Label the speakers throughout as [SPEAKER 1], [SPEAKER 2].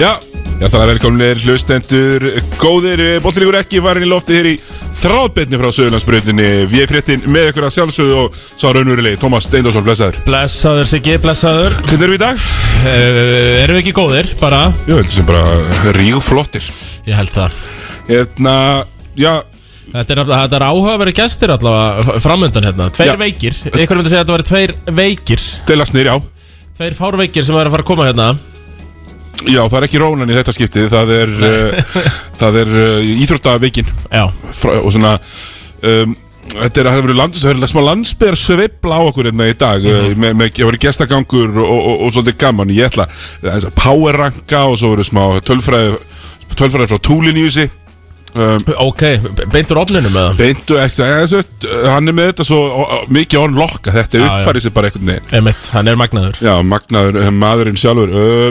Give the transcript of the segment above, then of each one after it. [SPEAKER 1] Já, já þannig að velkomnir hlustendur Góðir, bollilíkur ekki varin í lofti hér í þráðbyrni frá Söðurlandsbröndinni Við erum fréttin með ykkur að sjálfsögðu og sá raunverulegi Tómas Steindorsson, blessaður
[SPEAKER 2] Blessaður Siggi, blessaður
[SPEAKER 1] Hvernig erum við í dag?
[SPEAKER 2] uh, Erum við ekki góðir, bara
[SPEAKER 1] Jó, heldur sem bara rígflottir
[SPEAKER 2] Ég held það
[SPEAKER 1] Hérna, já,
[SPEAKER 2] Þetta er, nefnilega- þetta er áhugaverið gestir allavega f- framöndan hérna Tveir
[SPEAKER 1] Já.
[SPEAKER 2] veikir, einhverjum myndi segja að þetta væri tveir veikir
[SPEAKER 1] delast nýr, já
[SPEAKER 2] Tveir fárveikir sem eru að fara að koma hérna
[SPEAKER 1] Já, það er ekki rónan í þetta skiptið Það er, uh, það er uh, íþróttaveikin
[SPEAKER 2] Já,
[SPEAKER 1] frá, og svona um, þetta er að það verið landist það er smá landsbyðar sveifla á okkur hérna í dag
[SPEAKER 2] Mhm.
[SPEAKER 1] mm -hmm. með, með, ég voru gestagangur og, og, og svolítið gaman, ég ætla þess að power ranka og svo verið smá tölfræði tölfræði frá túlin í þessi um,
[SPEAKER 2] ok, be- beintur ofninum eða
[SPEAKER 1] beintu ekki, ja, veist, uh, hann er með þetta svo ó, ó, mikið on lokka, þetta er
[SPEAKER 2] Já, já.
[SPEAKER 1] uppfærið sér bara einhvern veginn,
[SPEAKER 2] Emitt, hann er magnaður
[SPEAKER 1] já, magnaður eh, maðurinn sjálfur uh,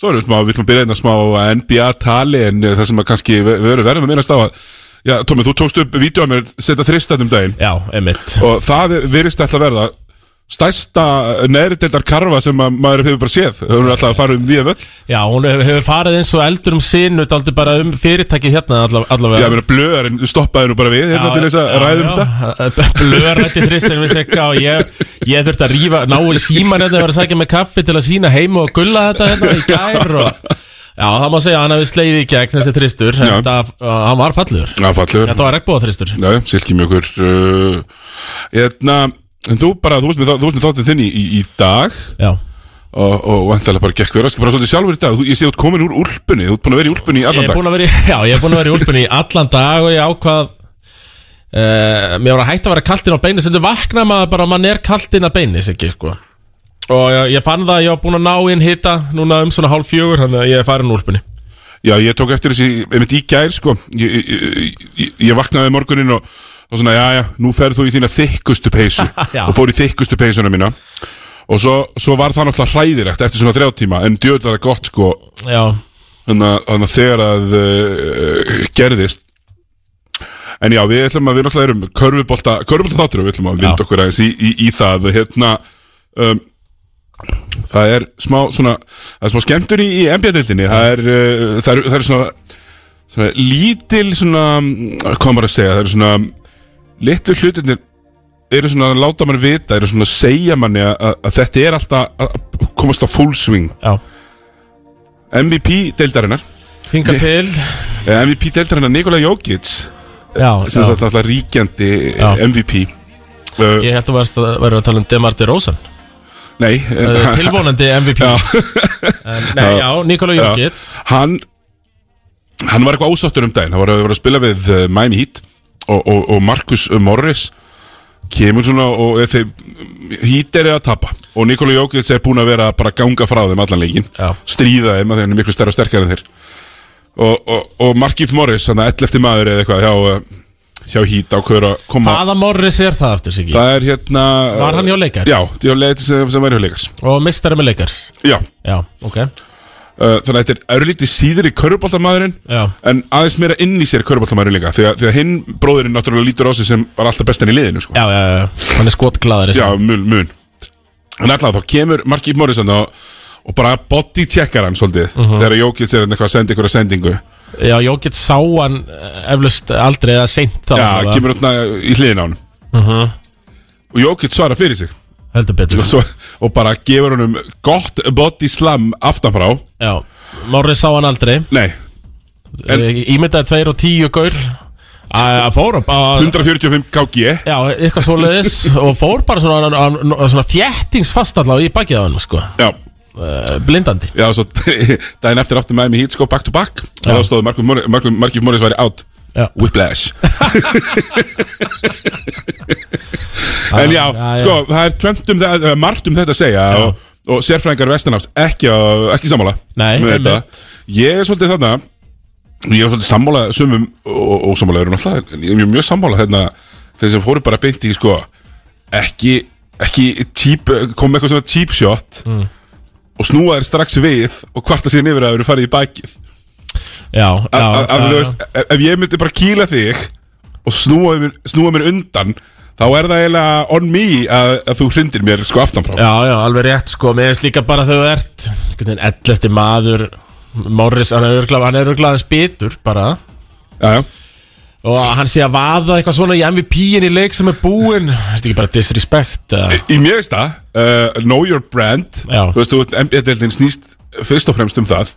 [SPEAKER 1] svo erum við smá, við ætlum að byrja einna smá á NBA tali en eh, það sem að kannski ve- við verðum verðum að minnast á að, já, Tómi, þú tókst upp vídeo að mér, setja þristat um daginn
[SPEAKER 2] Já, emitt
[SPEAKER 1] og það virðist alltaf verða stærsta neðriteldar karfa sem að maður hefur bara séð þau eru alltaf að fara um við völl
[SPEAKER 2] Já, hún hefur hefur farið eins og eldur um sinu Daldi bara um fyrirtækið hérna alla-
[SPEAKER 1] Já, ég
[SPEAKER 2] allavega
[SPEAKER 1] meina blöðarinn stoppaði nú bara við hérna til þess að ræðum þetta
[SPEAKER 2] þetta Blöðrætti þristin við sigga og ég, ég þurfti að rífa náu síman hérna og var að sækja með kaffi til að sína heim og gulla þetta hérna í gær og Já, það má segja að hann hefði slegið í gegn þessi þristur
[SPEAKER 1] Já.
[SPEAKER 2] þetta, uh, hann var fallur
[SPEAKER 1] Já, fallur
[SPEAKER 2] Þetta var regnbóða þristur
[SPEAKER 1] Já, silkimjökur uh, Hérna, en þú bara, þú veist með, þá- þú veist með þáttið þinn í, í, í dag
[SPEAKER 2] Já,
[SPEAKER 1] og, og vantalega bara gekk vera, bara svolítið sjálfur í dag þú, Ég sé þú ert komin úr úlpunni, þú ert búin að vera í úlpunni í
[SPEAKER 2] ég
[SPEAKER 1] allan
[SPEAKER 2] er
[SPEAKER 1] dag
[SPEAKER 2] búin að vera í, já, ég er búin að vera í úlpunni í allan dag og ég ákvað Uh, mér var að hætta að vera kaltinn á beini sem þau vakna maður bara að mann er kaltinn að beini ekki, sko. og ég, ég fann það að ég var búin að ná inn hita núna um svona hálf fjögur þannig að ég er farin úr úlpunni
[SPEAKER 1] Já, ég tók eftir þessi, einmitt í gær sko Ég, ég, ég, ég vaknaði morgunin og, og svona, já, já, nú ferð þú í þína þykkustu peysu
[SPEAKER 2] Já.
[SPEAKER 1] og fór í þykkustu peysuna mína og svo, svo var það náttúrulega hræðilegt eftir svona þrjá tíma, en djöðl var það gott sko
[SPEAKER 2] Já,
[SPEAKER 1] þannig að- þannig að þegar að uh, gerðist En já, við ætlum að við náttúrulega erum körfubolta, körfubolta þáttur og við ætlum að vinda
[SPEAKER 2] Já.
[SPEAKER 1] okkur aðeins í, í, í það hérna, um, það er smá svona, það er smá skemmtur í, í NBA-deildinni, það er uh, það eru- það eru er svona, svona lítil svona, mm, hvað á maður að segja það eru svona, litlu hlutinir eru svona að láta mann vita eru svona að segja manni að, að, að þetta er alltaf að að komast á full swing
[SPEAKER 2] já
[SPEAKER 1] MVP-deildarinnar
[SPEAKER 2] Hinga til
[SPEAKER 1] Eh, MVP-deildarinnar Nikola Jokic
[SPEAKER 2] Já,
[SPEAKER 1] sem
[SPEAKER 2] já.
[SPEAKER 1] sagt alltaf ríkjandi eh,
[SPEAKER 2] Já.
[SPEAKER 1] MVP uh,
[SPEAKER 2] Ég held að verður að, verður að tala um Demar de Rosan
[SPEAKER 1] Nei
[SPEAKER 2] uh,
[SPEAKER 1] en,
[SPEAKER 2] Tilvonandi MVP en, Nei, já, Nikola
[SPEAKER 1] Já.
[SPEAKER 2] Jokic
[SPEAKER 1] Hann Hann var eitthvað ásáttur um daginn Hann var að, var að spila við uh, Miami Heat og, og, og Marcus Morris kemur svona og er þeir Heat er að tapa og Nikola Jokic er búin að vera bara að ganga frá þeim allan leikin
[SPEAKER 2] Já.
[SPEAKER 1] stríða þeim að þeir eru miklu stærra og sterkar en þeir og, og, og Markif Morris hann að 11. maður eða eitthvað hjá, uh, hjá Heat ákveður að koma
[SPEAKER 2] Hvaða Morris er það eftir sig
[SPEAKER 1] það er hérna
[SPEAKER 2] Var hann hjá Lakers?
[SPEAKER 1] Já, hjá Lakers sem, sem var hjá Lakers
[SPEAKER 2] Og mistari með leikars
[SPEAKER 1] Já,
[SPEAKER 2] Já, ok
[SPEAKER 1] uh, þannig að þetta er örlítið síður í köruboltamaðurinn
[SPEAKER 2] Já,
[SPEAKER 1] En aðeins meira inn í sér köruboltamaðurinn líka Því að, því að hinn bróðurinn náttúrulega lítur á sig sem var alltaf bestan í liðinu sko.
[SPEAKER 2] já, já, já. Hann er skotglaðari sko.
[SPEAKER 1] Já, mun, mun En allavega þá kemur Marki Morrison og, og bara body checkar hann svolítið Þegar Jókits er hann eitthvað að senda ykkur að sendingu
[SPEAKER 2] Mhm. já Jokic sá hann eh, eflaust aldrei eða seint þá
[SPEAKER 1] Já,
[SPEAKER 2] allavega.
[SPEAKER 1] kemur hann í hliðin á hann
[SPEAKER 2] Mhm.
[SPEAKER 1] Og Jókits svarar fyrir sig
[SPEAKER 2] Heldur betur
[SPEAKER 1] og, svo, og bara gefur honum gott body slam aftanfrá
[SPEAKER 2] Já, Morris sá hann aldrei
[SPEAKER 1] Nei, En-
[SPEAKER 2] en, Ímyndaði tveir og tíu gaur Að að fór að
[SPEAKER 1] 145 KG
[SPEAKER 2] Já, eitthvað svoleiðis og fór bara svona, hann- hann- svona þjættingsfast allavega í bakið á hann sko.
[SPEAKER 1] Já,
[SPEAKER 2] uh, blindandi
[SPEAKER 1] já svo daginn eftir aftur með mig hít sko back to back og þá stóðu Markif Morris, Markif, Markif Morris væri out
[SPEAKER 2] Já.
[SPEAKER 1] Whiplash En já,
[SPEAKER 2] já, já.
[SPEAKER 1] sko, það er tventum, það er margt um þetta að segja og, og sérfræðingar Vestanafs ekki, á- ekki sammála
[SPEAKER 2] Nei,
[SPEAKER 1] með þetta.
[SPEAKER 2] einmitt.
[SPEAKER 1] Ég er svolítið þarna ég er svolítið sammála sumum og, og sammála erum alltaf, en ég er mjög- mjög sammála þarna, þeir sem fóru bara beint í sko, ekki, ekki típ, kom með eitthvað svona cheap shot
[SPEAKER 2] Mm.
[SPEAKER 1] og snúa þér strax við og kvarta síðan yfir að það eru farið í bakið
[SPEAKER 2] Já, já,
[SPEAKER 1] að, að,
[SPEAKER 2] já,
[SPEAKER 1] þú veist, ef- ef ég myndi bara kýla þig og snúa mér, snúa mér undan þá er það eiginlega on me að, að þú hrindir mér sko aftanfrá
[SPEAKER 2] já, já, alveg rétt sko Mér finnst líka bara þegar þú ert einhvern veginn 11. maður Morris, hann er örglað, hann er örglað hans bitur bara
[SPEAKER 1] já, já,
[SPEAKER 2] Og að hann sé að vaða eitthvað svona í MVP-in í leik sem er búinn Er þetta ekki bara disrespect? Uh,
[SPEAKER 1] Í mér veist það, uh, know your brand
[SPEAKER 2] Já.
[SPEAKER 1] Þú veist, þú veist, NBA-deldin snýst fyrst og fremst um það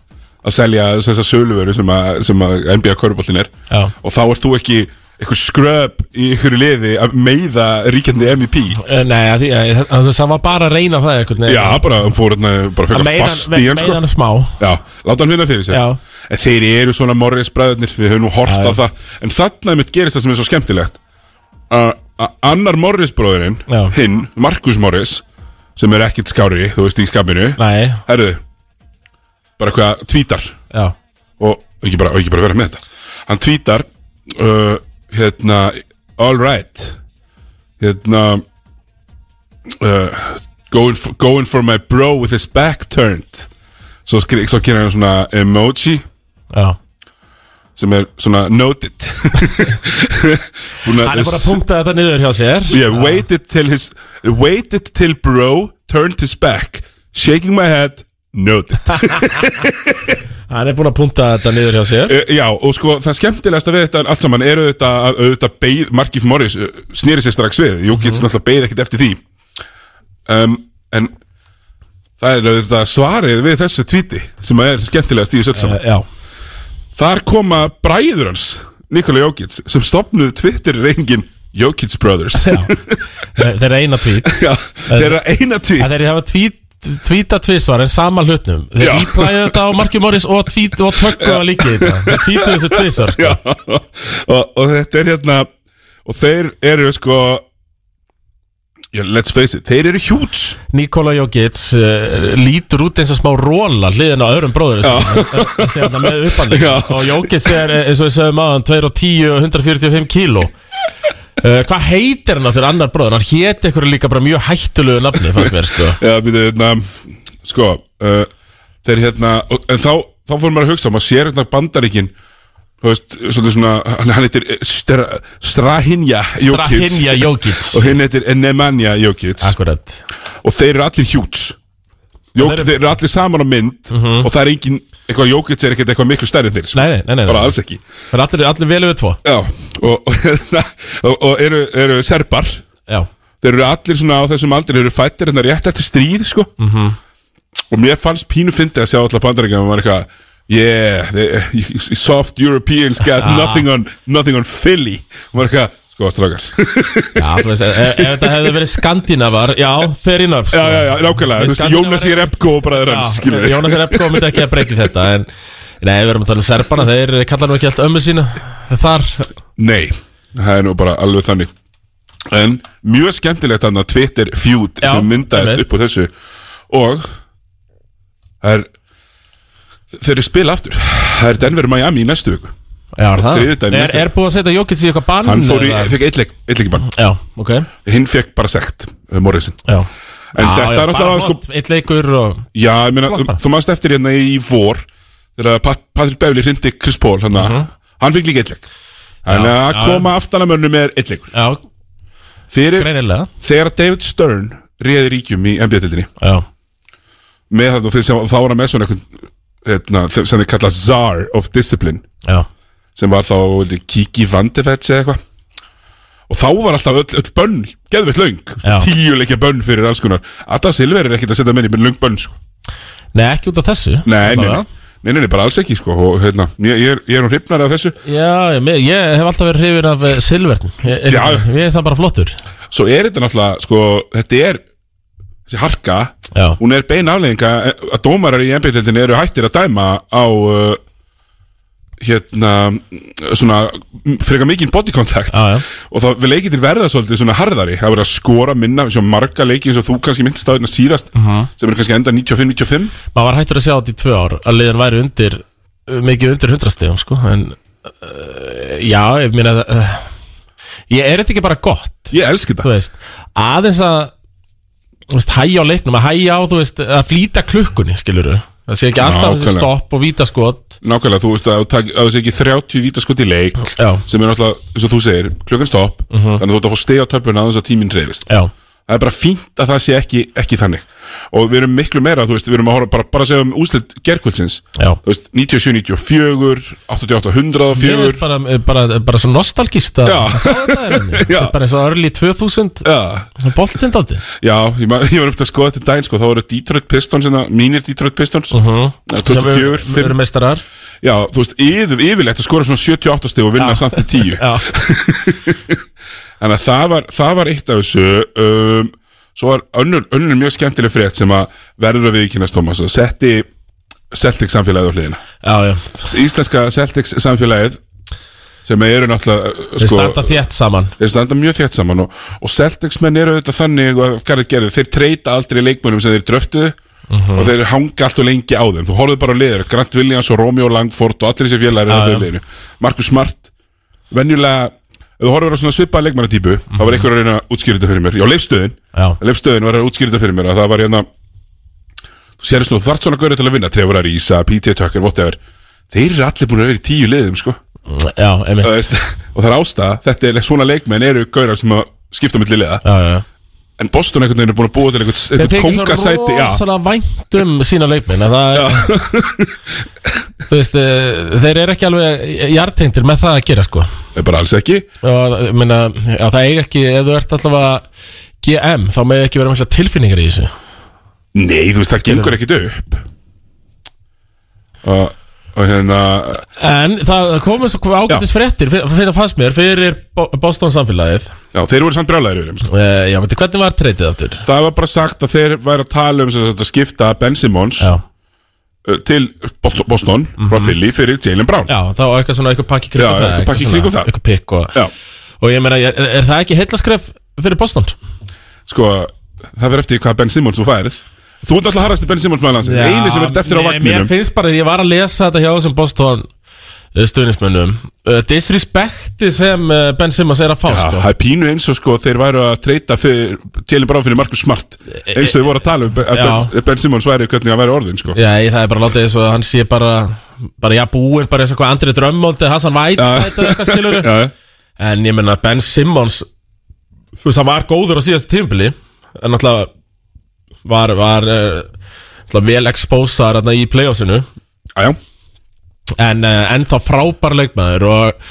[SPEAKER 1] að selja þessar söluvöru sem, að, sem að NBA-köruboltin er
[SPEAKER 2] Já.
[SPEAKER 1] og þá ert þú ekki eitthvað skröp í einhverju liði að meiða ríkjandi MVP
[SPEAKER 2] Eh, nei, að því, að, að þú veist, hann var bara að reyna það einhvern veginn
[SPEAKER 1] Já, bara hann fór hérna, bara
[SPEAKER 2] Að
[SPEAKER 1] fyrir
[SPEAKER 2] meiða
[SPEAKER 1] fast í
[SPEAKER 2] hann,
[SPEAKER 1] hann sko
[SPEAKER 2] meiða hann smá
[SPEAKER 1] Já, láta hann vinna fyrir sér
[SPEAKER 2] Já.
[SPEAKER 1] En þeir eru svona morris bræðurnir Við höfum nú hort
[SPEAKER 2] Já,
[SPEAKER 1] á það En þarna mitt gerist það sem er svo skemmtilegt Að að annar morris bróðurinn
[SPEAKER 2] Já.
[SPEAKER 1] Hinn, Markus Morris Sem er ekkit skári, þú veist, í skapinu
[SPEAKER 2] Nei,
[SPEAKER 1] Herðu Bara hvað, tvítar
[SPEAKER 2] já,
[SPEAKER 1] og, og, ekki bara, og ekki bara vera með þetta Hann tvítar uh, Hérna, all right Hérna uh, going, for, going for my bro with his back turned Svo, skri- svo gerir hann svona emoji
[SPEAKER 2] já
[SPEAKER 1] sem er svona noted Búin
[SPEAKER 2] Hann er bara að punkta þetta niður hjá sér
[SPEAKER 1] yeah, waited till his waited till bro turned his back shaking my head noted
[SPEAKER 2] Hann er búinn að punkta þetta niður hjá sér
[SPEAKER 1] Eh, Já, og sko, það skemmtilegasta við þetta allt saman eru þetta, auðvitað beið, Markif Morris eh, sneri sér strax við, Júkits
[SPEAKER 2] Mhm.
[SPEAKER 1] náttúrulega beið ekkert eftir því um, en það er auðvitað svarið við þessu tvíti sem er skemmtilegast í þessu öllu saman
[SPEAKER 2] uh, Já,
[SPEAKER 1] Þar koma bræður hans, Nikola Jókits sem stopnuðu Twitter-rengin Jókits Brothers
[SPEAKER 2] já Þeir þeir reyna tvít
[SPEAKER 1] Já, þeirra eina tvít
[SPEAKER 2] að þeir hafa tvít tvíta tvísvar en sama hlutnum þeir
[SPEAKER 1] Já.
[SPEAKER 2] íplæði þetta á Marki Morris og tvít og tökku að líka þetta þeir tvítu þessu tvísvar sko.
[SPEAKER 1] Já, og, og þetta er hérna og þeir eru sko yeah, let's face it, þeir eru huge
[SPEAKER 2] Nikola Jokic uh, lítur út eins og smá róla hliðin á öðrum bróður þessi hann með uppandi
[SPEAKER 1] Já.
[SPEAKER 2] og Jokic er eh, eins og við sögum aðan 2 og 10 og 145 kíló Uh, hvað heitir hann aftur annar bróður? Hann héti ykkur líka bara mjög hættulegu nafni, fannst mér, sko.
[SPEAKER 1] Já, býtu, hérna, sko uh, Þeir hérna, og, en þá þá fór maður að hugsa, maður sér hérna bandaríkin þú veist, svolítið svona hann, hann heitir eh, Stra- Strahinja Jókits
[SPEAKER 2] Strahinja Jokic. Ah.
[SPEAKER 1] og hinn heitir Nemanja Jókits
[SPEAKER 2] Akkurat.
[SPEAKER 1] og þeir eru allir huge Jók,
[SPEAKER 2] þeir eru- Mhm.
[SPEAKER 1] þeir eru allir saman á mynd og það er engin, eitthvað Jókits er ekkert eitthvað miklu stærri en þeir, sko.
[SPEAKER 2] Nei, nei, nei, nei.
[SPEAKER 1] bara
[SPEAKER 2] nei.
[SPEAKER 1] alls ekki
[SPEAKER 2] Það er allir, allir vel yfir tvo.
[SPEAKER 1] Já, og, og, hérna, og, og eru, eru serbar
[SPEAKER 2] Já.
[SPEAKER 1] Þeir eru allir svona á þessum aldri Þeir eru fættir hérna rétt eftir stríð sko.
[SPEAKER 2] Mhm.
[SPEAKER 1] -hmm. Og mér fannst pínu fyndi að sjá allar bandarækja og maður eitthvað Yeah, the, soft Europeans got
[SPEAKER 2] Ah.
[SPEAKER 1] nothing, on, nothing on Philly Og maður eitthvað, sko strákar
[SPEAKER 2] Já, þú veist, ef, ef þetta hefði verið skandinavar, já, fair enough, sko.
[SPEAKER 1] Já, já, já, nákvæmlega,
[SPEAKER 2] Við
[SPEAKER 1] þú veist,
[SPEAKER 2] Skandinavar
[SPEAKER 1] Jónas
[SPEAKER 2] eru-
[SPEAKER 1] er Epko og bræður hans, skilur
[SPEAKER 2] Já, Jónas er Epko myndi ekki að breyti þetta En nei, við erum að tala um serbana Þeir kalla nú ekki allt ömmu sína Þar,
[SPEAKER 1] Nei, það er nú bara alveg þannig En mjög skemmtilegt þannig að Twitter feud
[SPEAKER 2] Já,
[SPEAKER 1] sem myndaðist
[SPEAKER 2] einmitt.
[SPEAKER 1] upp úr þessu Og það er, Þeir eru spila aftur Það er Denver Miami í næstu viku
[SPEAKER 2] já, er það
[SPEAKER 1] Þriðjudaginn
[SPEAKER 2] er,
[SPEAKER 1] næsta.
[SPEAKER 2] er búið að setja Jókits í eitthvað bann
[SPEAKER 1] Hann fór í,
[SPEAKER 2] eða?
[SPEAKER 1] fekk eitleik, eitleikibann
[SPEAKER 2] Já, ok Já,
[SPEAKER 1] Hinn fekk bara sekt, uh, Morrisin En
[SPEAKER 2] Mm. já,
[SPEAKER 1] þetta
[SPEAKER 2] já,
[SPEAKER 1] er
[SPEAKER 2] bara
[SPEAKER 1] náttúrulega sko,
[SPEAKER 2] vont, Eitt leikur og
[SPEAKER 1] Já, ég meina,
[SPEAKER 2] Flott bara.
[SPEAKER 1] þú mannst eftir hérna í vor Þegar Pat, Patrick Beverly hrindi Chris Paul hann, hann fekk líka eitleik Þannig
[SPEAKER 2] Mhm. Já,
[SPEAKER 1] að
[SPEAKER 2] já.
[SPEAKER 1] koma aftan að mönnum er eitleikur
[SPEAKER 2] Já,
[SPEAKER 1] Fyrir
[SPEAKER 2] greinilega
[SPEAKER 1] Þegar David Stern réði ríkjum í NBA-dildinni
[SPEAKER 2] Já,
[SPEAKER 1] með það og þeir sem þá var hann með svona einhvern, hérna, þeir- sem þeir kalla czar of discipline
[SPEAKER 2] já
[SPEAKER 1] sem var þá vildi, Kiki Vandefets eða eitthvað og þá var alltaf öll, öll bönn geðveitt löng,
[SPEAKER 2] Já.
[SPEAKER 1] tíuleikja bönn fyrir alls konar Adda Silver er ekkert að setja menni með löng bönn sko.
[SPEAKER 2] Nei, ekki út af þessu
[SPEAKER 1] nei, nei,
[SPEAKER 2] Alla
[SPEAKER 1] nei,
[SPEAKER 2] vega.
[SPEAKER 1] nei, nei, nei, bara alls ekki sko. og hérna, ég, ég, er- ég er hún hrifnar af þessu
[SPEAKER 2] Já, ég, ég hef alltaf verið hrifin af eh, Silvern Ég
[SPEAKER 1] Já.
[SPEAKER 2] ég er það bara flottur
[SPEAKER 1] svo er þetta náttúrulega, sko, þetta er þessi harka,
[SPEAKER 2] Já.
[SPEAKER 1] hún er bein afleðinga að dómarar í NBA-deltinni eru hættir að dæma á uh, hérna svona frekar mikinn body contact
[SPEAKER 2] Já, já.
[SPEAKER 1] og þá við leikitir verða svolítið svona harðari það verður að skora minna, svo marga leiki eins og þú kannski myndist á hérna síðast
[SPEAKER 2] Mhm.
[SPEAKER 1] sem eru kannski enda 95-95
[SPEAKER 2] maður var hættur að sjá þetta í tvö ár að liðan væri undir eh, mikið undir hundrastegum sko en uh, já, ég meina uh, ég er þetta ekki bara gott
[SPEAKER 1] ég elski
[SPEAKER 2] þú
[SPEAKER 1] þetta
[SPEAKER 2] veist, aðeins að þú veist, hæja á leiknum, að hæja á þú veist, að flýta klukkunni, skilur það sé ekki alltaf þessi
[SPEAKER 1] Nákvæmlega.
[SPEAKER 2] stopp og vítaskot
[SPEAKER 1] nákvæmlega, þú veist að þú tak- að þú sé ekki 30 vítaskot í leik
[SPEAKER 2] já, Mhm.
[SPEAKER 1] sem er náttúrulega, eins og þú segir, klukkan stopp þannig að þú ert að fá steg á töfluna að þess að tíminn reyfist
[SPEAKER 2] já,
[SPEAKER 1] það er bara fínt að það sé ekki, ekki þannig og við erum miklu meira, þú veist, við erum að horfa bara, bara að segja um úslit gerkvöldsins
[SPEAKER 2] Já.
[SPEAKER 1] þú veist, 97, 94 88,
[SPEAKER 2] Ég veist
[SPEAKER 1] 104
[SPEAKER 2] bara, eh, bara, bara svo nostalgist að
[SPEAKER 1] Já.
[SPEAKER 2] að fá þetta er henni.
[SPEAKER 1] Já.
[SPEAKER 2] Þetta er bara eins og early 2000
[SPEAKER 1] Já,
[SPEAKER 2] sem boltinn daldi
[SPEAKER 1] já, ég, ma- ég var upp til að skoða þetta um daginn sko, þá voru Detroit Pistons, hérna, mínir Detroit Pistons
[SPEAKER 2] Mm.
[SPEAKER 1] uh -huh. 2004, 5
[SPEAKER 2] Mhm. Við erum meistarar
[SPEAKER 1] Já, þú veist, yfir, yfirleitt að skora svona 78 stig og vinna
[SPEAKER 2] Já.
[SPEAKER 1] samt í 10
[SPEAKER 2] Já.
[SPEAKER 1] Þannig að það var, það var eitt af þessu um, Svo var önnur, önnur mjög skemmtileg frétt sem að verður að viðkynast Thomas að setti Celtics samfélagið á hliðina
[SPEAKER 2] Já, já,
[SPEAKER 1] Íslenska Celtics samfélagið sem eru náttúrulega uh,
[SPEAKER 2] við
[SPEAKER 1] sko,
[SPEAKER 2] standa þétt saman
[SPEAKER 1] þeir standa mjög þétt saman og, og Celtics menn eru auðvitað þannig og Garrett gerði, þeir treyta aldrei leikmönum sem þeir dröftuðu
[SPEAKER 2] Mhm.
[SPEAKER 1] og þeir hanga allt og lengi á þeim þú horfðu bara á liður, Grant Williams og Romeo Langford og allir þessi félagir
[SPEAKER 2] Já,
[SPEAKER 1] ah,
[SPEAKER 2] já.
[SPEAKER 1] ja. Markus Smart venjulega, ef þú horfður á svona svipaða leikmannatýpu þá
[SPEAKER 2] Mhm.
[SPEAKER 1] var einhver að reyna að útskýra þetta fyrir mér já, leifstöðin,
[SPEAKER 2] Já.
[SPEAKER 1] leifstöðin var að útskýra þetta fyrir mér að það var hérna þú sérist nú, þú þarft svona gaurið til að vinna Trevor Arisa, PJ Tucker, whatever þeir eru allir búin að vera í tíu liðum sko
[SPEAKER 2] Já, einmitt
[SPEAKER 1] Þú veist, og það er ástæða, þetta er svona leikmenn eru gaurar sem að skipta milli liða
[SPEAKER 2] Já, já, já
[SPEAKER 1] en Boston einhvern veginn er búin að búa til einhvern,
[SPEAKER 2] Þeir
[SPEAKER 1] einhvern
[SPEAKER 2] tekið svo
[SPEAKER 1] kongasæti já,
[SPEAKER 2] rosalega vænt um sína leikminn að það er Þú veist, eh, þeir eru ekki alveg jartengtir með það að gera sko
[SPEAKER 1] er bara alls ekki
[SPEAKER 2] og eh, ég meina, já, það eiga ekki ef þú ert allavega GM þá meði ekki vera mikla tilfinningar í þessu
[SPEAKER 1] nei, þú veist, það gengur ekkit upp og, og hérna
[SPEAKER 2] en það komið svo ágætis fréttir fyrir fyrir það fannst mér fyrir Bo- Boston samfélagið
[SPEAKER 1] já, þeir voru samt brjálæður yfir þeim, sko.
[SPEAKER 2] uh, já, veitir hvernig var treytið aftur
[SPEAKER 1] það var bara sagt að þeir væri að tala um sem sagt, að skipta Ben Simmons
[SPEAKER 2] já,
[SPEAKER 1] uh, til Boston, Boston frá Philly fyrir Jalen Brown
[SPEAKER 2] Mhm. já þá eitthvað svona eitthvað pakki
[SPEAKER 1] Já,
[SPEAKER 2] kringum það
[SPEAKER 1] eitthvað pakki
[SPEAKER 2] svona-
[SPEAKER 1] kringum það.
[SPEAKER 2] eitthvað pikk og,
[SPEAKER 1] Já.
[SPEAKER 2] og ég meina, er, er það ekki heillaskref fyrir Boston?
[SPEAKER 1] sko, það verður eftir hvað Ben Simmons þú færið þú ert alltaf harrasti Ben Simmons maður landsins eini sem verður eftir á
[SPEAKER 2] mér-
[SPEAKER 1] vagninum
[SPEAKER 2] mér finnst bara, ég var að lesa þetta hjá þessum Boston eh, stuðnismönnum uh, disrespekti sem uh, Ben Simmons er að fá
[SPEAKER 1] Já,
[SPEAKER 2] sko.
[SPEAKER 1] það er pínu eins og sko þeir væru að treyta fyrir, télum bara fyrir Markus Smart eins og þeir voru að tala um að
[SPEAKER 2] Eh, Já.
[SPEAKER 1] ben, ben Simmons væri hvernig að væri orðin sko
[SPEAKER 2] Já, ég, það er bara látið eins og hann sé bara bara já búinn, bara eins og hvað Andri Drömmold eða Hassan Whiteside eða Eh, eitthvað skilur
[SPEAKER 1] Já, já.
[SPEAKER 2] en ég menna Ben Simmons þú veist, hann var góður á síðasta tímpili en náttúrulega var, var uh, vel expósar þarna í playoffsinu
[SPEAKER 1] Ah, Já, já,
[SPEAKER 2] en uh, ennþá frábær leikmaður og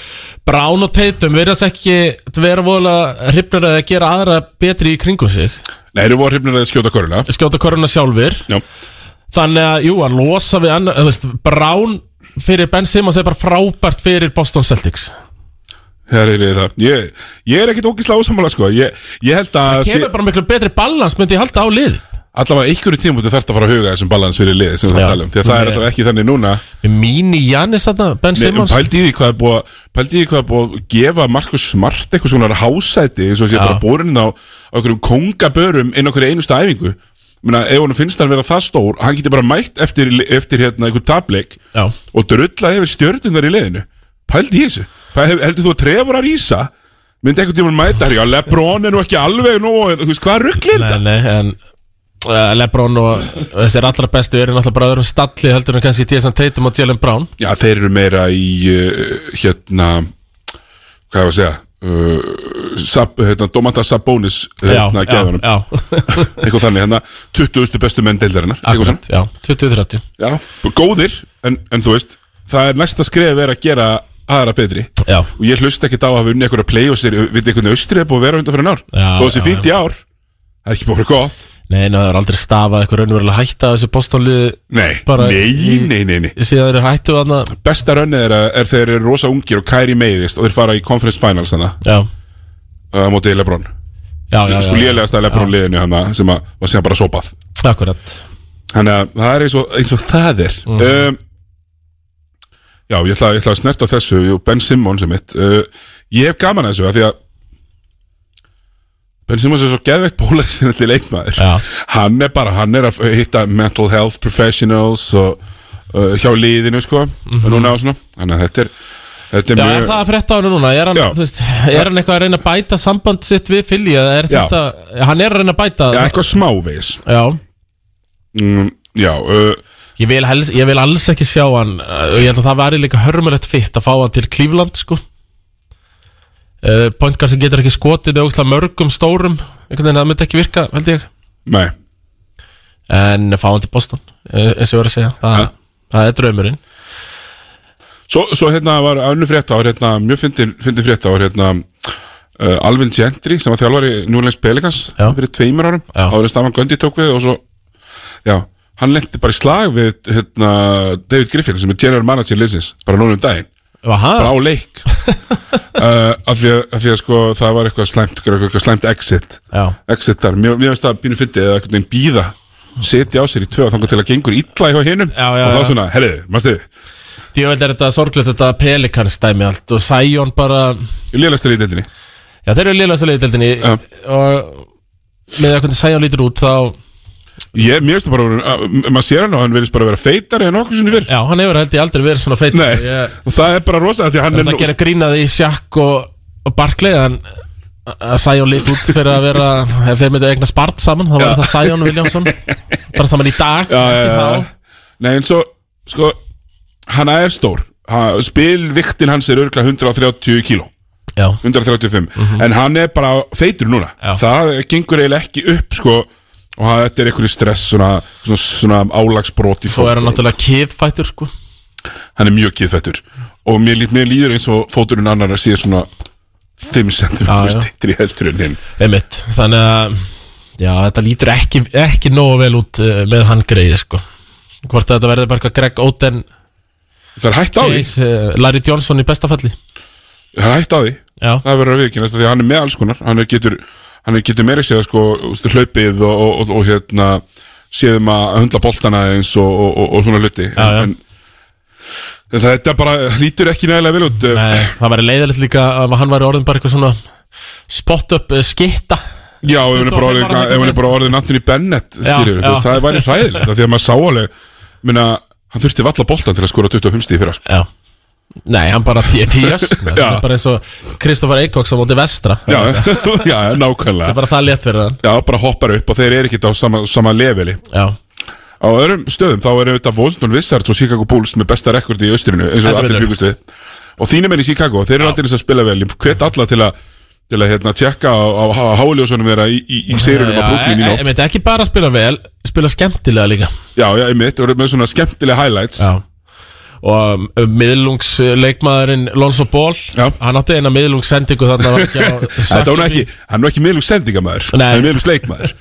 [SPEAKER 2] Brown og Tatum verðast ekki vera vola hrifnur að gera aðra betri í kringum sig
[SPEAKER 1] Nei, þeir voru hrifnir að skjóta köruna
[SPEAKER 2] skjóta koruna sjálfur
[SPEAKER 1] Já,
[SPEAKER 2] Þannig að, jú, að losa við annar, þú veist, Brown fyrir Ben Simmons er bara frábært fyrir Boston Celtics.
[SPEAKER 1] það er það Ég, ég er ekkit ógislega ósammála sko Ég, ég held að sé,
[SPEAKER 2] Kemur bara miklu betri balans, myndi ég halda á lið.
[SPEAKER 1] allavega einhverju tímúti þarf að fara að huga þessum balans fyrir liði sem
[SPEAKER 2] Já.
[SPEAKER 1] það tala um því að það er
[SPEAKER 2] Nei.
[SPEAKER 1] allavega ekki þannig núna
[SPEAKER 2] Mín í Jannis þarna, Ben
[SPEAKER 1] Nei, um
[SPEAKER 2] Simmons.
[SPEAKER 1] pældi í því hvað er búið að- pældi í því hvað er búið að gefa Markus Smart eitthvað svona hásæti eins og sé
[SPEAKER 2] Já.
[SPEAKER 1] bara borinn á, á einhverjum kongabörum inn á hverju einustu æfingu Ég meina, ef hann finnst hann vera það stór hann getur bara mætt eftir, eftir hérna einhver tableik
[SPEAKER 2] Já.
[SPEAKER 1] og drulla yfir stjörnunar í liðinu pældi í þessu Pæ- hef- heldur þú að trefur að rísa myndi einhvern tímann mæta þér já, Lebron er nú ekki alveg nú þú veist, hvað rugglir
[SPEAKER 2] Nei,
[SPEAKER 1] þetta?
[SPEAKER 2] nei, en uh, Lebron og þessir allra bestu eru náttúrulega bara öðrum stalli heldur en kannski Jason Tatum og Jalen Brown.
[SPEAKER 1] Já, þeir eru meira í uh, hérna hvað var að segja uh, sab, hérna, Domanda Sabonis hérna,
[SPEAKER 2] já,
[SPEAKER 1] gæðunum,
[SPEAKER 2] já.
[SPEAKER 1] eitthvað þannig hérna, 20. bestu menn deildarinnar eitthvað
[SPEAKER 2] Akkurat, já, 20-30.
[SPEAKER 1] svona. Já, góðir, en, en þú veist það er næsta skref er að gera aðra betri
[SPEAKER 2] Já,
[SPEAKER 1] og ég hlust ekki þá að hafa unni einhverja playoffsir við einhvern austrið búið að vera undan fyrir en ár
[SPEAKER 2] Já,
[SPEAKER 1] þó þessi
[SPEAKER 2] já,
[SPEAKER 1] fínt í ár, það er ekki búið að vera gott
[SPEAKER 2] nei, ná, það er aldrei stafað eitthvað raunverulega hætta af þessu Boston-liði
[SPEAKER 1] Nei,
[SPEAKER 2] Bara
[SPEAKER 1] nei,
[SPEAKER 2] í-
[SPEAKER 1] nei, nei, nei
[SPEAKER 2] síðan þeir hættu þarna.
[SPEAKER 1] Besta rönnið er, er þeir eru rosa ungir og kæri meiðist og þeir fara í conference finals hana,
[SPEAKER 2] Já,
[SPEAKER 1] uh, mótið Lebron
[SPEAKER 2] já, já. já,
[SPEAKER 1] sko
[SPEAKER 2] já,
[SPEAKER 1] lélegasta Lebron liðinu hann sem að, var sem bara sopað
[SPEAKER 2] Akkurat.
[SPEAKER 1] þannig að það er eins og, eins og það er
[SPEAKER 2] Mm.
[SPEAKER 1] um, já, ég ætla, ég ætla að snerta á þessu jú, Ben Simmons er mitt uh, ég hef gaman að þessu að því að Ben Simmons er svo geðveikt bólaristinandi leikmaður
[SPEAKER 2] Já.
[SPEAKER 1] hann er bara, hann er að hitta mental health professionals og uh, hjá liðinu sko núna og svona, þannig að þetta er þetta er
[SPEAKER 2] Mhm. Já, er
[SPEAKER 1] mjög
[SPEAKER 2] það að frétta á hennu núna? Er hann,
[SPEAKER 1] Já.
[SPEAKER 2] þú veist, er hann eitthvað að reyna að bæta samband sitt við Fili? Eða er
[SPEAKER 1] Já.
[SPEAKER 2] þetta, hann er að reyna að bæta
[SPEAKER 1] já, eitthvað smávegis
[SPEAKER 2] Já.
[SPEAKER 1] mm, já, uh,
[SPEAKER 2] Ég vil, hels, ég vil alls ekki sjá eh, hann uh, og Ég held að það væri líka hörmulegt fitt að fá hann til Cleveland sko. uh, pointgar sem getur ekki skotið með ógstlega mörgum stórum einhvern veginn, það myndi ekki virka, held ég
[SPEAKER 1] Nei,
[SPEAKER 2] en fá hann til Boston, eh, eins og ég var að segja það,
[SPEAKER 1] Ja.
[SPEAKER 2] það er draumurinn
[SPEAKER 1] svo, svo hérna var önnu frétt á hérna, mjög fyndin fyndin frétt á hérna, uh, Alvin Gentry sem var þjálfari Núleins Pelikans
[SPEAKER 2] Já.
[SPEAKER 1] fyrir tveimur árum
[SPEAKER 2] Já.
[SPEAKER 1] áður en Staman Göndi tók við og svo já, hann lendi bara í slag við hérna, David Griffin sem er general manager liðsins, bara núna um daginn
[SPEAKER 2] var það?
[SPEAKER 1] bara á leik uh, af, því að, af því að sko það var eitthvað slæmt eitthvað, eitthvað slæmt exit
[SPEAKER 2] Já.
[SPEAKER 1] exit þar, mér mér finnst það að býna fyndi eða eitthvað býða, setja á sér í tvö og þangar til að gengur illa hjá hinum
[SPEAKER 2] Já, já,
[SPEAKER 1] og
[SPEAKER 2] já.
[SPEAKER 1] þá svona, herriði, mannstu
[SPEAKER 2] Djöfeld er þetta sorglegt þetta Pelikans dæmi allt og Sæjón bara
[SPEAKER 1] ég lélæst þér í deildinni
[SPEAKER 2] já þeir eru liðlega svo leiðdeldinni
[SPEAKER 1] Já.
[SPEAKER 2] og með að hvernig Sæjón lítur út þá
[SPEAKER 1] ég, mér finnst það bara, að vera- að- maður sér hann og hann verðist bara að vera feitari en okkur sinni fyrr
[SPEAKER 2] já hann hefur held ég aldrei verið svona feit
[SPEAKER 1] Nei,
[SPEAKER 2] ég,
[SPEAKER 1] og það er bara rosa af því að hann er
[SPEAKER 2] það
[SPEAKER 1] nú-
[SPEAKER 2] gerir grínað í sjakk og, og Barkley en eh, að Sæjón lít út fyrir að vera ef þeir myndi eigna spart saman þá var það Sæjón Viljámsson bara saman í dag
[SPEAKER 1] já, já,
[SPEAKER 2] ekki
[SPEAKER 1] já.
[SPEAKER 2] þá.
[SPEAKER 1] Nei, en svo, sko hann er stór, Ha- spilviktin hans er örgla 130 kíló
[SPEAKER 2] já.
[SPEAKER 1] 135 en hann er bara feitur núna
[SPEAKER 2] Mhm. Já.
[SPEAKER 1] það gengur eiginlega ekki upp sko, og það, þetta er einhverju stress svona, svona, svona álagsbrot í
[SPEAKER 2] svo
[SPEAKER 1] fót
[SPEAKER 2] er hann náttúrulega kiðfættur sko
[SPEAKER 1] hann er mjög kýðfettur og mér, lít- mér líður eins og fóturinn annar að sé svona 5 cm
[SPEAKER 2] Já, já.
[SPEAKER 1] stýttir í heldur en hinn
[SPEAKER 2] Einmitt. þannig að já, þetta lítur ekki, ekki nógu vel út uh, með hann greið sko hvort að þetta verður bara eitthvað Greg Oden
[SPEAKER 1] það er hægt á því,
[SPEAKER 2] Case, uh, Larry Johnson í bestafalli
[SPEAKER 1] það er hægt á því
[SPEAKER 2] já,
[SPEAKER 1] það verður að viðkynast því að hann er með alls konar hann er getur, hann er getur meira séð sko, ústu, hlaupið og, og, og, og hérna séðum að hundla boltana eins og, og, og, og svona hluti
[SPEAKER 2] Já, já.
[SPEAKER 1] en, en þetta bara lítur ekki nægilega vel út
[SPEAKER 2] Nei, Eh, það verður leiðilegt líka að hann var orðin bara eitthvað svona spot up uh, skitta
[SPEAKER 1] Já, ef hún er bara orðið,
[SPEAKER 2] Bara
[SPEAKER 1] ef hún er bara orðið Anthony Bennett, skilur
[SPEAKER 2] já.
[SPEAKER 1] þú veist, það væri hræðilegt af því að maður sá alveg, minna hann þurfti valla boltan til að skora 25 stíð fyrir sko.
[SPEAKER 2] já Nei, hann bara tíðas
[SPEAKER 1] Já.
[SPEAKER 2] bara eins og Kristoffer Eikóks á móti vestra
[SPEAKER 1] Já,
[SPEAKER 2] það
[SPEAKER 1] já, nákvæmlega
[SPEAKER 2] er bara það létt fyrir hann
[SPEAKER 1] Já, bara hoppar upp og þeir eru ekkert á sama, sama leveli
[SPEAKER 2] já,
[SPEAKER 1] Á öðrum stöðum þá eru þetta Washington Wizards og Chicago Bulls með besta rekordi í austrinu eins og
[SPEAKER 2] Heldur
[SPEAKER 1] allir
[SPEAKER 2] betur.
[SPEAKER 1] byggust við og þínum er í Chicago, þeir eru aldrei eins að spila vel ég hvet alla til að til að hérna tjekka á, á, á háljósunum þeirra í, í, í seyrunum á Brooklyn í
[SPEAKER 2] ég
[SPEAKER 1] nótt
[SPEAKER 2] myndi ekki bara spila vel spila skemmtilega líka
[SPEAKER 1] Já, já, einmitt, og með svona skemmtilega highlights
[SPEAKER 2] já. og um, miðlungsleikmaðurinn Lonzo Ball,
[SPEAKER 1] Já.
[SPEAKER 2] hann átti eina miðlungssendingu þarna var ekki á
[SPEAKER 1] Þetta var nú ekki, hann var ekki meðlum sendingamæður
[SPEAKER 2] Nei.
[SPEAKER 1] Hann er meðlum sleikmæður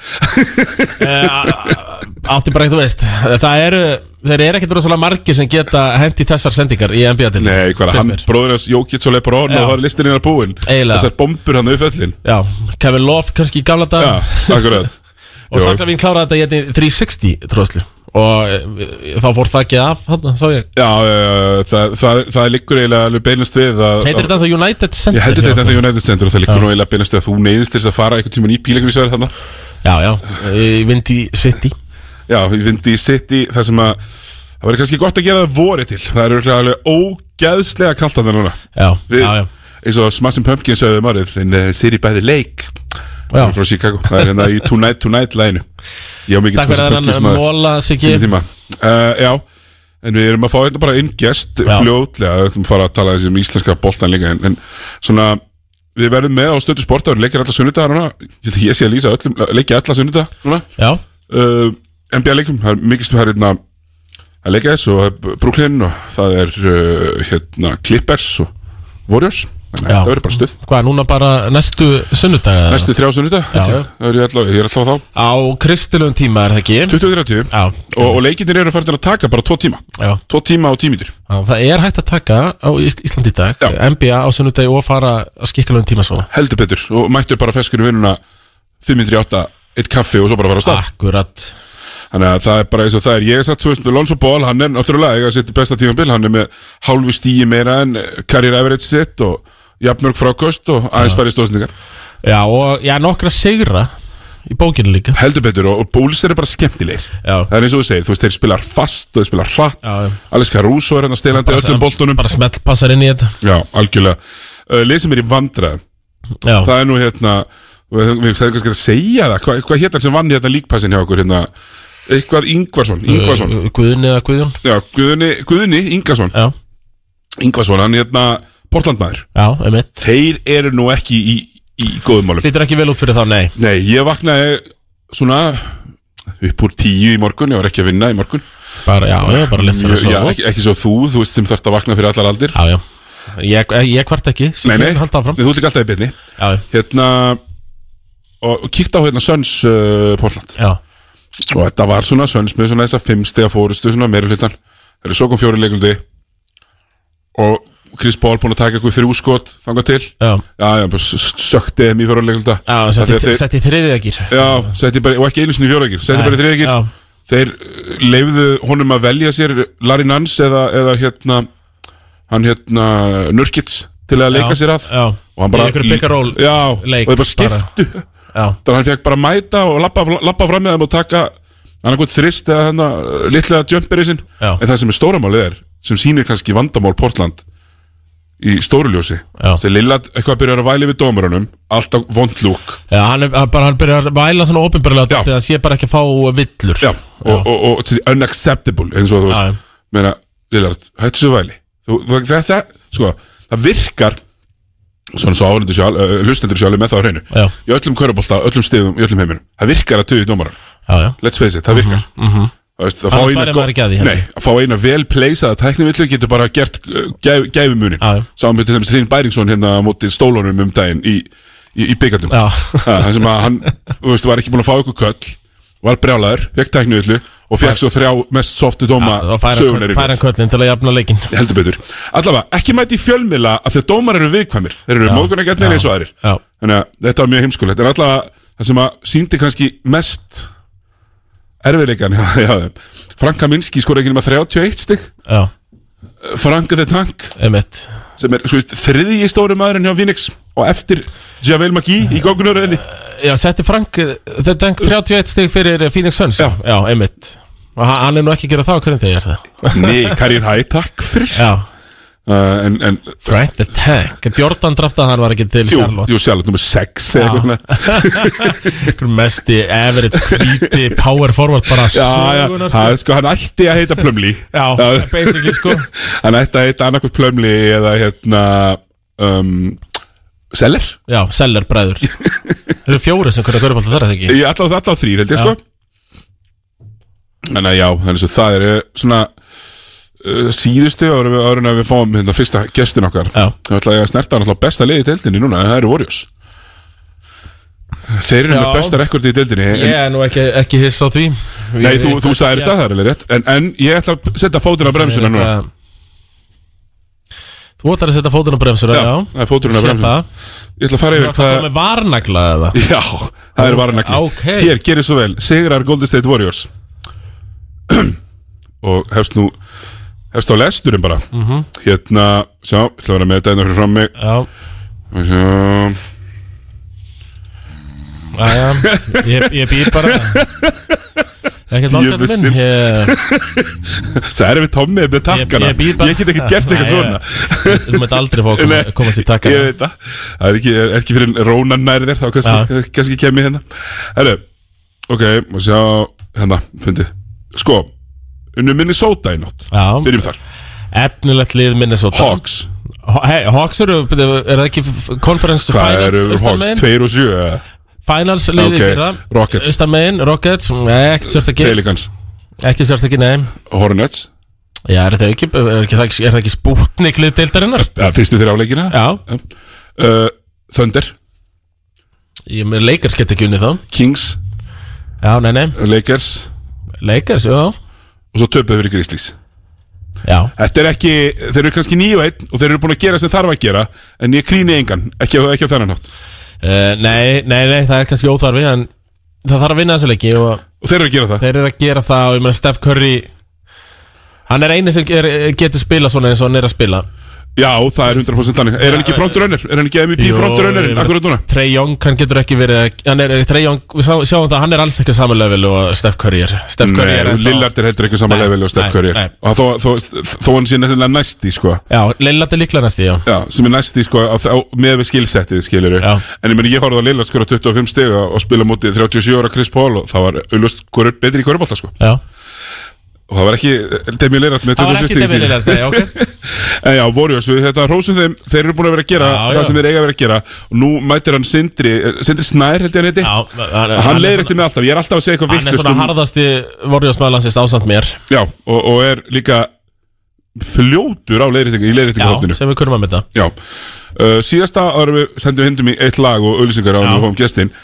[SPEAKER 2] Eh, átti bara ekkert þú veist það eru, þeir eru ekkert rosalega margir sem geta hendi þessar sendingar í NBA til
[SPEAKER 1] Nei, hvað er hann, bróðir hans Jókits og Leipur Orn
[SPEAKER 2] Já.
[SPEAKER 1] og það er listin innan búinn
[SPEAKER 2] Eiginlega.
[SPEAKER 1] Þessar bombur hann upp öllin
[SPEAKER 2] já, Kevin Love kannski í gamla dag
[SPEAKER 1] Já, akkurat
[SPEAKER 2] og
[SPEAKER 1] Jú.
[SPEAKER 2] Saklavín kláraði þetta í einni 360 tróðslu og eh, þá fór það ekki af þarna, sá ég
[SPEAKER 1] Já, uh, það, það, það liggur eiginlega alveg beinast við að
[SPEAKER 2] heitir þetta þá United
[SPEAKER 1] Ég
[SPEAKER 2] Center
[SPEAKER 1] heldur
[SPEAKER 2] hjá
[SPEAKER 1] þetta
[SPEAKER 2] okkur?
[SPEAKER 1] þetta United Center og það liggur nú eiginlega beinast við að þú neyðist til þess að fara einhvern tímann í pílagrísverð þarna
[SPEAKER 2] já, já, í Windy City
[SPEAKER 1] Já, ég fyndi í sitt í það sem að Það verður kannski gott að gera það vorið til Það er örugglega alveg ógeðslega kalt að það núna
[SPEAKER 2] já,
[SPEAKER 1] Við,
[SPEAKER 2] já, já,
[SPEAKER 1] eins og Smashing Pumpkins sögðu marrið In the city by the lake
[SPEAKER 2] já.
[SPEAKER 1] frá Chicago Það er hérna í Tonight Tonight læginu Ég á mikið
[SPEAKER 2] takk fyrir að hann móla sig
[SPEAKER 1] Sýnum
[SPEAKER 2] ekki
[SPEAKER 1] tíma uh, Já En við erum að fá hérna bara inn gest
[SPEAKER 2] Já.
[SPEAKER 1] fljótlega Við ætlum að fara að tala þessi um íslenska boltan líka En, en svona Við verðum með á stöðu sporta Við leikir alla sunnudagar núna Ég, ég sé að lýsa öllum Leikir alla sunnudagar núna
[SPEAKER 2] já,
[SPEAKER 1] uh, NBA leikum Það er mikið sem það er hérna að leika þess og það er Brooklyn og það er uh, hérna Clippers og Warriors Þannig að
[SPEAKER 2] Já.
[SPEAKER 1] þetta verður bara stöð
[SPEAKER 2] hvað, núna bara næstu sunnudag
[SPEAKER 1] Næstu þrjá sunnudag
[SPEAKER 2] Já.
[SPEAKER 1] Það er ég allavega- ég er alltaf þá
[SPEAKER 2] á kristilum tíma er það ekki
[SPEAKER 1] 20-30
[SPEAKER 2] já,
[SPEAKER 1] og, og leikindir eru farin að taka bara tvo tíma
[SPEAKER 2] já
[SPEAKER 1] Tvo tíma og tímítur
[SPEAKER 2] Já, Það er hægt að taka á Ís- Íslandi í dag
[SPEAKER 1] Já.
[SPEAKER 2] NBA á sunnudegi og fara að skikka lögum tíma svo
[SPEAKER 1] heldur betur og mættu bara feskur í vinnuna 508, eitt kaffi og svo bara fara að
[SPEAKER 2] Ah.
[SPEAKER 1] stað
[SPEAKER 2] Akkurat
[SPEAKER 1] þannig að það er bara eins og það er ég er satt svo veist með Lonzo Ball, hann er náttúrulega eiga sitt besta tímabil, hann er með hálfu stíi meira en karriér average sitt og jafnmörg frákost og
[SPEAKER 2] Ah.
[SPEAKER 1] aðeins farið stóðsendingar
[SPEAKER 2] Já og já, nokkra sigra í bókinu líka
[SPEAKER 1] heldur betur og, og Bulls eru bara skemmtilegir
[SPEAKER 2] Já.
[SPEAKER 1] það er eins og þú segir, þú veist þeir spilar fast og þeir spilar hratt,
[SPEAKER 2] Já, já.
[SPEAKER 1] Alex Caruso er hann að stelandi öllum boltunum,
[SPEAKER 2] Bara smelt passar inn í þetta
[SPEAKER 1] já, algjörlega uh, leið sem er í vandræðum
[SPEAKER 2] Já,
[SPEAKER 1] það er nú hérna við við- við hefum kannski að segja það hvað, hvað hétt hann sem vann hérna líkpassin hjá okkur hérna eitthvað Ingvarsson
[SPEAKER 2] Mm.
[SPEAKER 1] Ingvarsson
[SPEAKER 2] Guðni eða Guðjón
[SPEAKER 1] já Guðni Guðni Ingvarsson
[SPEAKER 2] Já,
[SPEAKER 1] Ingvarsson hann hérna Portlandmaður
[SPEAKER 2] Já, einmitt
[SPEAKER 1] Þeir eru nú ekki í, í góðum málum
[SPEAKER 2] Lítur ekki vel út fyrir þá, nei
[SPEAKER 1] Nei, ég vaknaði svona upp úr tíu í morgun, ég var ekki að vinna í morgun
[SPEAKER 2] bara, Já, já, bara létt sér að
[SPEAKER 1] Ég- já,
[SPEAKER 2] sofa
[SPEAKER 1] ekki, ekki svo þú, þú veist sem þarft að vakna fyrir allar aldir
[SPEAKER 2] Já, já Ég, ég kvart ekki,
[SPEAKER 1] Nei,
[SPEAKER 2] síkjum
[SPEAKER 1] nei,
[SPEAKER 2] haldið áfram
[SPEAKER 1] þú ert ekki alltaf í byrni
[SPEAKER 2] Já,
[SPEAKER 1] Hérna og kíkt á hérna Söns uh, Portland
[SPEAKER 2] já,
[SPEAKER 1] og þetta var svona Söns með svona þessa fimmstega fórustu svona meira hlutan þeir eru svo kom fjóri leikuldi og Chris Paul búinn að taka eitthvað þrjú skot þangað til já,
[SPEAKER 2] já
[SPEAKER 1] já, bara s- s- sökti þeim í fjóri leikulda
[SPEAKER 2] Já, setti, þeir... setti þriðið ekki
[SPEAKER 1] já, setti bara, og ekki einu sinni í fjóri leikil setti bara í þriðegil
[SPEAKER 2] Já,
[SPEAKER 1] þeir uh, leifðu honum að velja sér Larry Nance eða, eða hérna hann hérna Nurkits til að leika
[SPEAKER 2] Já,
[SPEAKER 1] sér að
[SPEAKER 2] já.
[SPEAKER 1] og hann
[SPEAKER 2] Í
[SPEAKER 1] bara
[SPEAKER 2] einhverju pick and roll
[SPEAKER 1] já,
[SPEAKER 2] leik
[SPEAKER 1] og þeir bara skiptu
[SPEAKER 2] já,
[SPEAKER 1] þannig að hann fekk bara að mæta og lappa, lappa fram með þeim og taka annarkvæmt þrist eða hérna litla jumperi sinn
[SPEAKER 2] Já.
[SPEAKER 1] en það sem er stóramálið er sem sýnir kannski vandamál Portland í stóruljósi
[SPEAKER 2] Já.
[SPEAKER 1] þegar Lillard eitthvað byrjar að væli við dómarunum alltaf vond lúk
[SPEAKER 2] já hann, er, hann bara, hann byrjar að væla svona
[SPEAKER 1] Já.
[SPEAKER 2] ópenbarlega Það sé bara ekki að fá villur
[SPEAKER 1] Já, og, og, og, og unacceptable eins og þú
[SPEAKER 2] Já, já.
[SPEAKER 1] veist meina, Lillard, hættu svo væli þú, þú, þetta, sko, það virkar svona svo áhundur sjálf uh, hlustendur sjálf með það á hreinu
[SPEAKER 2] Já.
[SPEAKER 1] í öllum körubólta, öllum stigum, í öllum heiminum það virkar að töðu dómaran,
[SPEAKER 2] já, já,
[SPEAKER 1] let's face it, það virkar mm -hmm. Veist, að, fá
[SPEAKER 2] Mhm, Annars
[SPEAKER 1] eina
[SPEAKER 2] væri
[SPEAKER 1] gó-
[SPEAKER 2] maður ekki að því, heldur.
[SPEAKER 1] Nei, að fá eina vel pleysaða tæknivillu getur bara gert uh, gæf, gæfumunin
[SPEAKER 2] Já, já.
[SPEAKER 1] Sáum við til dæmis Hrein Bæringsson hérna á móti stólunum um daginn í, í, í byggarnum
[SPEAKER 2] já.
[SPEAKER 1] Ha, Það sem að hann, þú veist, var ekki búin að fá ykkur köll Var brjálæður, fekk tæknivillu Og fekk svo þrjá mest softu dóma
[SPEAKER 2] Og færa,
[SPEAKER 1] sögunar
[SPEAKER 2] færa hann köllin til að jafna leikin
[SPEAKER 1] Heldur betur Allavega, ekki mæti í fjölmila af því að dómar eru viðkvæmir Þeir eru móðgunargjarnir eins og aðrir
[SPEAKER 2] Já,
[SPEAKER 1] Þannig að þetta var mjög heimskulegt En allavega, það sem að síndi kannski mest Erfiðleikan já, já, Franka Minski skor ekki nema 31 stig
[SPEAKER 2] já,
[SPEAKER 1] Franka the Tank
[SPEAKER 2] einmitt
[SPEAKER 1] Sem er, svo veist, þriðji stóri maðurinn hjá Phoenix Og eftir Javel McGee í gongunaröðinni
[SPEAKER 2] Já, setti Frank, eh, þetta er 31 stig fyrir eh, Phoenix Suns
[SPEAKER 1] Já.
[SPEAKER 2] já einmitt Og hann- hann er nú ekki að gera það á hverjum þegar það
[SPEAKER 1] Nei, Karin Hæ, takk fyrir
[SPEAKER 2] Já,
[SPEAKER 1] uh, en, en
[SPEAKER 2] Frank the Tank Jordan draftaði hann var ekki til
[SPEAKER 1] jú,
[SPEAKER 2] Charlotte
[SPEAKER 1] jú, Charlotte nummer 6 eða
[SPEAKER 2] Já.
[SPEAKER 1] eitthvað svona
[SPEAKER 2] Einhver mesti average, hvíti, power forward bara
[SPEAKER 1] Já, já,
[SPEAKER 2] sögunar,
[SPEAKER 1] það er sko, hann ætti að heita Plumli
[SPEAKER 2] Já, basically, sko.
[SPEAKER 1] Hann ætti að heita annarkvæmt Plumli eða hérna um, Seller
[SPEAKER 2] Já, seller bræður Það eru fjóri sem hverja gaurubálta þar að það ekki
[SPEAKER 1] Ég ætla á það, ætla á þrýr held ég
[SPEAKER 2] Já.
[SPEAKER 1] sko Þannig að já, þannig að það eru svona uh, síðustu árum við árun að við fáum hérna fyrsta gestin okkar
[SPEAKER 2] Já,
[SPEAKER 1] Það ætla ég að snerta hann alltaf besta liði í deildinni núna, það eru Warriors Þeir eru með
[SPEAKER 2] Já.
[SPEAKER 1] besta rekordi í deildinni en
[SPEAKER 2] ég er nú ekki, ekki hiss á því
[SPEAKER 1] Nei, þú, þú sagði þetta, það er alveg rétt En, en ég ætla að setja fótinn á bremsuna núna
[SPEAKER 2] Þú ætlar að setja fótinn á bremsuna,
[SPEAKER 1] Já,
[SPEAKER 2] já,
[SPEAKER 1] það er fóturinn á
[SPEAKER 2] Sé
[SPEAKER 1] bremsuna
[SPEAKER 2] það
[SPEAKER 1] Ég ætla að fara yfir
[SPEAKER 2] Það er
[SPEAKER 1] hvað
[SPEAKER 2] það með varnagla eða
[SPEAKER 1] Já, það er varanagli
[SPEAKER 2] ok.
[SPEAKER 1] Hér, gerir svo vel Sigrar Golden State Warriors Og hefst nú Hefst á lesturinn bara
[SPEAKER 2] Mhm.
[SPEAKER 1] Hérna, sjá, ég ætla að vera með þetta hérna fyrir fram mig
[SPEAKER 2] Já,
[SPEAKER 1] Sjá
[SPEAKER 2] já, já Ég, ég býr bara Ekkert langar
[SPEAKER 1] Djöfusins.
[SPEAKER 2] minn Ég,
[SPEAKER 1] Það er við Tommy með takkana
[SPEAKER 2] ég býr bara
[SPEAKER 1] Ég get ekkert gert eitthvað
[SPEAKER 2] Nei,
[SPEAKER 1] svona
[SPEAKER 2] ja. Þú mætt aldrei fá að koma,
[SPEAKER 1] Nei,
[SPEAKER 2] komast í takka
[SPEAKER 1] Ég veit það Það er ekki, er ekki fyrir rónan nær þér Þá kannski, kannski kem ég hérna Herru, ok, og sjá Hérna, fundið Sko, unnu Minnesota í nótt
[SPEAKER 2] Já,
[SPEAKER 1] Byrjum þar
[SPEAKER 2] efnilegt lið Minnesota
[SPEAKER 1] Hawks
[SPEAKER 2] Ho- Hey, Hawks eru, byrju, er það ekki f- Conference to
[SPEAKER 1] Hvað
[SPEAKER 2] Finals
[SPEAKER 1] eru
[SPEAKER 2] austan
[SPEAKER 1] Hawks?
[SPEAKER 2] megin?
[SPEAKER 1] 2 og 7 eða?
[SPEAKER 2] Finals liði
[SPEAKER 1] Ok,
[SPEAKER 2] okay. fyrir
[SPEAKER 1] Rockets.
[SPEAKER 2] Östan megin, Rockets, Mm, nei, ekkert sérst ekki
[SPEAKER 1] Pelicans
[SPEAKER 2] Ekki sérst ekki, nei
[SPEAKER 1] Hornets
[SPEAKER 2] Já, er það ekki, er, ekki, er, er það ekki spútnik lið deildarinnar?
[SPEAKER 1] ja, Fyrstu þeirra áleikina
[SPEAKER 2] Já,
[SPEAKER 1] uh, Thunder
[SPEAKER 2] ég með leikars get ekki unnið þá
[SPEAKER 1] Kings
[SPEAKER 2] Já, nei, nei,
[SPEAKER 1] Lakers
[SPEAKER 2] leikars, já
[SPEAKER 1] Og svo töpuð fyrir Grizzlies
[SPEAKER 2] Já,
[SPEAKER 1] Þetta er ekki Þeir eru kannski 9 og 1 Og þeir eru búin að gera sem þarf að gera En ég krýni engan Ekki, á- ekki á þennan hátt
[SPEAKER 2] uh, nei, nei, nei, það er kannski óþarfi En það þarf að vinna þessu leiki Og
[SPEAKER 1] Og þeir eru að gera það
[SPEAKER 2] þeir eru að gera það Og ég meina Steph Curry Hann er eini sem er, getur spila svona eins og hann er að spila
[SPEAKER 1] Já, það er 100% þannig Er hann ekki frontrunner? Er hann ekki MVP
[SPEAKER 2] Jú, ég
[SPEAKER 1] frontrunnerinn?
[SPEAKER 2] meina-
[SPEAKER 1] Akkurat núna?
[SPEAKER 2] Trey Young, hann getur ekki verið hann er, Trey Young, við sá- sjáum það, hann er alls ekki á sama level og Steph Curry er Steph Curry er
[SPEAKER 1] Nei,
[SPEAKER 2] ennþá-
[SPEAKER 1] Lillard er heldur ekki á sama
[SPEAKER 2] Nei,
[SPEAKER 1] level og Steph
[SPEAKER 2] nei,
[SPEAKER 1] Curry er.
[SPEAKER 2] nei.
[SPEAKER 1] Og þó, þó, þó, þó hann sé næstilega næsti sko
[SPEAKER 2] Já, Lillard er líklega næsti, já
[SPEAKER 1] Já, sem er næsti sko á, á, með við skilsettið skilur
[SPEAKER 2] Já.
[SPEAKER 1] En ég meni ég horfði á Lillard skora 25 stiga og spila mútið 37 ára Chris Paul og það var auðlust hver er betri í körbólta sko
[SPEAKER 2] Já,
[SPEAKER 1] og það var ekki Demi Lillard með
[SPEAKER 2] það var
[SPEAKER 1] 26
[SPEAKER 2] ekki
[SPEAKER 1] stiga
[SPEAKER 2] Demi Lillard, nei, ok
[SPEAKER 1] sín En já, Warriors, við þetta hrósum þeim Þeir eru búin að vera að gera
[SPEAKER 2] Já,
[SPEAKER 1] það
[SPEAKER 2] já.
[SPEAKER 1] sem þeir eiga að vera að gera Og nú mætir hann Sindri eh, Sindri Snær held ég hann heiti
[SPEAKER 2] Já, hann,
[SPEAKER 1] Hann
[SPEAKER 2] er
[SPEAKER 1] leiðir
[SPEAKER 2] svona-
[SPEAKER 1] eftir mig alltaf, ég er alltaf að segja eitthvað
[SPEAKER 2] hann er
[SPEAKER 1] vitlaust um-
[SPEAKER 2] svona harðasti vorjóðsmaðurlandsist ásamt mér
[SPEAKER 1] Já, og, og er líka fljótur á leiðréttingu, í
[SPEAKER 2] Já,
[SPEAKER 1] leiðréttingu
[SPEAKER 2] sem við kurum að mynda
[SPEAKER 1] Já, uh, síðasta ára við sendum hindum í eitt lag og auðlýsingar á
[SPEAKER 2] Já.
[SPEAKER 1] við hófum gestin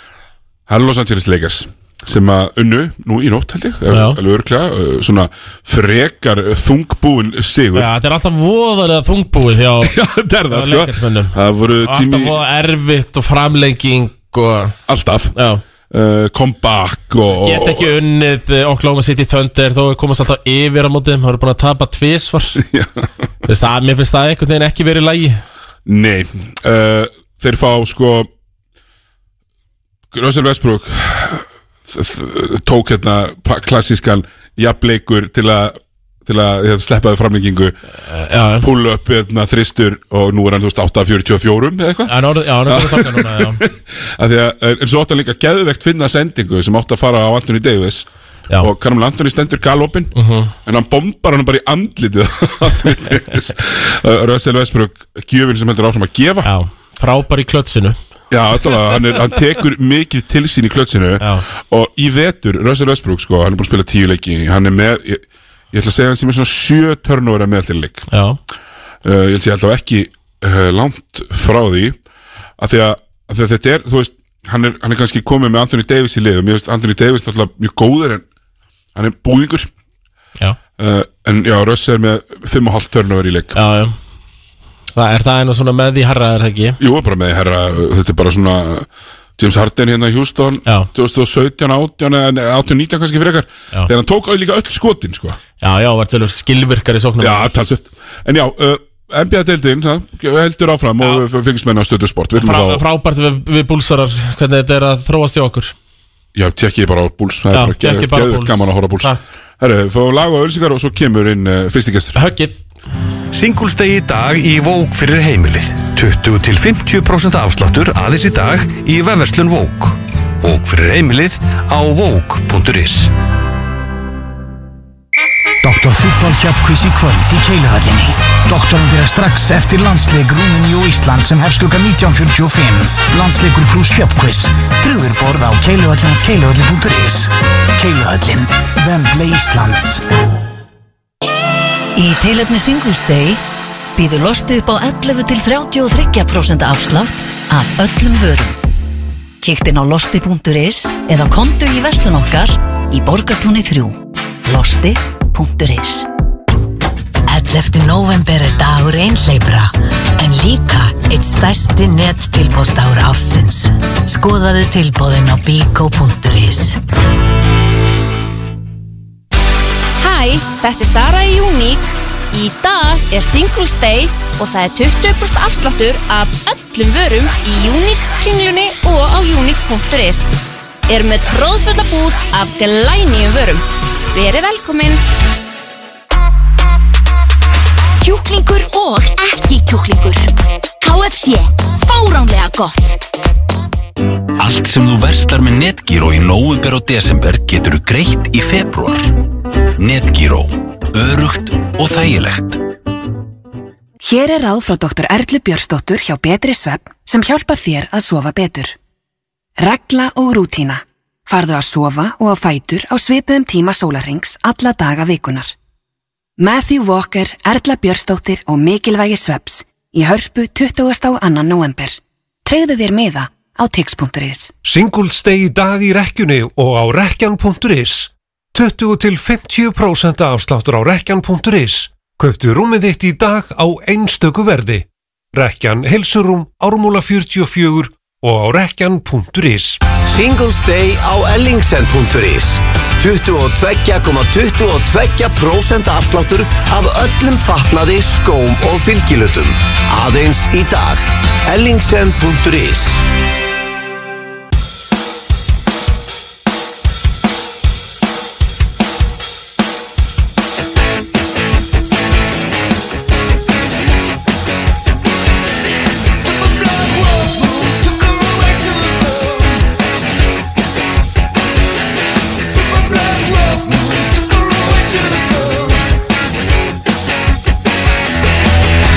[SPEAKER 1] Það er Los Angeles Lakers sem að unnu, nú í nótt held ég ef-
[SPEAKER 2] Já.
[SPEAKER 1] alveg örglega, uh, svona frekar uh, þungbúin sigur
[SPEAKER 2] Já, þetta er alltaf voðalega þungbúið hjá
[SPEAKER 1] Já, þetta er það
[SPEAKER 2] Það var
[SPEAKER 1] sko
[SPEAKER 2] Lakersmönnum.
[SPEAKER 1] Það voru tími
[SPEAKER 2] alltaf voða erfitt og framlenging og
[SPEAKER 1] alltaf
[SPEAKER 2] já,
[SPEAKER 1] uh, comeback og
[SPEAKER 2] get ekki unnið eh, Oklahoma City Thunder þó er komast alltaf yfir á mótið, það eru búin að tapa tvísvar
[SPEAKER 1] Já.
[SPEAKER 2] Þess, það, mér finnst það einhvern veginn ekki verið í lagi
[SPEAKER 1] Nei, uh, þeir fá sko Russell Westbrook þ- þ- tók hérna pa- klassískan jafnleikur til að til að hérna, sleppaði framlengingu
[SPEAKER 2] Já,
[SPEAKER 1] pull up hérna þristur og nú er hann þú veist 8.44 eða eitthvað
[SPEAKER 2] hann orðið, já, hann orðið þakka núna, já
[SPEAKER 1] af því að eh, en svo átt hann líka geðvegt finna sendingu sem átt að fara á Anthony Davis
[SPEAKER 2] Já. Mhm.
[SPEAKER 1] og Karmel Anthony stendur galopin en hann bombar hann bara í andlitið á Anthony Davis Uh, Russell Westbrook gjöfin sem heldur áfram að gefa
[SPEAKER 2] Já, frábær í klötsinu
[SPEAKER 1] Já, allavega, hann, er, hann tekur mikið til sín í klötsinu
[SPEAKER 2] Já.
[SPEAKER 1] og í vetur, Russell Westbrook sko, hann er búin að spila tíu leiki hann er með, ég, ég ætla að segja hann sem er svona sjö törnóra með til leik uh,
[SPEAKER 2] Já,
[SPEAKER 1] ég ætla að segja alltaf ekki uh, langt frá því af því að, af því að þetta er, þú veist hann er, hann er kannski komið með Anthony Davis í liðum ég veist, Anthony Davis er alltaf mjög góður en hann er búðingur
[SPEAKER 2] já,
[SPEAKER 1] uh, en já, Russell er með 5,5 törnóra í leik
[SPEAKER 2] já, já Það er það einu svona með því harra er það ekki
[SPEAKER 1] Jú, bara með herra, þetta er bara svona James Harden hérna í Houston
[SPEAKER 2] Já.
[SPEAKER 1] 2017, 18, en 18, 19 kannski frekar
[SPEAKER 2] Já.
[SPEAKER 1] þegar hann tók au- líka öll skotin sko.
[SPEAKER 2] Já, já, var tölur skilvirkar í sóknum
[SPEAKER 1] Já, talsett En já, uh, NBA-deildin heldur áfram og við fengist menna á stöðu sport Við
[SPEAKER 2] Frá,
[SPEAKER 1] viljum þá,
[SPEAKER 2] Frábært við, við búlsarar hvernig þetta er að þróast hjá okkur
[SPEAKER 1] já, tekkið bara á búls Það
[SPEAKER 2] Já,
[SPEAKER 1] er bara
[SPEAKER 2] tekkið
[SPEAKER 1] geð-
[SPEAKER 2] bara á
[SPEAKER 1] geðveikt
[SPEAKER 2] Bulls.
[SPEAKER 1] gaman að horfa á búls
[SPEAKER 2] Takk.
[SPEAKER 1] Herru, fáum lag og ölsingar og svo kemur inn uh, fyrsti gestur
[SPEAKER 2] Höggið
[SPEAKER 3] Singulstegi í dag í Vók fyrir heimilið. 20-50% afsláttur aðeins í dag í vefverslun Vók. Vók fyrir heimilið á vók.is.
[SPEAKER 4] Dr. Fútbol Hjapkvís í kvöld í Keiluhöllinni. Doktorum byrja strax eftir landsleik Rúmeníu og Ísland sem hefst klukkan 19.45. Landsleikur pluss Hjapkvís. Drögur borð á keiluhöllin at keiluhöllin.is. Keiluhöllin. Vemble Íslands.
[SPEAKER 5] Í tilöfni Singles Day býður losti upp á 11-33% afslátt af öllum vörum. Kíktin á losti.is eða kontu í verslun okkar í Borgatúni 3. Losti.is 11. november er dagur einhleipra en líka eitt stærsti nettilbóðsdagur ársins. Skoðaðu tilbóðin á bíkó.is
[SPEAKER 6] Hæ, þetta er Sara í Unique. Í dag er Singles Day og það er 20% afsláttur af öllum vörum í Unique kringlunni og á unique.is. Er með tróðfulla búð af glænýjum vörum. Verið velkomin!
[SPEAKER 7] Kjúklingur og ekki kjúklingur KFC, fáránlega gott
[SPEAKER 3] Allt sem þú verslar með Netgyro í nóvember og desember getur þú greitt í februar. Netgyro. Örugt og þægilegt.
[SPEAKER 8] Hér er ráð frá Dr. Erlu Björnsdóttur hjá Betri Svepp sem hjálpar þér að sofa betur. Regla og rútína. Farðu að sofa og á fætur á svipuðum tíma sólarings alla daga vikunar. Matthew Walker, Erla Björnsdóttir og Mikilvægi Svepps í hörpu 22. annan november. Treyðu þér meða á tix.is.
[SPEAKER 9] Singulstegi í dag í rekkjunni og á rekjan.is 20-50% afsláttur á rekjan.is Kauftu rúmið þitt í dag á einstöku verði. Rekjan Helsurum, Ármúla 44 og á rekjan.is
[SPEAKER 10] Singles Day á ellingsen.is 22,22% afsláttur af öllum fatnaði, skóm og fylgilutum. Aðeins í dag. ellingsen.is
[SPEAKER 11] Took her away to the sun.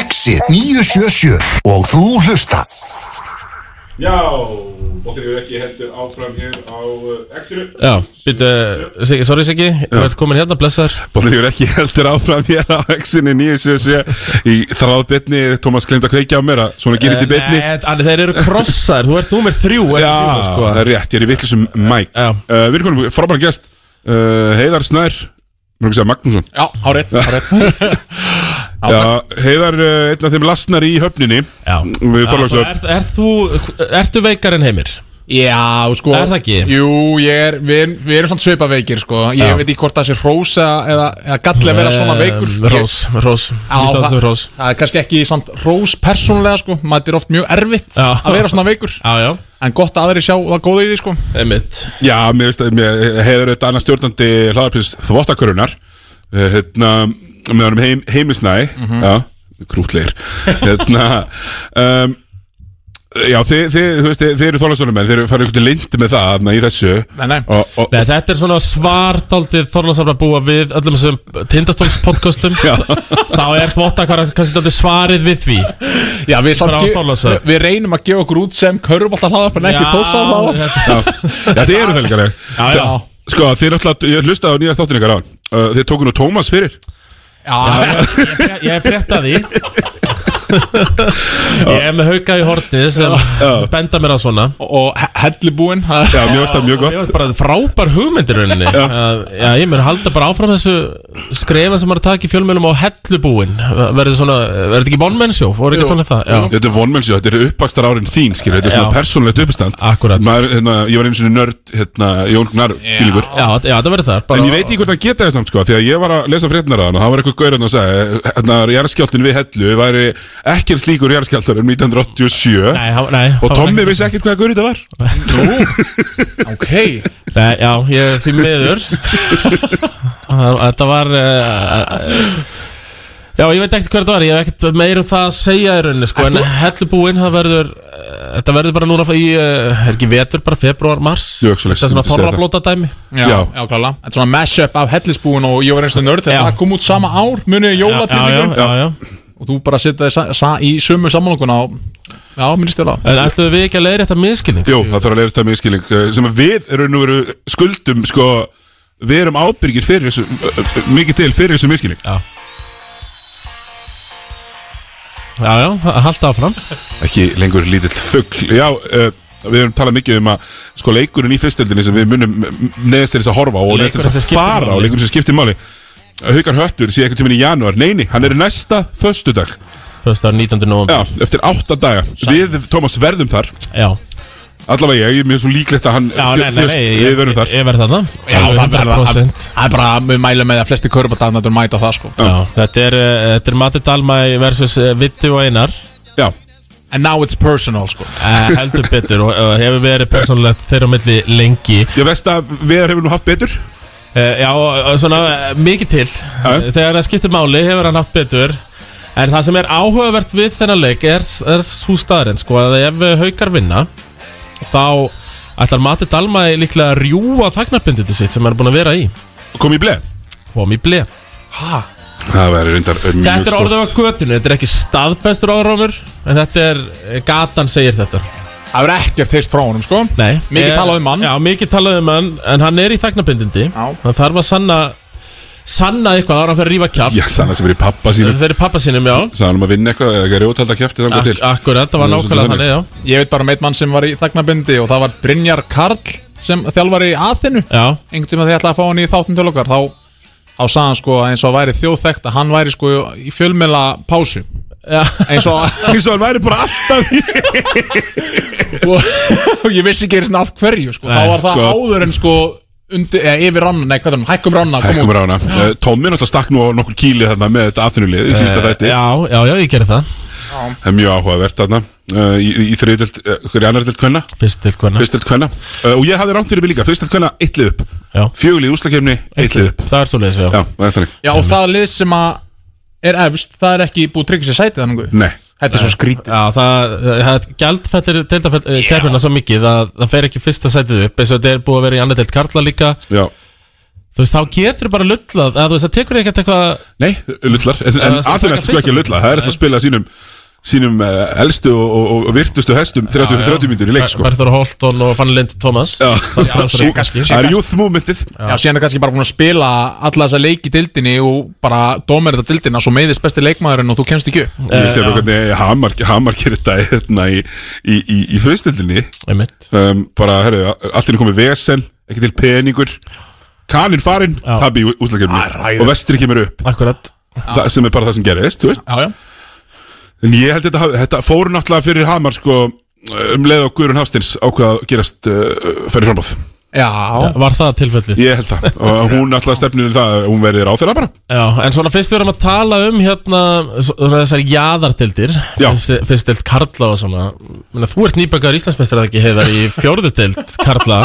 [SPEAKER 11] Exit 977 og þú hlusta
[SPEAKER 1] Já, bóttir eru ekki heldur áfram hér á uh, Exinu
[SPEAKER 2] Já, býttu, Siggi, sorry Siggi Þú ert komin hérna, blessaður
[SPEAKER 1] Bóttir eru ekki heldur áfram hér á Exinu 977 Í þráðbetni, Tómas glemt að kveikja á mér að svona gerist í betni
[SPEAKER 2] Eh, Nei, en þeir eru krossar, þú ert númer þrjú ekki
[SPEAKER 1] Já,
[SPEAKER 2] þrjú, sko.
[SPEAKER 1] það er rétt, ég er í vittlisum mæk
[SPEAKER 2] Já.
[SPEAKER 1] uh, Við erum konum, frábæra gest uh, Heiðar Snær, mér er ekki að segja Magnússon
[SPEAKER 2] Já, hárétt, hárétt
[SPEAKER 1] Já, Heiðar, uh, einn af þeim lasnar í höfninni
[SPEAKER 2] Já.
[SPEAKER 1] Við
[SPEAKER 2] er,
[SPEAKER 1] Þorlákshöfn
[SPEAKER 2] er sko, þú, ertu veikar en heimir?
[SPEAKER 12] Já, sko
[SPEAKER 2] Er það ekki?
[SPEAKER 12] Jú, ég er, við, erum- við erum svona sveipaveikir, sko Ég
[SPEAKER 2] Já.
[SPEAKER 12] veit ekki hvort það sé rós eða, eða, eða gall að vera svona veikur
[SPEAKER 2] Eh, Rós, rós,
[SPEAKER 12] Já,
[SPEAKER 2] lítið á
[SPEAKER 12] það,
[SPEAKER 2] þessu rós
[SPEAKER 12] það er kannski ekki samt rós persónulega, sko Maður er oft mjög erfitt
[SPEAKER 2] Já.
[SPEAKER 12] að vera svona veikur
[SPEAKER 2] Já, já,
[SPEAKER 12] En gott að aðri sjá það góða í því, sko
[SPEAKER 2] einmitt
[SPEAKER 1] Já, mér veist að mér, Heiðar er þetta annars stjórnandi hlaðarprins þvóttakörunar uh, Hérna, með honum heim, heimisnæ
[SPEAKER 2] Mhm.
[SPEAKER 1] Já, krútleir Hérna um, Já, þið, þið, þú veist, þið, þið eru Þorlákshöfnum Þið eru farið ykkur lindi með það na, í þessu
[SPEAKER 12] Nei, nei.
[SPEAKER 1] Og, og,
[SPEAKER 2] Nei, þetta er svona svartaldið Þorlansafna búa við öllum þessum tindastólspodcastum Þá er þvótt að kannski þetta svarið við því
[SPEAKER 12] Já, við,
[SPEAKER 2] Bara
[SPEAKER 12] samt,
[SPEAKER 2] á
[SPEAKER 12] ge-
[SPEAKER 2] Þorlákshöfn.
[SPEAKER 12] við reynum að gefa okkur út sem Körubolt að hlaða upp en ekki
[SPEAKER 2] Já,
[SPEAKER 12] þósa að hlaða
[SPEAKER 2] þetta-
[SPEAKER 1] Já, já þið eru það líka leið
[SPEAKER 2] Já, já.
[SPEAKER 1] Sko, þið er alltaf, ég hlustaði á nýja þáttin ykkar á uh, Þið tóku nú Tómas fyrir
[SPEAKER 12] Já,
[SPEAKER 2] Ég- Ég frétta því Ég er með haukað í horni sem benda mér að svona
[SPEAKER 12] og he- hellubúinn það-
[SPEAKER 1] Já, mér veist það mjög
[SPEAKER 2] Ég
[SPEAKER 1] gott
[SPEAKER 2] var bara frábær hugmyndir rauninni já. já, ég mér halda bara áfram þessu skrefa sem maður takk í fjölmjölum á hellubúin Verður svona, verður þetta ekki vonmennsjó? Fóru ekki að tónlega það? Já,
[SPEAKER 1] Þetta er vonmennsjó, þetta eru uppvakstar árin þín, skilur Þetta er svona
[SPEAKER 2] Já.
[SPEAKER 1] persónlegt uppstand
[SPEAKER 2] Akkurat.
[SPEAKER 1] Maður, hérna, Ég var einu sinni nörd, hérna, Jón Gnar bílingur
[SPEAKER 2] já, já þetta verður það
[SPEAKER 1] En ég veit ekki hvort það geta það samt, sko Því að ég var að lesa fréttnar á hann og það var eitthvað gaurinn að segja Hérna, jarðskjáltin við hellu væri ekkert slíkur jarðskjáltar um 1987
[SPEAKER 2] Nei, hann- nei,
[SPEAKER 1] Og
[SPEAKER 2] hann var
[SPEAKER 1] Tommi
[SPEAKER 2] ekki-
[SPEAKER 1] vissi ekkert hvað gaurinn þetta var
[SPEAKER 12] Ok,
[SPEAKER 2] Nei, já, ég því miður Þetta var uh, Já, ég veit ekkert hver þetta var Ég hef ekkert meir um það að segja í rauninni sko, En hellubúinn, það verður uh, Þetta verður bara núna í, uh, er ekki vetur, bara februar, mars
[SPEAKER 1] Jú, ekki svoleiðis,
[SPEAKER 2] Þetta er svona
[SPEAKER 1] myndi segja
[SPEAKER 2] þorrablóta dæmi
[SPEAKER 12] já,
[SPEAKER 1] Já.
[SPEAKER 12] já, já klála Þetta er svona mashup af hellisbúinn og ég var einstu nörd
[SPEAKER 2] Já.
[SPEAKER 12] Þetta það kom út sama ár,
[SPEAKER 2] Já,
[SPEAKER 12] munið
[SPEAKER 2] já, já,
[SPEAKER 12] jólatýringum
[SPEAKER 2] já, já.
[SPEAKER 12] Og þú bara setja þið sa- sa- í sömu samanlokuna og Já, minnst ég alveg
[SPEAKER 2] En ætlum við ekki að leiðrétta misskilning?
[SPEAKER 1] Jú, það þarf að leiða þetta miskilning eh, sem að við erum nú veru skuldum sko, við erum ábyrgir fyrir þessu eh, eh, mikið til fyrir þessu miskilning
[SPEAKER 2] Já Já, já, ha- halda áfram
[SPEAKER 1] ekki lengur lítill fugl Já, uh, við erum talað mikið um að sko leikurinn í fyrstöldinni sem við munum neðast til þess að horfa á og neðast til
[SPEAKER 2] Leikurinn sem
[SPEAKER 1] þess að
[SPEAKER 2] skiptir
[SPEAKER 1] fara á
[SPEAKER 2] máli.
[SPEAKER 1] leikurinn sem skiptir máli Haukar Höttur sé eitthvað tíminn í janúar Neini, hann er næsta föstudag
[SPEAKER 2] Fyrst ára 19. november
[SPEAKER 1] Já, eftir átta daga Við, Tómas, verðum þar
[SPEAKER 2] Já,
[SPEAKER 1] Allavega ég, ég er mjög svo líklegt að hann
[SPEAKER 2] já nei, nei, nei ég-
[SPEAKER 1] Við verðum þar
[SPEAKER 2] Ég, ég verð þarna
[SPEAKER 12] það er bara-
[SPEAKER 2] 100%.
[SPEAKER 12] það er bara, við mælum með að flesti körubaldarnatur mæta á það sko
[SPEAKER 2] Já, þetta er, uh, þetta er Matti Dalmæ versus uh, Vitti og Einar
[SPEAKER 1] Já,
[SPEAKER 12] And now it's personal sko
[SPEAKER 2] uh, heldur betur og uh, hefur verið persónulegt þeirra á milli lengi uh,
[SPEAKER 1] ég veist að Viðar hefur nú haft betur
[SPEAKER 2] Já, uh, svona uh, mikið til Eh,
[SPEAKER 1] Já.
[SPEAKER 2] Þegar það skiptir máli hefur hann haft betur En það sem er áhugavert við þennan leik er, er svo staðarinn sko að ef uh, haukar vinna þá ætlar Matti Dalmæ líklega að rjúa þagnarbindið sitt sem hann er búin að vera í
[SPEAKER 1] Kom í bleið
[SPEAKER 2] og hann í blei
[SPEAKER 1] Það væri reyndar eh, mjög
[SPEAKER 2] Þetta er
[SPEAKER 1] stórt.
[SPEAKER 2] orðum á götunni, þetta er ekki staðfestur áráfur en þetta er, eh, gatan segir þetta
[SPEAKER 12] Það er ekkert heist frá honum sko
[SPEAKER 2] Nei
[SPEAKER 12] Mikið
[SPEAKER 2] Eh,
[SPEAKER 12] talað um hann.
[SPEAKER 2] Já, mikið talað um hann En hann er í þagnarbindindi
[SPEAKER 12] Já.
[SPEAKER 2] Hann þarf að sanna Sanna eitthvað ára hann fyrir að rífa kjaft
[SPEAKER 1] Já, sann að sem er í pappa sínum
[SPEAKER 2] Fyrir pappa sínum, já
[SPEAKER 1] Sann um að vinna eitthvað eða eitthvað rjótald að kæfti þangar til
[SPEAKER 2] Ak Akkurat, það
[SPEAKER 1] Það
[SPEAKER 2] var
[SPEAKER 1] er
[SPEAKER 2] nákvæmlega
[SPEAKER 1] svolítið
[SPEAKER 2] þannig, já
[SPEAKER 12] Ég veit bara um einn mann sem var í þagnabindi og það var Brynjar Karl sem þjálfari í Aþinu
[SPEAKER 2] Já,
[SPEAKER 12] einhvern tíma þegar ég ætlaði að fá hann í þáttum til okkar þá, þá sagði hann sko að eins og hann væri þjóðþekkt að hann væri sko í fjölmela pásu
[SPEAKER 2] já
[SPEAKER 12] eins og,
[SPEAKER 1] Eins og hann væri bara alltaf í
[SPEAKER 12] og ég vissi ekki eins og af hverju sko. þá var það
[SPEAKER 1] sko.
[SPEAKER 12] áður en sko undir, eða, yfir ranna, nei hvað er hann, hækkum ranna kom
[SPEAKER 1] Hækkum
[SPEAKER 12] út.
[SPEAKER 1] rána Eh, Tommi náttúrulega stakk nú á nokkur kíli þarna með þetta aðfinnulið Í sísta þætti
[SPEAKER 2] Eh, Já, já, já, ég gerði það
[SPEAKER 1] Það er mjög áhugavert þarna eh, Í, í þriðdelt, hverju annar delt kvenna
[SPEAKER 2] Fyrst til hvernig
[SPEAKER 1] Fyrst delt kvenna Eh, Og ég hafði rámt fyrir mig líka Fyrst delt kvenna, eitt lið upp
[SPEAKER 2] Já.
[SPEAKER 1] Fjögulið úslakefni, eitt lið upp
[SPEAKER 2] Það er svo leiðis, já
[SPEAKER 1] Já, það er þannig
[SPEAKER 12] já og það lið sem að er efst, það er ekki búið að tryggja sér sætið þannig
[SPEAKER 1] Nei,
[SPEAKER 12] þetta er svo skrítið
[SPEAKER 2] Já, það, það eh, gældfellir deildakeppnina svo mikið að það fer ekki fyrsta sætið upp eins og þetta er búið að vera í annar deild Karla líka
[SPEAKER 1] já,
[SPEAKER 2] þú þú veist, þá getur bara lullað eða þú veist, það tekur ekkert eitthvað
[SPEAKER 1] Nei, lullar, en, en
[SPEAKER 2] Það er sem
[SPEAKER 1] Aþena er
[SPEAKER 2] taka
[SPEAKER 1] sko ekki að lulla Það er eftir að spila sínum sínum eh, elstu og, og, og virtustu hestum 30, 30 mínútur í leik sko
[SPEAKER 2] Berður Holton og Fanny Lind Thomas
[SPEAKER 1] Já,
[SPEAKER 2] Það er
[SPEAKER 1] Sú-
[SPEAKER 2] kannski-
[SPEAKER 1] það er youth movementið
[SPEAKER 12] Já, síðan er kannski bara búin að spila alla þessa leik í dildinni og bara dómer þetta dildina svo meiðist besti leikmaðurinn og þú kemst ekki upp.
[SPEAKER 1] Ég sé bara hvernig Hamar, Hamar gerir þetta hérna, í, í, í, í fyrstildinni um, Bara, herru, allt er komið vesen Ekki til peningur Kaninn farinn, tabi í
[SPEAKER 12] Ah,
[SPEAKER 1] úslagkefni
[SPEAKER 12] ræðilegt.
[SPEAKER 1] Og vestri kemur upp
[SPEAKER 2] Akkurat
[SPEAKER 1] Þa, sem er bara það sem gerist, þú veist
[SPEAKER 12] já, já.
[SPEAKER 1] En ég held þetta, hafi- þetta fóru náttúrulega fyrir Hamar sko, um leið á Guðrun Hafstins ákvað að gerast uh, fyrir frambáð
[SPEAKER 12] Já,
[SPEAKER 2] Var það tilfellið?
[SPEAKER 1] Ég held það, og hún náttúrulega stefnir í það að hún verði ráð þeirra bara
[SPEAKER 2] Já, en svona fyrst við erum að tala um hérna svona þessar jaðartildir
[SPEAKER 1] Já.
[SPEAKER 2] fyrst, fyrst deild Karla og svona Menna, Þú ert nýbakaður Íslandsmeistar eða ekki heiðar í fjórðu deild Karla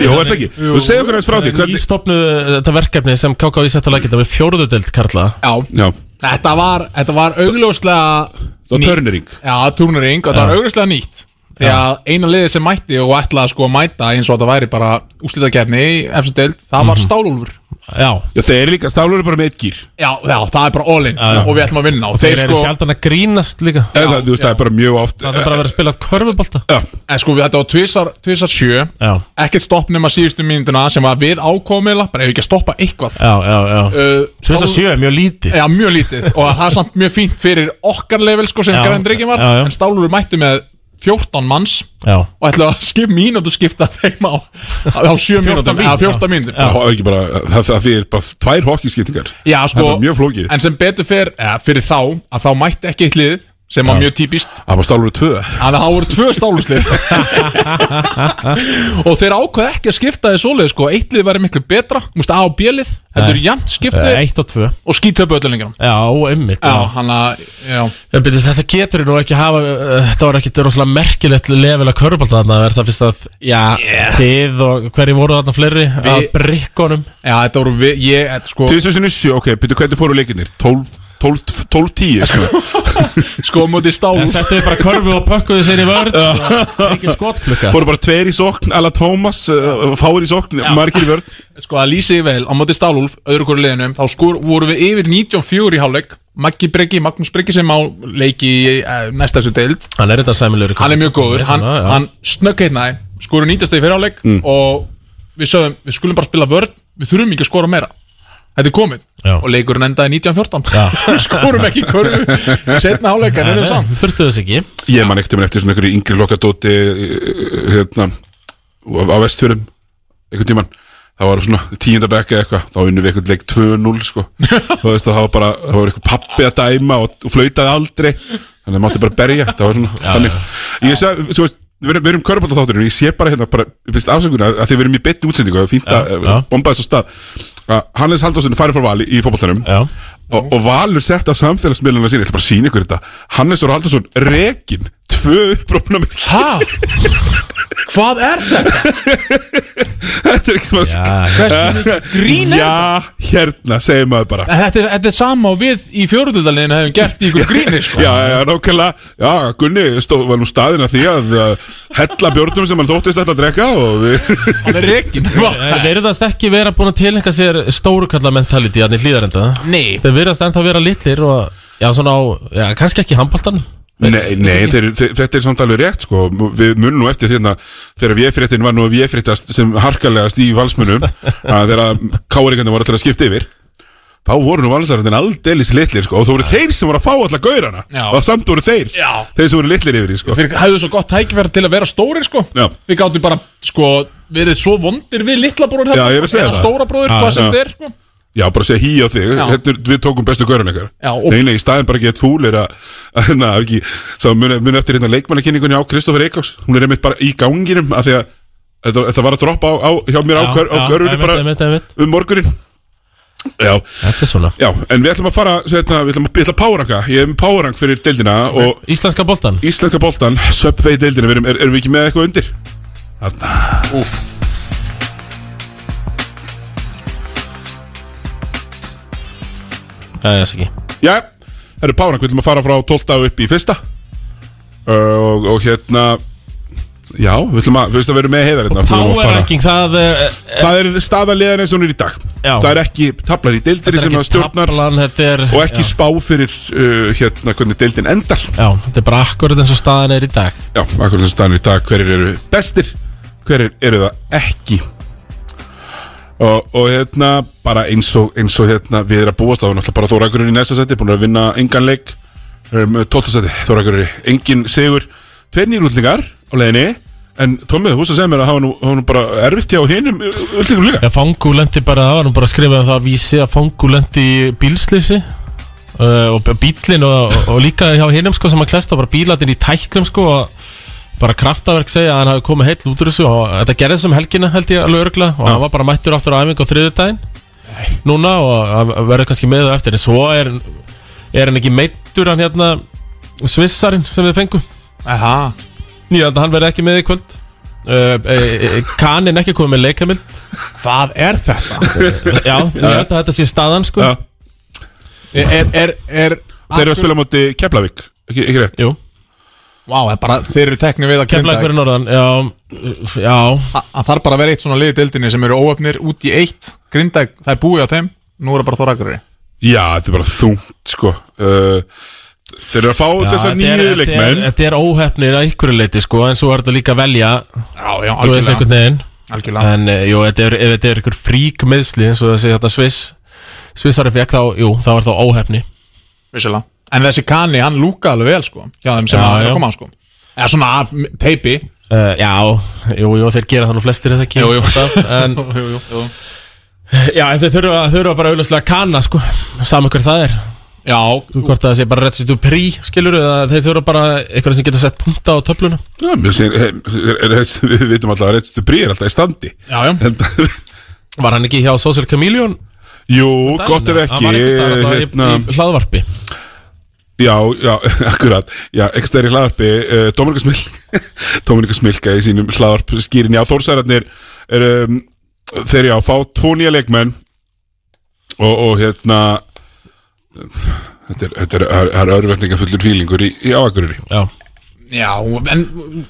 [SPEAKER 1] Jó, er það ekki? Þú segir okkur aðeins frá því hvernig...
[SPEAKER 2] Ístopnu þetta verkefni sem KK í setja lækita við fjórðu deild Karla
[SPEAKER 12] já.
[SPEAKER 1] Já,
[SPEAKER 12] Þetta var, þetta var augljóslega
[SPEAKER 1] það var
[SPEAKER 12] Ný-
[SPEAKER 1] törnering
[SPEAKER 12] Já, turnering og þetta var augljóslega nýtt Því að eina liðið sem mætti og ætlaði sko að mæta eins og þetta væri bara úslitakeppni í efstu deild, það
[SPEAKER 2] Mhm.
[SPEAKER 12] var Stálúlfur
[SPEAKER 2] Já,
[SPEAKER 1] Já, þeir eru líka, stálur eru bara með eitt gýr
[SPEAKER 12] Já, já, það er bara all in og við ætlum að vinna og
[SPEAKER 2] þeir
[SPEAKER 12] þeir
[SPEAKER 2] eru
[SPEAKER 12] sko,
[SPEAKER 2] sjaldan að grínast líka
[SPEAKER 1] En það, þú veist, það er bara mjög oft
[SPEAKER 2] Það er bara að vera að spila körfubolta
[SPEAKER 1] Já,
[SPEAKER 12] en sko við þetta var tvisar, tvisar sjö
[SPEAKER 2] Já,
[SPEAKER 12] ekkert stopp nema síðustu mínútuna sem var við ákomið bara ef ekki að stoppa eitthvað
[SPEAKER 2] já, já, já.
[SPEAKER 12] Uh,
[SPEAKER 2] Svins að
[SPEAKER 12] Stál-
[SPEAKER 2] sjö er mjög lítið
[SPEAKER 12] Já, mjög lítið og það er samt mjög fínt fyrir okkar level sko sem
[SPEAKER 2] Já,
[SPEAKER 12] grændreikin var
[SPEAKER 2] já, já.
[SPEAKER 12] en Stálúlfur mættu með 14 manns
[SPEAKER 2] Já,
[SPEAKER 12] og ætla að skip mínútu skipta þeim á, á 7 mínútum
[SPEAKER 2] mínútur,
[SPEAKER 12] eða 14 mínútum
[SPEAKER 1] það er ekki bara, það, það því er bara tvær hokkiskiptingar
[SPEAKER 12] Já,
[SPEAKER 1] Það er
[SPEAKER 12] sko,
[SPEAKER 1] bara mjög flókið.
[SPEAKER 12] en sem betur fer, eða, fyrir þá að þá mætti ekki eitt liðið sem var mjög típist
[SPEAKER 1] Það var stálur tvö
[SPEAKER 12] að það voru tvö stáluslið og þeir ákvað ekki að skipta því svoleið sko, eitt lið væri miklu betra þú veist, A og B lið, þetta eru jæmt skiptið
[SPEAKER 2] Eh, eitt og tvö
[SPEAKER 12] og skítöpu öllu lengur
[SPEAKER 2] Já, einmitt
[SPEAKER 12] Já, hann að, já
[SPEAKER 2] En byrju, þetta getur nú ekki hafa uh, Þetta var ekki rosalega merkilegt level að körubálta þarna Er það fyrst að, já, þið og hverju voru þarna fleiri Að brikkonum
[SPEAKER 12] Já, þetta voru við, ég, þetta sko
[SPEAKER 1] Til þess að sinni sjö, ok, byrju, hvernig fóru leikinnir? 12-10
[SPEAKER 12] Sko, móti stálu
[SPEAKER 2] En settu þið bara körfu og pökkuðu sér í vörð og Ekki skotklukka
[SPEAKER 1] Fóru bara tveir í sokn, alla Thomas uh, Fáir í sokn, margir í vörn
[SPEAKER 12] Sko að lýsa ég vel á móti Stálúlf öðru hverju liðinu þá skor, voru við yfir 94 í hálfleik Maggi Breki, Magnús Breki sem á leiki í eh, næsta þessu deild
[SPEAKER 2] Hann er þetta sæmilegur
[SPEAKER 12] hann er mjög góður, hann, hann snögg heitnaði skoru nýtast í fyrir hálfleik og við sögum, við skulum bara spila vörn við þurfum ekki að skora meira þetta er komið
[SPEAKER 2] Já.
[SPEAKER 12] og leikurinn endaði 1914 við skorum ekki körfu setna hálfleik en erum samt
[SPEAKER 2] Þurftu þess ekki
[SPEAKER 1] Ég man ekkert um eftir svona einhverju yngri lokadóti eh, hérna á vestfjörum einhvern tíman það var svona tíunda bekka eða eitthvað þá unnum við einhvern leik 2-0 sko þú veist að það var bara, það var einhver pappi að dæma og, og flautaði aldrei þannig að mátti bara berja, það var svona þannig, ég sé, svo veist, við erum, við erum körbólta þátturinn ég sé bara hérna, bara, ég finnst afsökunar að því við erum í betni útsendingu, það er fínt að
[SPEAKER 2] já.
[SPEAKER 1] eh, bomba þess að stað að Hannes Halldórsson farið frá vali í fótboltanum
[SPEAKER 2] Já.
[SPEAKER 1] og, og Valur sett á samfélagsmiðluna sín, ég ætla bara að sína ykkur þetta Hannes Þór Halldórsson, rekin tvö upprófna með
[SPEAKER 12] Hæ? Hvað er þetta?
[SPEAKER 1] þetta er ekki sem að
[SPEAKER 12] Hversu mikið grín er
[SPEAKER 1] Já, hérna, segir maður bara
[SPEAKER 12] En Þetta, er- þetta er sama og við í fjóruðudaleginu hefum gert í ykkur gríni sko.
[SPEAKER 1] Já, já, nákvæmlega, já, Gunni stó, var nú staðin að því að uh, hella björnum sem hann þóttist ætla að drekka og við,
[SPEAKER 12] Hann er rekin
[SPEAKER 2] Þeir verðast Eh, ekki vera búin að tilhenga sér stórukalla mentality Þannig hlýðarenda
[SPEAKER 12] Nei
[SPEAKER 2] Þeir verðast ennþá vera litlir og Já, svona á, já, kannski ekki handbóltan
[SPEAKER 1] Nei, nei þeir, þeir, þetta er samt alveg rétt sko Við munum nú eftir þérna Þegar véfréttin var nú véfréttast sem harkalegast í valsmunum að Þegar káringandi voru allir að skipta yfir Þá voru nú valsaröndin aldeilis litlir sko Og þú voru þeir sem voru að fá alla gaurana
[SPEAKER 12] Já.
[SPEAKER 1] Og samt voru þeir
[SPEAKER 12] Já.
[SPEAKER 1] Þeir sem voru litlir yfir því sko
[SPEAKER 12] Þeir hafðu svo gott tækifæri til að vera stórir sko
[SPEAKER 1] Já.
[SPEAKER 12] Við gáttum bara sko verið svo vondir við litla bróður hérna.
[SPEAKER 1] Já, ég vil segja það.
[SPEAKER 12] Stóra bróður,
[SPEAKER 1] Já,
[SPEAKER 12] hvað sem
[SPEAKER 1] já.
[SPEAKER 12] þetta er sko
[SPEAKER 1] Já, bara segja hí á þig
[SPEAKER 12] Já.
[SPEAKER 1] Þetta, er- Við tókum bestu gaurana ykkar
[SPEAKER 12] Já, og-
[SPEAKER 1] Nei, nei, í staðin bara get fúlir að Þannig að ekki Sá muni, muni eftir hérna leikmannakynningunni á Kristoffer Eikáks Hún er einmitt bara í ganginum Af því að þetta, þetta var að droppa á, á, hjá mér á, kör, á körfunni bara
[SPEAKER 2] einmitt, einmitt.
[SPEAKER 1] um morgunin Já,
[SPEAKER 2] Þetta er svona
[SPEAKER 1] já, en við ætlum að fara sveitna, Við ætlum að byrja páranka, ég er með párank fyrir deildina Og
[SPEAKER 2] Íslenska boltan
[SPEAKER 1] íslenska boltan Subway deildina, við erum, er, erum við ekki með eitthvað undir? Þarna
[SPEAKER 2] Já, ég sé ekki
[SPEAKER 1] Já, það eru párank, við ætlum að fara frá 12 upp í fyrsta uh, og, og hérna Já, við ætlum að, við veist að vera með heiðar hérna, við ætlum að
[SPEAKER 2] Power
[SPEAKER 1] fara.
[SPEAKER 2] ranking, það eh,
[SPEAKER 1] Það er staða liðan eins og hún er í dag
[SPEAKER 2] Já.
[SPEAKER 1] Það er ekki tablar í
[SPEAKER 2] Þetta
[SPEAKER 1] deildinni
[SPEAKER 2] er
[SPEAKER 1] sem
[SPEAKER 2] ekki
[SPEAKER 1] að stjórnar
[SPEAKER 2] taflan, þetta er-
[SPEAKER 1] Og ekki
[SPEAKER 2] já.
[SPEAKER 1] spá fyrir uh, hérna hvernig deildin endar
[SPEAKER 2] Já, þetta er bara akkurat eins og staðan er í dag
[SPEAKER 1] Já, akkur sem staðan er í dag Hverjir eru bestir, hverjir eru það ekki Og, og hérna, bara eins og, eins og hérna, við erum að búast á náttúrulega bara Þóra Akureyri í næsta seti, búin að vinna engan leik erum með 12. seti, Þóra Akureyri engin sigur, tveir nýrúldingar á leiðinni, en Tómið, þú veist að segja mér að hafa nú, hafa nú bara erfitt hjá hinum úldingum líka
[SPEAKER 2] Já, Fangu lendi bara, það var nú bara að skrifa um það að vísi að Fangu lendi í bílslýsi uh, og bílinn og, og líka hjá hinnum sko sem að klesta bara bílarnir í tætlum sko og bara kraftaverk segja að hann hafi komið heill út úr þessu og þetta gerði þessum helgina held ég alveg örgla og hann var bara mættur aftur á æfingu á þriðudaginn núna og hann verður kannski með það eftir en svo er, er hann ekki meittur hann hérna Svissarinn sem við fengum
[SPEAKER 12] Aha.
[SPEAKER 2] Ég held að hann verði ekki með í kvöld Uh, e, e, kanin ekki komið með leikamild Hvað er þetta? Já, ég held að þetta sé staðan sko
[SPEAKER 1] Já.
[SPEAKER 12] er, er, er
[SPEAKER 1] Þeir eru að spila á móti Keflavík, ekki, ekki rétt?
[SPEAKER 2] Jú
[SPEAKER 12] Vá, það er bara, þeir eru teknir við að
[SPEAKER 2] Keflavík fyrir norðan, já, já.
[SPEAKER 12] Það þarf bara að vera eitt svona liði deildinni sem eru óöfnir út í eitt Grindag, það er búið á þeim Nú er það bara Þóra Akureyri
[SPEAKER 1] Já, þetta er bara þungt sko uh, Þeir eru að fá
[SPEAKER 2] Já,
[SPEAKER 1] þessar
[SPEAKER 2] þetta er-
[SPEAKER 1] nýju
[SPEAKER 2] þetta er-
[SPEAKER 1] leikmenn
[SPEAKER 2] Þetta er óhefnir að ykkur leiti sko En svo er þetta líka að velja
[SPEAKER 12] Já, já,
[SPEAKER 2] Þú veist einhvern veginn
[SPEAKER 12] Algjörlega.
[SPEAKER 2] En eh, jú, þetta er, ef þetta er ykkur frík meðsli eins og þessi þetta Sviss Svissari fekk þá, jú, þá er þá óhefni
[SPEAKER 12] Vissulega En þessi Kani, hann lúka alveg vel sko Já, þeim sem
[SPEAKER 2] Já,
[SPEAKER 12] hann er
[SPEAKER 2] já.
[SPEAKER 12] að koma sko Eða svona af teipi
[SPEAKER 2] Uh, já, jú, jú, þeir gera það nú flestir þetta ekki
[SPEAKER 12] Jú, jú.
[SPEAKER 2] alltaf, en,
[SPEAKER 12] jú, jú, jú.
[SPEAKER 2] Já, en þeir þurfa, þurfa bara auðvitað að kanna sko, saman hver það er
[SPEAKER 12] Já,
[SPEAKER 2] Þú hvort að það sé bara rétt sér þú prí, skilur eða þeir þurfa bara eitthvað sem getur sett punta á töfluna
[SPEAKER 1] Já, mér eh, segir, he- er- er- Við vitum alltaf að reynstu brí er alltaf í standi
[SPEAKER 12] já, já
[SPEAKER 1] En-
[SPEAKER 2] Var hann ekki hjá Social Chameleon?
[SPEAKER 1] Jú, gott ef
[SPEAKER 2] Hann
[SPEAKER 1] ekki
[SPEAKER 2] var einhvers staðar alltaf
[SPEAKER 1] hérna,
[SPEAKER 2] í, í hlaðvarpi
[SPEAKER 1] Já, já, akkurat Já, ekki stærri hlaðarpi uh, Dominika Smilk Dominika Smilka í sínum hlaðarp skýrin Já, Þórsærarnir er, um, Þeir já, fá tvo nýja leikmenn Og, og hérna Þetta er, þetta er, er, er örvendinga fullur fílingur í, í áakurri
[SPEAKER 2] Já,
[SPEAKER 12] Já, en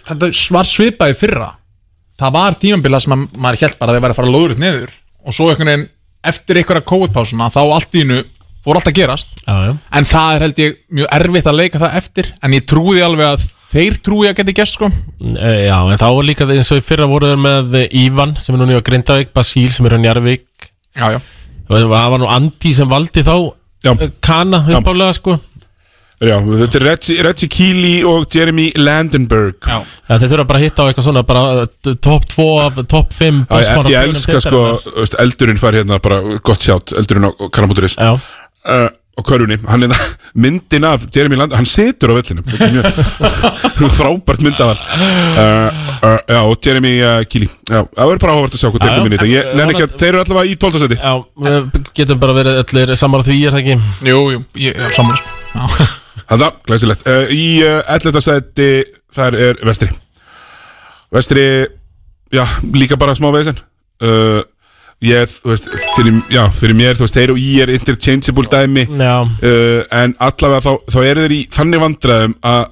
[SPEAKER 12] þetta var svipað í fyrra Það var tímambila sem að, maður held bara að þeir væri að fara lóðurinn niður Og svo einhvern veginn, eftir einhverja COVID-pásuna Þá allt í innu, fór allt að gerast
[SPEAKER 2] já, já
[SPEAKER 12] En það er held ég mjög erfitt að leika það eftir En ég trúði alveg að þeir trúi að geti gert sko
[SPEAKER 2] Eh, Já, en þá var líka eins og í fyrra voru þeir með Ívan sem er núna í Grindavík, Basíl sem er hann Jarvík
[SPEAKER 12] Já, já
[SPEAKER 2] og það var nú Andi sem valdi þá
[SPEAKER 1] Já.
[SPEAKER 2] eh, Kana uppálega sko
[SPEAKER 1] Já, þetta er Reggie, Reggie Keely og Jeremy Landenberg
[SPEAKER 12] Já,
[SPEAKER 2] Já, þeir þurfa bara að hitta á eitthvað svona bara eh, top 2 af top 5
[SPEAKER 1] Já, ég, ég elska sko, veist, eldurinn fær hérna bara gott sjátt, eldurinn á Karamóturis
[SPEAKER 2] Já,
[SPEAKER 1] uh, og körunni, hann er myndin af Jeremy Land, hann situr á vellinum Þetta er mjög frábært myndavall uh, uh, já, og Jeremy uh, Kili, já, það verður bara áhvert að sjá hvað
[SPEAKER 2] Já, eh, já.
[SPEAKER 1] tekum minni í þetta, ég nenni ekki að þeir eru allavega í 12. seti,
[SPEAKER 2] já, við getum bara verið allir samar því er það ekki
[SPEAKER 12] jú, jú, ég er saman sko Já,
[SPEAKER 1] það er glæsilegt uh, í uh, 11. seti, þar er vestri vestri já, líka bara smá vesen uh, ég, þú veist fyrir, já, fyrir mér, þú veist, þeir og ég er interchangeable dæmi
[SPEAKER 2] Já,
[SPEAKER 1] uh, en allavega þá, þá eru þeir í þannig vandræðum að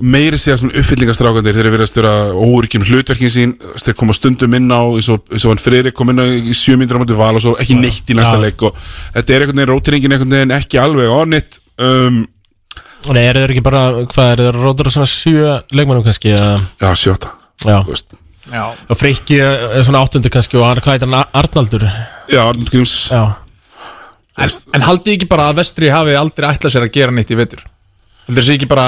[SPEAKER 1] meiri segja svona uppfyllingastrákandir þeir eru verið að stjóra óurikjum um hlutverkin sín þeir koma stundum inn á eins og, eins og hann Friðrik kom inn á í sjö mínútur á mútið val og svo ekki neitt í næsta
[SPEAKER 2] Já.
[SPEAKER 1] leik og þetta er einhvern veginn rótiringin einhvern veginn ekki alveg onnit um,
[SPEAKER 2] nei, eru þeir ekki bara, hvað eru þeir rótur á svona sjö leikmannum kannski eða,
[SPEAKER 1] já sjóta
[SPEAKER 2] Já,
[SPEAKER 1] þú veist
[SPEAKER 12] já
[SPEAKER 2] og Frikki er svona áttundu kannski og hann, hvað heitir hann, Arnaldur
[SPEAKER 1] já Arnald Gríms
[SPEAKER 2] Já,
[SPEAKER 12] En, en haldi ekki bara að vestri hafi aldrei ætlað sér að gera neitt í vetur Heldur þessi ekki bara,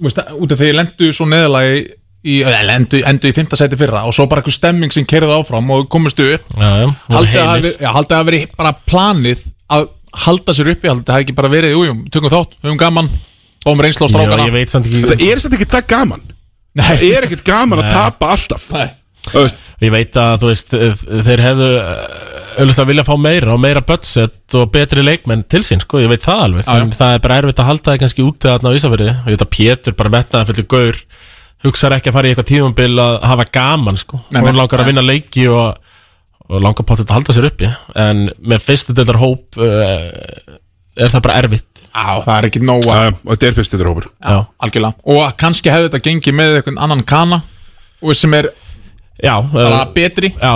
[SPEAKER 12] þú veist, út af þegar ég lendu svo neðalagi í, eða lendu, endu í fymta seti fyrra og svo bara eitthvað stemming sem kerði áfram og komist upp
[SPEAKER 2] já, já, voru
[SPEAKER 12] Haldi að hafi,
[SPEAKER 2] heilir.
[SPEAKER 12] já, haldi að hafi verið bara planið að halda sér uppi, haldi að hafi ekki bara verið, jú, jú, tökum þátt, höfum gaman Fáum reynslu á
[SPEAKER 2] Já,
[SPEAKER 12] strákana
[SPEAKER 2] ég veit samt ekki
[SPEAKER 1] það er þetta ekki það gaman
[SPEAKER 12] Nei.
[SPEAKER 1] það er ekkert gaman að tapa alltaf
[SPEAKER 12] Nei.
[SPEAKER 1] þú veist
[SPEAKER 2] Ég veit að þú veist eh, þeir hefðu auðvitað að vilja fá meira og meira budget og betri leikmenn til sín sko, ég veit það alveg
[SPEAKER 12] já.
[SPEAKER 2] en það er bara erfitt að halda það kannski úti þarna á Ísafirði og ég veit að Pétur bara metnaði fyrir gaur hugsar ekki að fara í eitthvað tímumbil að hafa gaman sko,
[SPEAKER 12] Nei,
[SPEAKER 2] og
[SPEAKER 12] nei,
[SPEAKER 2] hann langar að vinna leiki og, og langar potið að halda sér uppi en með fyrstu deildar hóp uh, er það bara erfitt
[SPEAKER 12] Á, það er ekki nóga
[SPEAKER 1] um, Og þetta er fyrst þetta hópur
[SPEAKER 12] Já, algjörlega Og kannski hefði þetta gengið með einhvern annan kana Og sem er
[SPEAKER 2] Já eh,
[SPEAKER 12] Bara betri
[SPEAKER 2] Já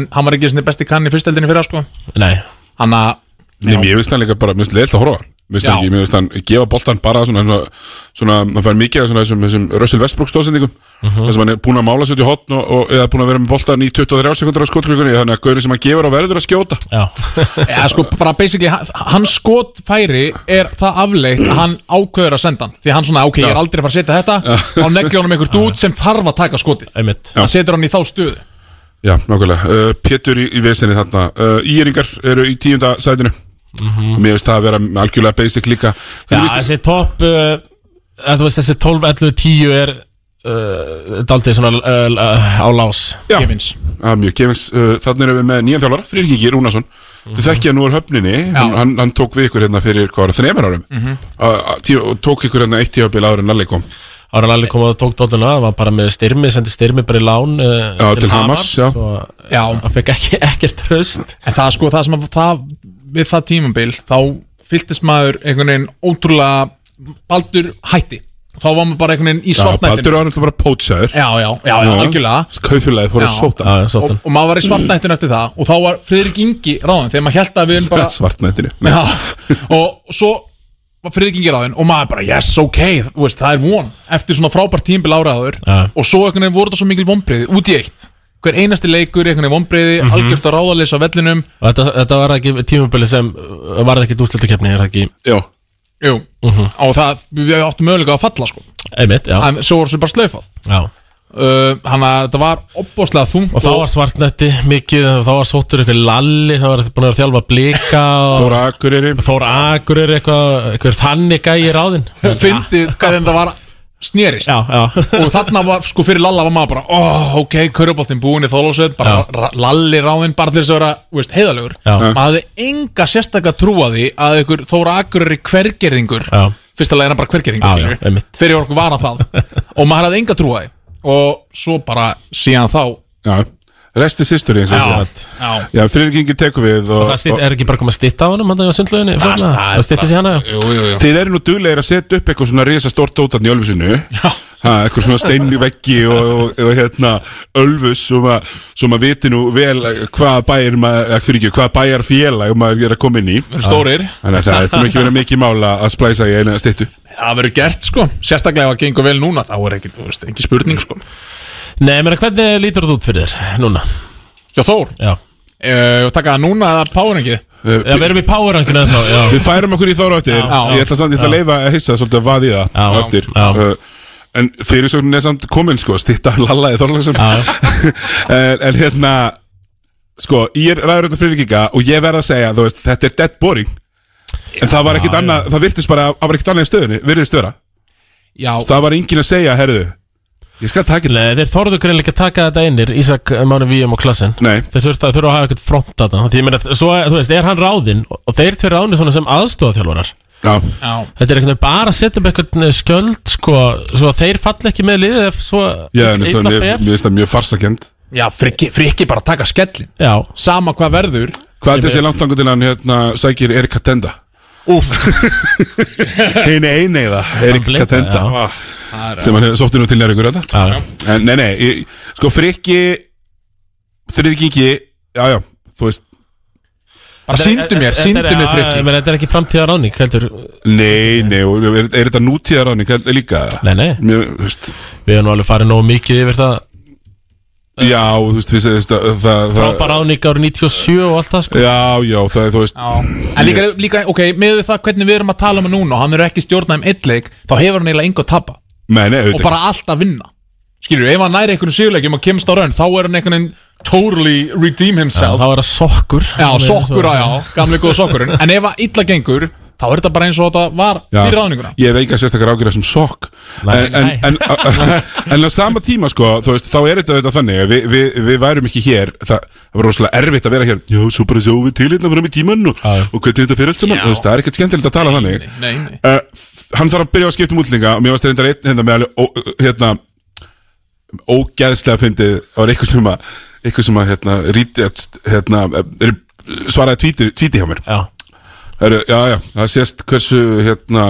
[SPEAKER 12] En hann var ekki svona besti kanni í fyrsteldinni fyrir sko
[SPEAKER 2] Nei
[SPEAKER 12] Hann að
[SPEAKER 1] Nei, mér finnst hann líka bara, mér finnst leilt að horfa á hann. Mér finnst
[SPEAKER 12] Já.
[SPEAKER 1] ekki, mér finnst hann gefa boltan bara svona, svona, svona hann fær mikið af svona þessum, þessum Russell Westbrook stóðsendingum
[SPEAKER 12] Mhm.
[SPEAKER 1] þessum hann er búin að mála sér til hotn og, og eða búin að vera með boltan í 23 sekundar á skotlugunni þannig að gaurin sem hann gefur á verður að skjóta
[SPEAKER 2] Já,
[SPEAKER 12] Já, sko, bara basically, hann- hans skotfæri er það afleitt að hann ákveður að senda hann Því hann svona, ok, ég er aldrei að fara að setja þetta Þá negli honum einhver dút sem þarf að taka skotið
[SPEAKER 2] Einmitt.
[SPEAKER 12] Hann setur hann í þá stöðu
[SPEAKER 1] Já, nákvæmlega, uh, Pétur í, í vesinni þarna uh, Íringar eru í tíunda sætinu Mér finnst það að vera algjörlega basic líka
[SPEAKER 2] Já,
[SPEAKER 1] Hvernig finnst-
[SPEAKER 2] þessi topp uh, eða þú veist, þessi 12, 11, 10 er uh, daldið svona uh, uh, á lás
[SPEAKER 1] Já. Já, mjög gefins uh, Þannig erum við með nýjan þjálfara, Frýrkingi Rúnason
[SPEAKER 12] Mhm.
[SPEAKER 1] Þið þekki að nú er höfninni hann, hann, hann tók við ykkur hérna fyrir hvað var það, þremur árum
[SPEAKER 2] Mhm.
[SPEAKER 1] Að- að tí- og tók ykkur hérna eitt tíðabil áður en Lalli kom
[SPEAKER 2] Ára Lalli kom og tók dóttuna, það var bara með styrmi, sendi styrmi bara í lán uh,
[SPEAKER 1] Já, til Hamars, já.
[SPEAKER 2] Svo,
[SPEAKER 12] Já
[SPEAKER 2] Hann fekk ekki, ekkert tröst
[SPEAKER 12] En það sko, það sem að það, við það tímabil Þá fylltist maður einhvern veginn ótrúlega Baldur hætti Þá var maður bara einhvern veginn í svartnættinu
[SPEAKER 1] Baldur var náttúrulega bara pótsaður
[SPEAKER 12] Já, já, já, já, algjörlega
[SPEAKER 1] Kaufélagið fór að
[SPEAKER 12] Já.
[SPEAKER 1] sóta
[SPEAKER 12] og, og maður var í svartnættinu eftir það Og þá var Friðrik Ingi ráðan Þegar maður held að við erum bara
[SPEAKER 1] Svartnættinu
[SPEAKER 12] Já, og svo var friðgengir á þinn og maður bara yes, ok, þú veist, það er von eftir svona frábært tímbil áraður
[SPEAKER 2] Já.
[SPEAKER 12] og svo einhvern veginn voru þetta svo mikil vonbreiði út í eitt hver einasti leikur, einhvern veginn vonbreiði
[SPEAKER 2] Mhm.
[SPEAKER 12] algjört að ráðalisa vellinum
[SPEAKER 2] Og þetta, þetta var ekki tímabili sem uh, varði ekki úrslutakefni, er það ekki?
[SPEAKER 1] Já
[SPEAKER 12] Jú, og það, við áttum möguleika að falla sko
[SPEAKER 2] Einmitt, Mhm. já
[SPEAKER 12] en svo voru þessu bara slaufað
[SPEAKER 2] Já
[SPEAKER 12] uh, hann að þetta var opbóðslega þungt
[SPEAKER 2] Og þá var svartnætti mikið, þá var sóttur eitthvað lalli sem var búin að vera að þjálfa blika og...
[SPEAKER 1] Þór Akureyri
[SPEAKER 2] Þór Akureyri, eitthvað, eitthvað þannig gæi ráðin
[SPEAKER 12] fyndið hvað þetta var snerist
[SPEAKER 2] já, já.
[SPEAKER 12] og þarna var sko fyrir Lalla var maður bara oh, ok, köruboltin búin í þólósöð bara ra- Lalli ráðinn bara til þess að vera þú veist, heiðalegur,
[SPEAKER 2] Já.
[SPEAKER 12] maður hafði enga sérstakka trúa því að ykkur Þóra Akur er í hvergerðingur
[SPEAKER 2] Já.
[SPEAKER 12] fyrsta leiðina bara
[SPEAKER 2] Já,
[SPEAKER 12] hvergerðingur
[SPEAKER 2] já,
[SPEAKER 12] skilur við. fyrir okkur vana það og maður hafði enga trúa því og svo bara síðan þá
[SPEAKER 1] Já, resti sýstur eins og
[SPEAKER 12] Já,
[SPEAKER 1] ég segi.
[SPEAKER 12] já.
[SPEAKER 1] Já, Frýrkingi tekur við og,
[SPEAKER 2] Og það styr, er ekki bara komið að stytta á hann um á sundlöginni
[SPEAKER 1] það-
[SPEAKER 2] Það styttist í hana já.
[SPEAKER 1] Þið eru nú duglegir að setja upp eitthvað svona risa stórt dótarn í Ölfusinu ha, eitthvað svona steinni veggi og, og, og hérna Ölfus og maður, svo maður viti nú vel hvað bæjar maður, ekki fyrir ekki, hvað bæjar félag maður er að koma inn í
[SPEAKER 12] erum stórir.
[SPEAKER 1] Þannig að það ættum ekki verið mikið mála að splæsa í eina styttu
[SPEAKER 12] það verður gert sko, sérstaklega ef það gengur vel núna þá er ekki, þú veist, ekki spurning sko
[SPEAKER 2] Nei, menn, hvernig lítur það út fyrir þér núna?
[SPEAKER 12] Já, Þór
[SPEAKER 2] Já
[SPEAKER 12] uh, taka það núna eða páringið
[SPEAKER 2] Já, við erum í powerrankinu ennþá já.
[SPEAKER 1] Við færum okkur í þóra eftir
[SPEAKER 2] Já, já.
[SPEAKER 1] Ég ætla samt, ég ætla að leifa að hissa svolítið að vaði það á eftir Uh, En fyrirsögnin er samt komin sko Stitta lallaði Þorlásum en, en hérna Sko, ég er ræður þetta fyrirkika Og ég verð að segja, þú veist, þetta er dead boring En það var ekkit annað Það virtist bara, það var ekkit annað í stöðunni Virðist vera,
[SPEAKER 12] Já,
[SPEAKER 1] það var engin að segja, herðu Ég skal taka
[SPEAKER 2] Nei, þeir þorðu greinleika að taka þetta einir Ísak, Máni Víum og Klassin
[SPEAKER 1] Nei.
[SPEAKER 2] Þeir þurftu að þurfa að hafa eitthvað front þarna Því ég meina, svo, þú veist, er hann ráðinn Og og þeir tveir ráðin svona sem aðstofaþjálfarar
[SPEAKER 1] Já.
[SPEAKER 12] Já.
[SPEAKER 2] Þetta er einhvern veginn bara að setja upp eitthvað skjöld sko, Svo að þeir falla ekki með liðið Ef svo
[SPEAKER 1] Já, en
[SPEAKER 2] illa
[SPEAKER 1] veistu, mér
[SPEAKER 2] fer.
[SPEAKER 1] mér finnst það mjög farsakend
[SPEAKER 12] Já, frikki, frikki bara taka skellin
[SPEAKER 2] Já
[SPEAKER 12] Sama hvað verður
[SPEAKER 1] Hvað er þessi langt langur til hann hérna, sækir Erika Tenda?
[SPEAKER 12] Úf
[SPEAKER 1] Hinn eineiða Erik
[SPEAKER 12] Hann
[SPEAKER 1] Katenda
[SPEAKER 12] blikkaði, já.
[SPEAKER 1] ah, sem hann hefur sótti nú til nær ykkur þetta en nei, nei, ég- sko frikki frikki, já, já þú veist
[SPEAKER 12] Bara sýndu
[SPEAKER 2] Þetta
[SPEAKER 12] mér,
[SPEAKER 2] er-
[SPEAKER 12] sýndu mér
[SPEAKER 2] ja,
[SPEAKER 12] frikki
[SPEAKER 2] ég meina, Þetta er ekki framtíðar ráðning, heldur
[SPEAKER 1] nei, nei, og er, er þetta nútíðar áni líka?
[SPEAKER 2] Nei, nei
[SPEAKER 1] Mér, þú veist,
[SPEAKER 2] Við erum nú alveg farið nógu mikið yfir það
[SPEAKER 1] já, þú veist, þú veist það, það, það,
[SPEAKER 2] Frábær ráðning árið 97 og allt það sko
[SPEAKER 1] já, já, það er, þú veist
[SPEAKER 12] En líka, líka ok, með við það hvernig við erum að tala um hann núna og hann er ekki stjórnað um einn leik þá hefur hann eiginlega engu að tapa
[SPEAKER 1] nei, nei,
[SPEAKER 12] og
[SPEAKER 1] auðvitað
[SPEAKER 12] bara allt að vinna Skilur, ef hann næri einhverjum sigurleikjum og kemst á raun þá er hann einhvern veginn totally redeem himself
[SPEAKER 2] Þá er það sokkur
[SPEAKER 12] Já, sokkur, já, já, gamli góð sokkurinn En ef að illa gengur, þá er þetta bara eins og þetta var
[SPEAKER 1] Já.
[SPEAKER 12] fyrir ráðninguna
[SPEAKER 1] Ég hef eiga sérstakar ágjörða sem sokk en,
[SPEAKER 12] Nei,
[SPEAKER 1] en,
[SPEAKER 12] nei.
[SPEAKER 1] en, en á sama tíma sko, þú veist, þá er þetta auðvitað þannig að við, við, við værum ekki hér það, það var rosalega erfitt að vera hér Já, svo bara sjáum við til hérna fram í tímann og, og hvernig þetta fyrir allt saman, þú veist, það er ekkert skemmtilegt að tala þannig
[SPEAKER 12] Nei, nei
[SPEAKER 1] uh, Hann þarf að byrja að skipta um útlinga og mér varst reyndar einn hérna með alveg ó, hérna, ógæðslega fyndið það var eitthvað sem að, eitthvað sem að hérna, rít, hérna, eh, svaraði tvíti, tvíti hjá mér
[SPEAKER 2] Já
[SPEAKER 1] Heru, já, já, það sést hversu hérna,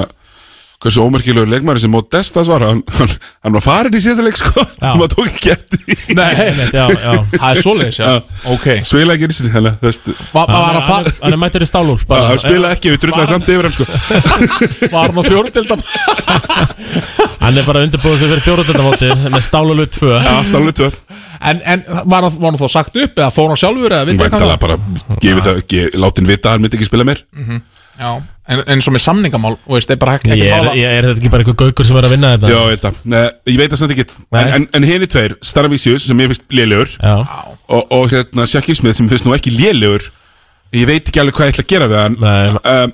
[SPEAKER 1] hversu ómerkilegur leikmæri sem Modestas var, hann, hann, hann var farin í síðasta leik sko, maður tók ekki eftir því.
[SPEAKER 12] Nei, einmitt, já, já. Það er svoleiðis, já. Ok.
[SPEAKER 1] Svila ekki einsinni, þannig að þú veist
[SPEAKER 12] Var- var hann að fara-
[SPEAKER 2] Hann er mættur í stálúlf
[SPEAKER 1] Já, hann spilaði ekki, við drullæði samt yfir hann sko
[SPEAKER 12] Var hann á fjóruðdelda
[SPEAKER 2] Hann er bara undirbúið sér fyrir fjóruðöndamóti með stálúlu 2
[SPEAKER 1] Já, stálúlu 2
[SPEAKER 12] En, en var, hann, var hann þá sagt upp eða fór hann sjálfur eða vitað hvað
[SPEAKER 1] Væntalega
[SPEAKER 12] það
[SPEAKER 1] bara gefið það, ge, látin vita að hann myndi ekki spila meir
[SPEAKER 12] Já, en, en svo með samningamál og veist, er bara ekki,
[SPEAKER 2] Ég
[SPEAKER 12] ekki
[SPEAKER 2] er, ég er þetta ekki bara eitthvað gaukur sem er að vinna þetta
[SPEAKER 1] Já, ég held að, Nei, ég veit það samt ekki En, en, en henni tveir, Starvisius sem ég finnst lélegur
[SPEAKER 2] Já,
[SPEAKER 1] og, og hérna Sjakir Smith sem finnst nú ekki lélegur Ég veit ekki alveg hvað ég ætla að gera við hann
[SPEAKER 2] Nei.
[SPEAKER 1] um,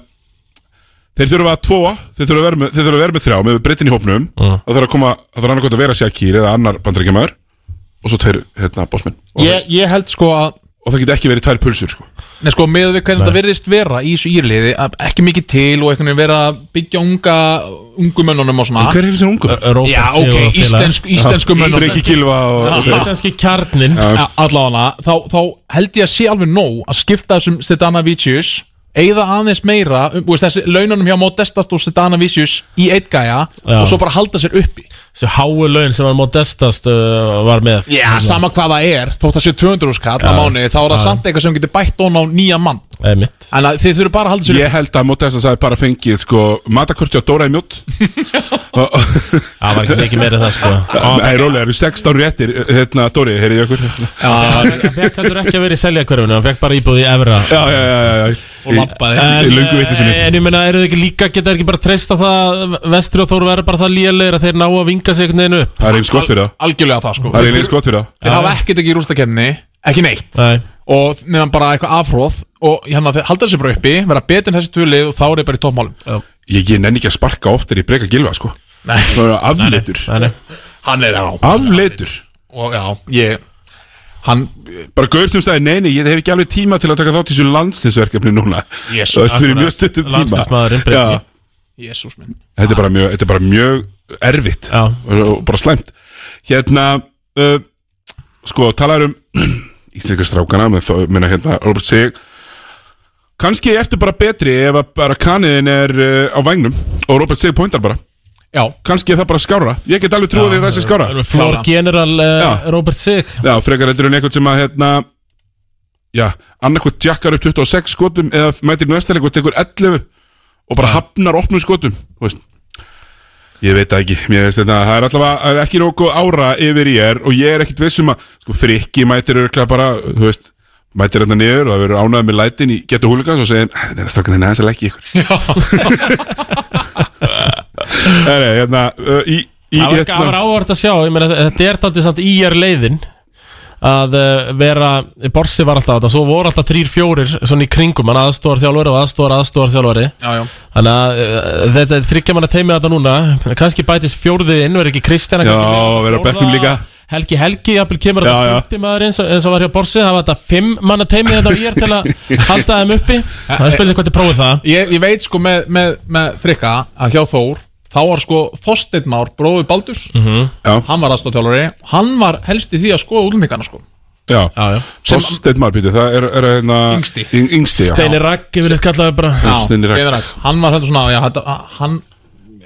[SPEAKER 1] Þeir þurfa að tvoa Þeir þurfa að vera með, þeir þurfa að vera með þrjá með breytin í hópnum mm. Það þurfa að koma, það þurfa annarkvæmt að vera Sjakir eða annar bandaríkjamaður og svo tveir, hérna, bossmenn og,
[SPEAKER 12] ég, ég held sko að
[SPEAKER 1] og það geti ekki verið tvær pulsur sko.
[SPEAKER 12] Nei sko, með við hvernig þetta verðist vera í þessu írliði að ekki mikið til og einhvern veginn vera að byggja unga ungumönnunum og svona
[SPEAKER 1] En hver er þessi ungu?
[SPEAKER 2] Róbert
[SPEAKER 12] Já,
[SPEAKER 2] Sigurð og
[SPEAKER 12] ok,
[SPEAKER 2] félagar.
[SPEAKER 12] íslensku, íslensku mönnunum
[SPEAKER 1] Dreki Gilva og, og,
[SPEAKER 2] Íslenski kjarnin
[SPEAKER 12] A- allavega, þá, þá held ég að sé alveg nóg að skipta þessum Sedana Vicius eða aðeins meira um, þú veist, þessi laununum hjá Modestast og Sedana Vicius í eitt gæja
[SPEAKER 2] Já.
[SPEAKER 12] og svo bara halda sér uppi
[SPEAKER 2] Þessu háu laun sem var modestast uh, var með
[SPEAKER 12] Já, sama hvað það er, þótt að sé 200 skall á mánu, þá er það samt eitthvað sem getur bætt ón á nýja mann
[SPEAKER 2] Eða mitt
[SPEAKER 12] en að þið þurfum bara að halda sér
[SPEAKER 1] Ég held að Modestas hafi bara fengið sko, matakorti á Dóra í mjótt
[SPEAKER 2] Það var ekki mikið meira en það sko Og
[SPEAKER 1] Nei, rólega, eru 16 réttir hérna, Dóri, heyrið ég okkur Já,
[SPEAKER 2] Hann hann fekk heldur ekki að vera í seljakörfinu Hann fekk bara íbúð í Evra
[SPEAKER 1] já, já, já, já.
[SPEAKER 12] Og labbaði.
[SPEAKER 1] Í lungu vitlisunni
[SPEAKER 2] En ég meina, eru þið ekki líka, geta þeir ekki bara treyst á það að Vestri og Þór verður bara það lélegir að þeir ná að vinga sig einhvern veginn upp
[SPEAKER 1] Það er eins gott fyrir það
[SPEAKER 12] upp algjörlega það sko
[SPEAKER 1] Það er eins gott fyrir það
[SPEAKER 12] Þeir hafa ekkert ekki í rústakefni, ekki neitt
[SPEAKER 2] Nei,
[SPEAKER 12] og meðan bara eitthvað afhróð og hérna þeir halda sér bara uppi, vera betur en þessi tvölið og þá er ég bara í toppmálum
[SPEAKER 1] Ég, ég nenni ekki að sparka oftar í breyka gilva, sko
[SPEAKER 12] Nei.
[SPEAKER 1] Það er afleitur
[SPEAKER 2] nei, nei
[SPEAKER 12] Hann er á
[SPEAKER 1] Afleitur
[SPEAKER 12] Og já, ég Hann,
[SPEAKER 1] Bara gaur sem sagði, nei, nei, ég hef ekki alveg tíma til að taka þátt í þessu landsinsverkefni núna
[SPEAKER 12] Yes,
[SPEAKER 1] Það veist fyrir
[SPEAKER 2] akkurat.
[SPEAKER 1] mjög stuttum tíma
[SPEAKER 2] Landsliðsmaðurinn Breki.
[SPEAKER 1] Já,
[SPEAKER 12] jésús minn
[SPEAKER 1] Þetta er bara mjög, þetta er bara mjög erfitt
[SPEAKER 2] Já.
[SPEAKER 1] og og bara slæmt Hérna, uh, sko, talaður um íslenska strákana með þá, minna hérna, Robert Sig Kanski ertu bara betri ef að bara kaniðin er uh, á vægnum og Robert Sig pointar bara
[SPEAKER 12] Já,
[SPEAKER 1] Kanski er það bara skára, ég get alveg trúið því að það sé skára
[SPEAKER 2] Floor
[SPEAKER 12] Klára.
[SPEAKER 2] General uh,
[SPEAKER 1] Já.
[SPEAKER 2] Robert Sig
[SPEAKER 1] Já, frekar heldur en eitthvað sem að, hérna Já, annarkvæmt jakkar upp 26 skotum eða mætir næstileg og tekur 11 og bara hafnar opnum skotum, þú veist Ég veit það ekki, mér veist þetta, það er allavega það er ekki nokkuð ára yfir ég er og ég er ekkit vissum að, sko, frikki mætir örglega bara, þú veist, mætir hérna niður og það verður ánæðið með lætin í getu húlikans og segir, "Æ, neina strákan, neina, þess að leggja ykkur Nei, nei, hérna, uh, í, í
[SPEAKER 2] Það var, hérna. var áhvert að sjá, ég meina þetta er taldið samt í er leiðin að uh, vera, Borsi var alltaf þetta, svo voru alltaf þrýr fjórir svona í kringum, hann aðstóðar þjálfari og aðstóðar aðstóðar þjálfari
[SPEAKER 12] já, já
[SPEAKER 2] þannig að uh, þetta er þryggja manna teimið þetta núna kannski bætist fjórðið inn, verður ekki Kristjana
[SPEAKER 1] Já,
[SPEAKER 2] kannski með
[SPEAKER 1] verður á
[SPEAKER 2] fjórða-
[SPEAKER 1] bekknum líka.
[SPEAKER 2] Helgi Helgi, jafnvel kemur
[SPEAKER 1] Já,
[SPEAKER 2] þetta
[SPEAKER 1] já.
[SPEAKER 2] fjótti maður eins og, eins og var hjá Borsi það var þetta fimm manna teimið þetta á ír til að halda þeim uppi það er spilnið hvað þið prófið það
[SPEAKER 12] Ég, ég veit sko með, með, með frikka að hjá Þór þá var sko Þorsteinn Már bróði Baldurs
[SPEAKER 1] Já.
[SPEAKER 12] hann var aðstofþjálfari hann var helst í því að skoða útlendingana sko
[SPEAKER 1] Já,
[SPEAKER 2] Já, já.
[SPEAKER 1] Þorsteinn Marbítu, það er, er hérna
[SPEAKER 12] Yngsti.
[SPEAKER 1] yng, Yngsti, já
[SPEAKER 2] Steini Ragg, yfir þetta kallaði bara
[SPEAKER 12] Já,
[SPEAKER 1] Steinir Ragn.
[SPEAKER 12] Steinir Ragn. hann var heldur svona já, þetta, hann,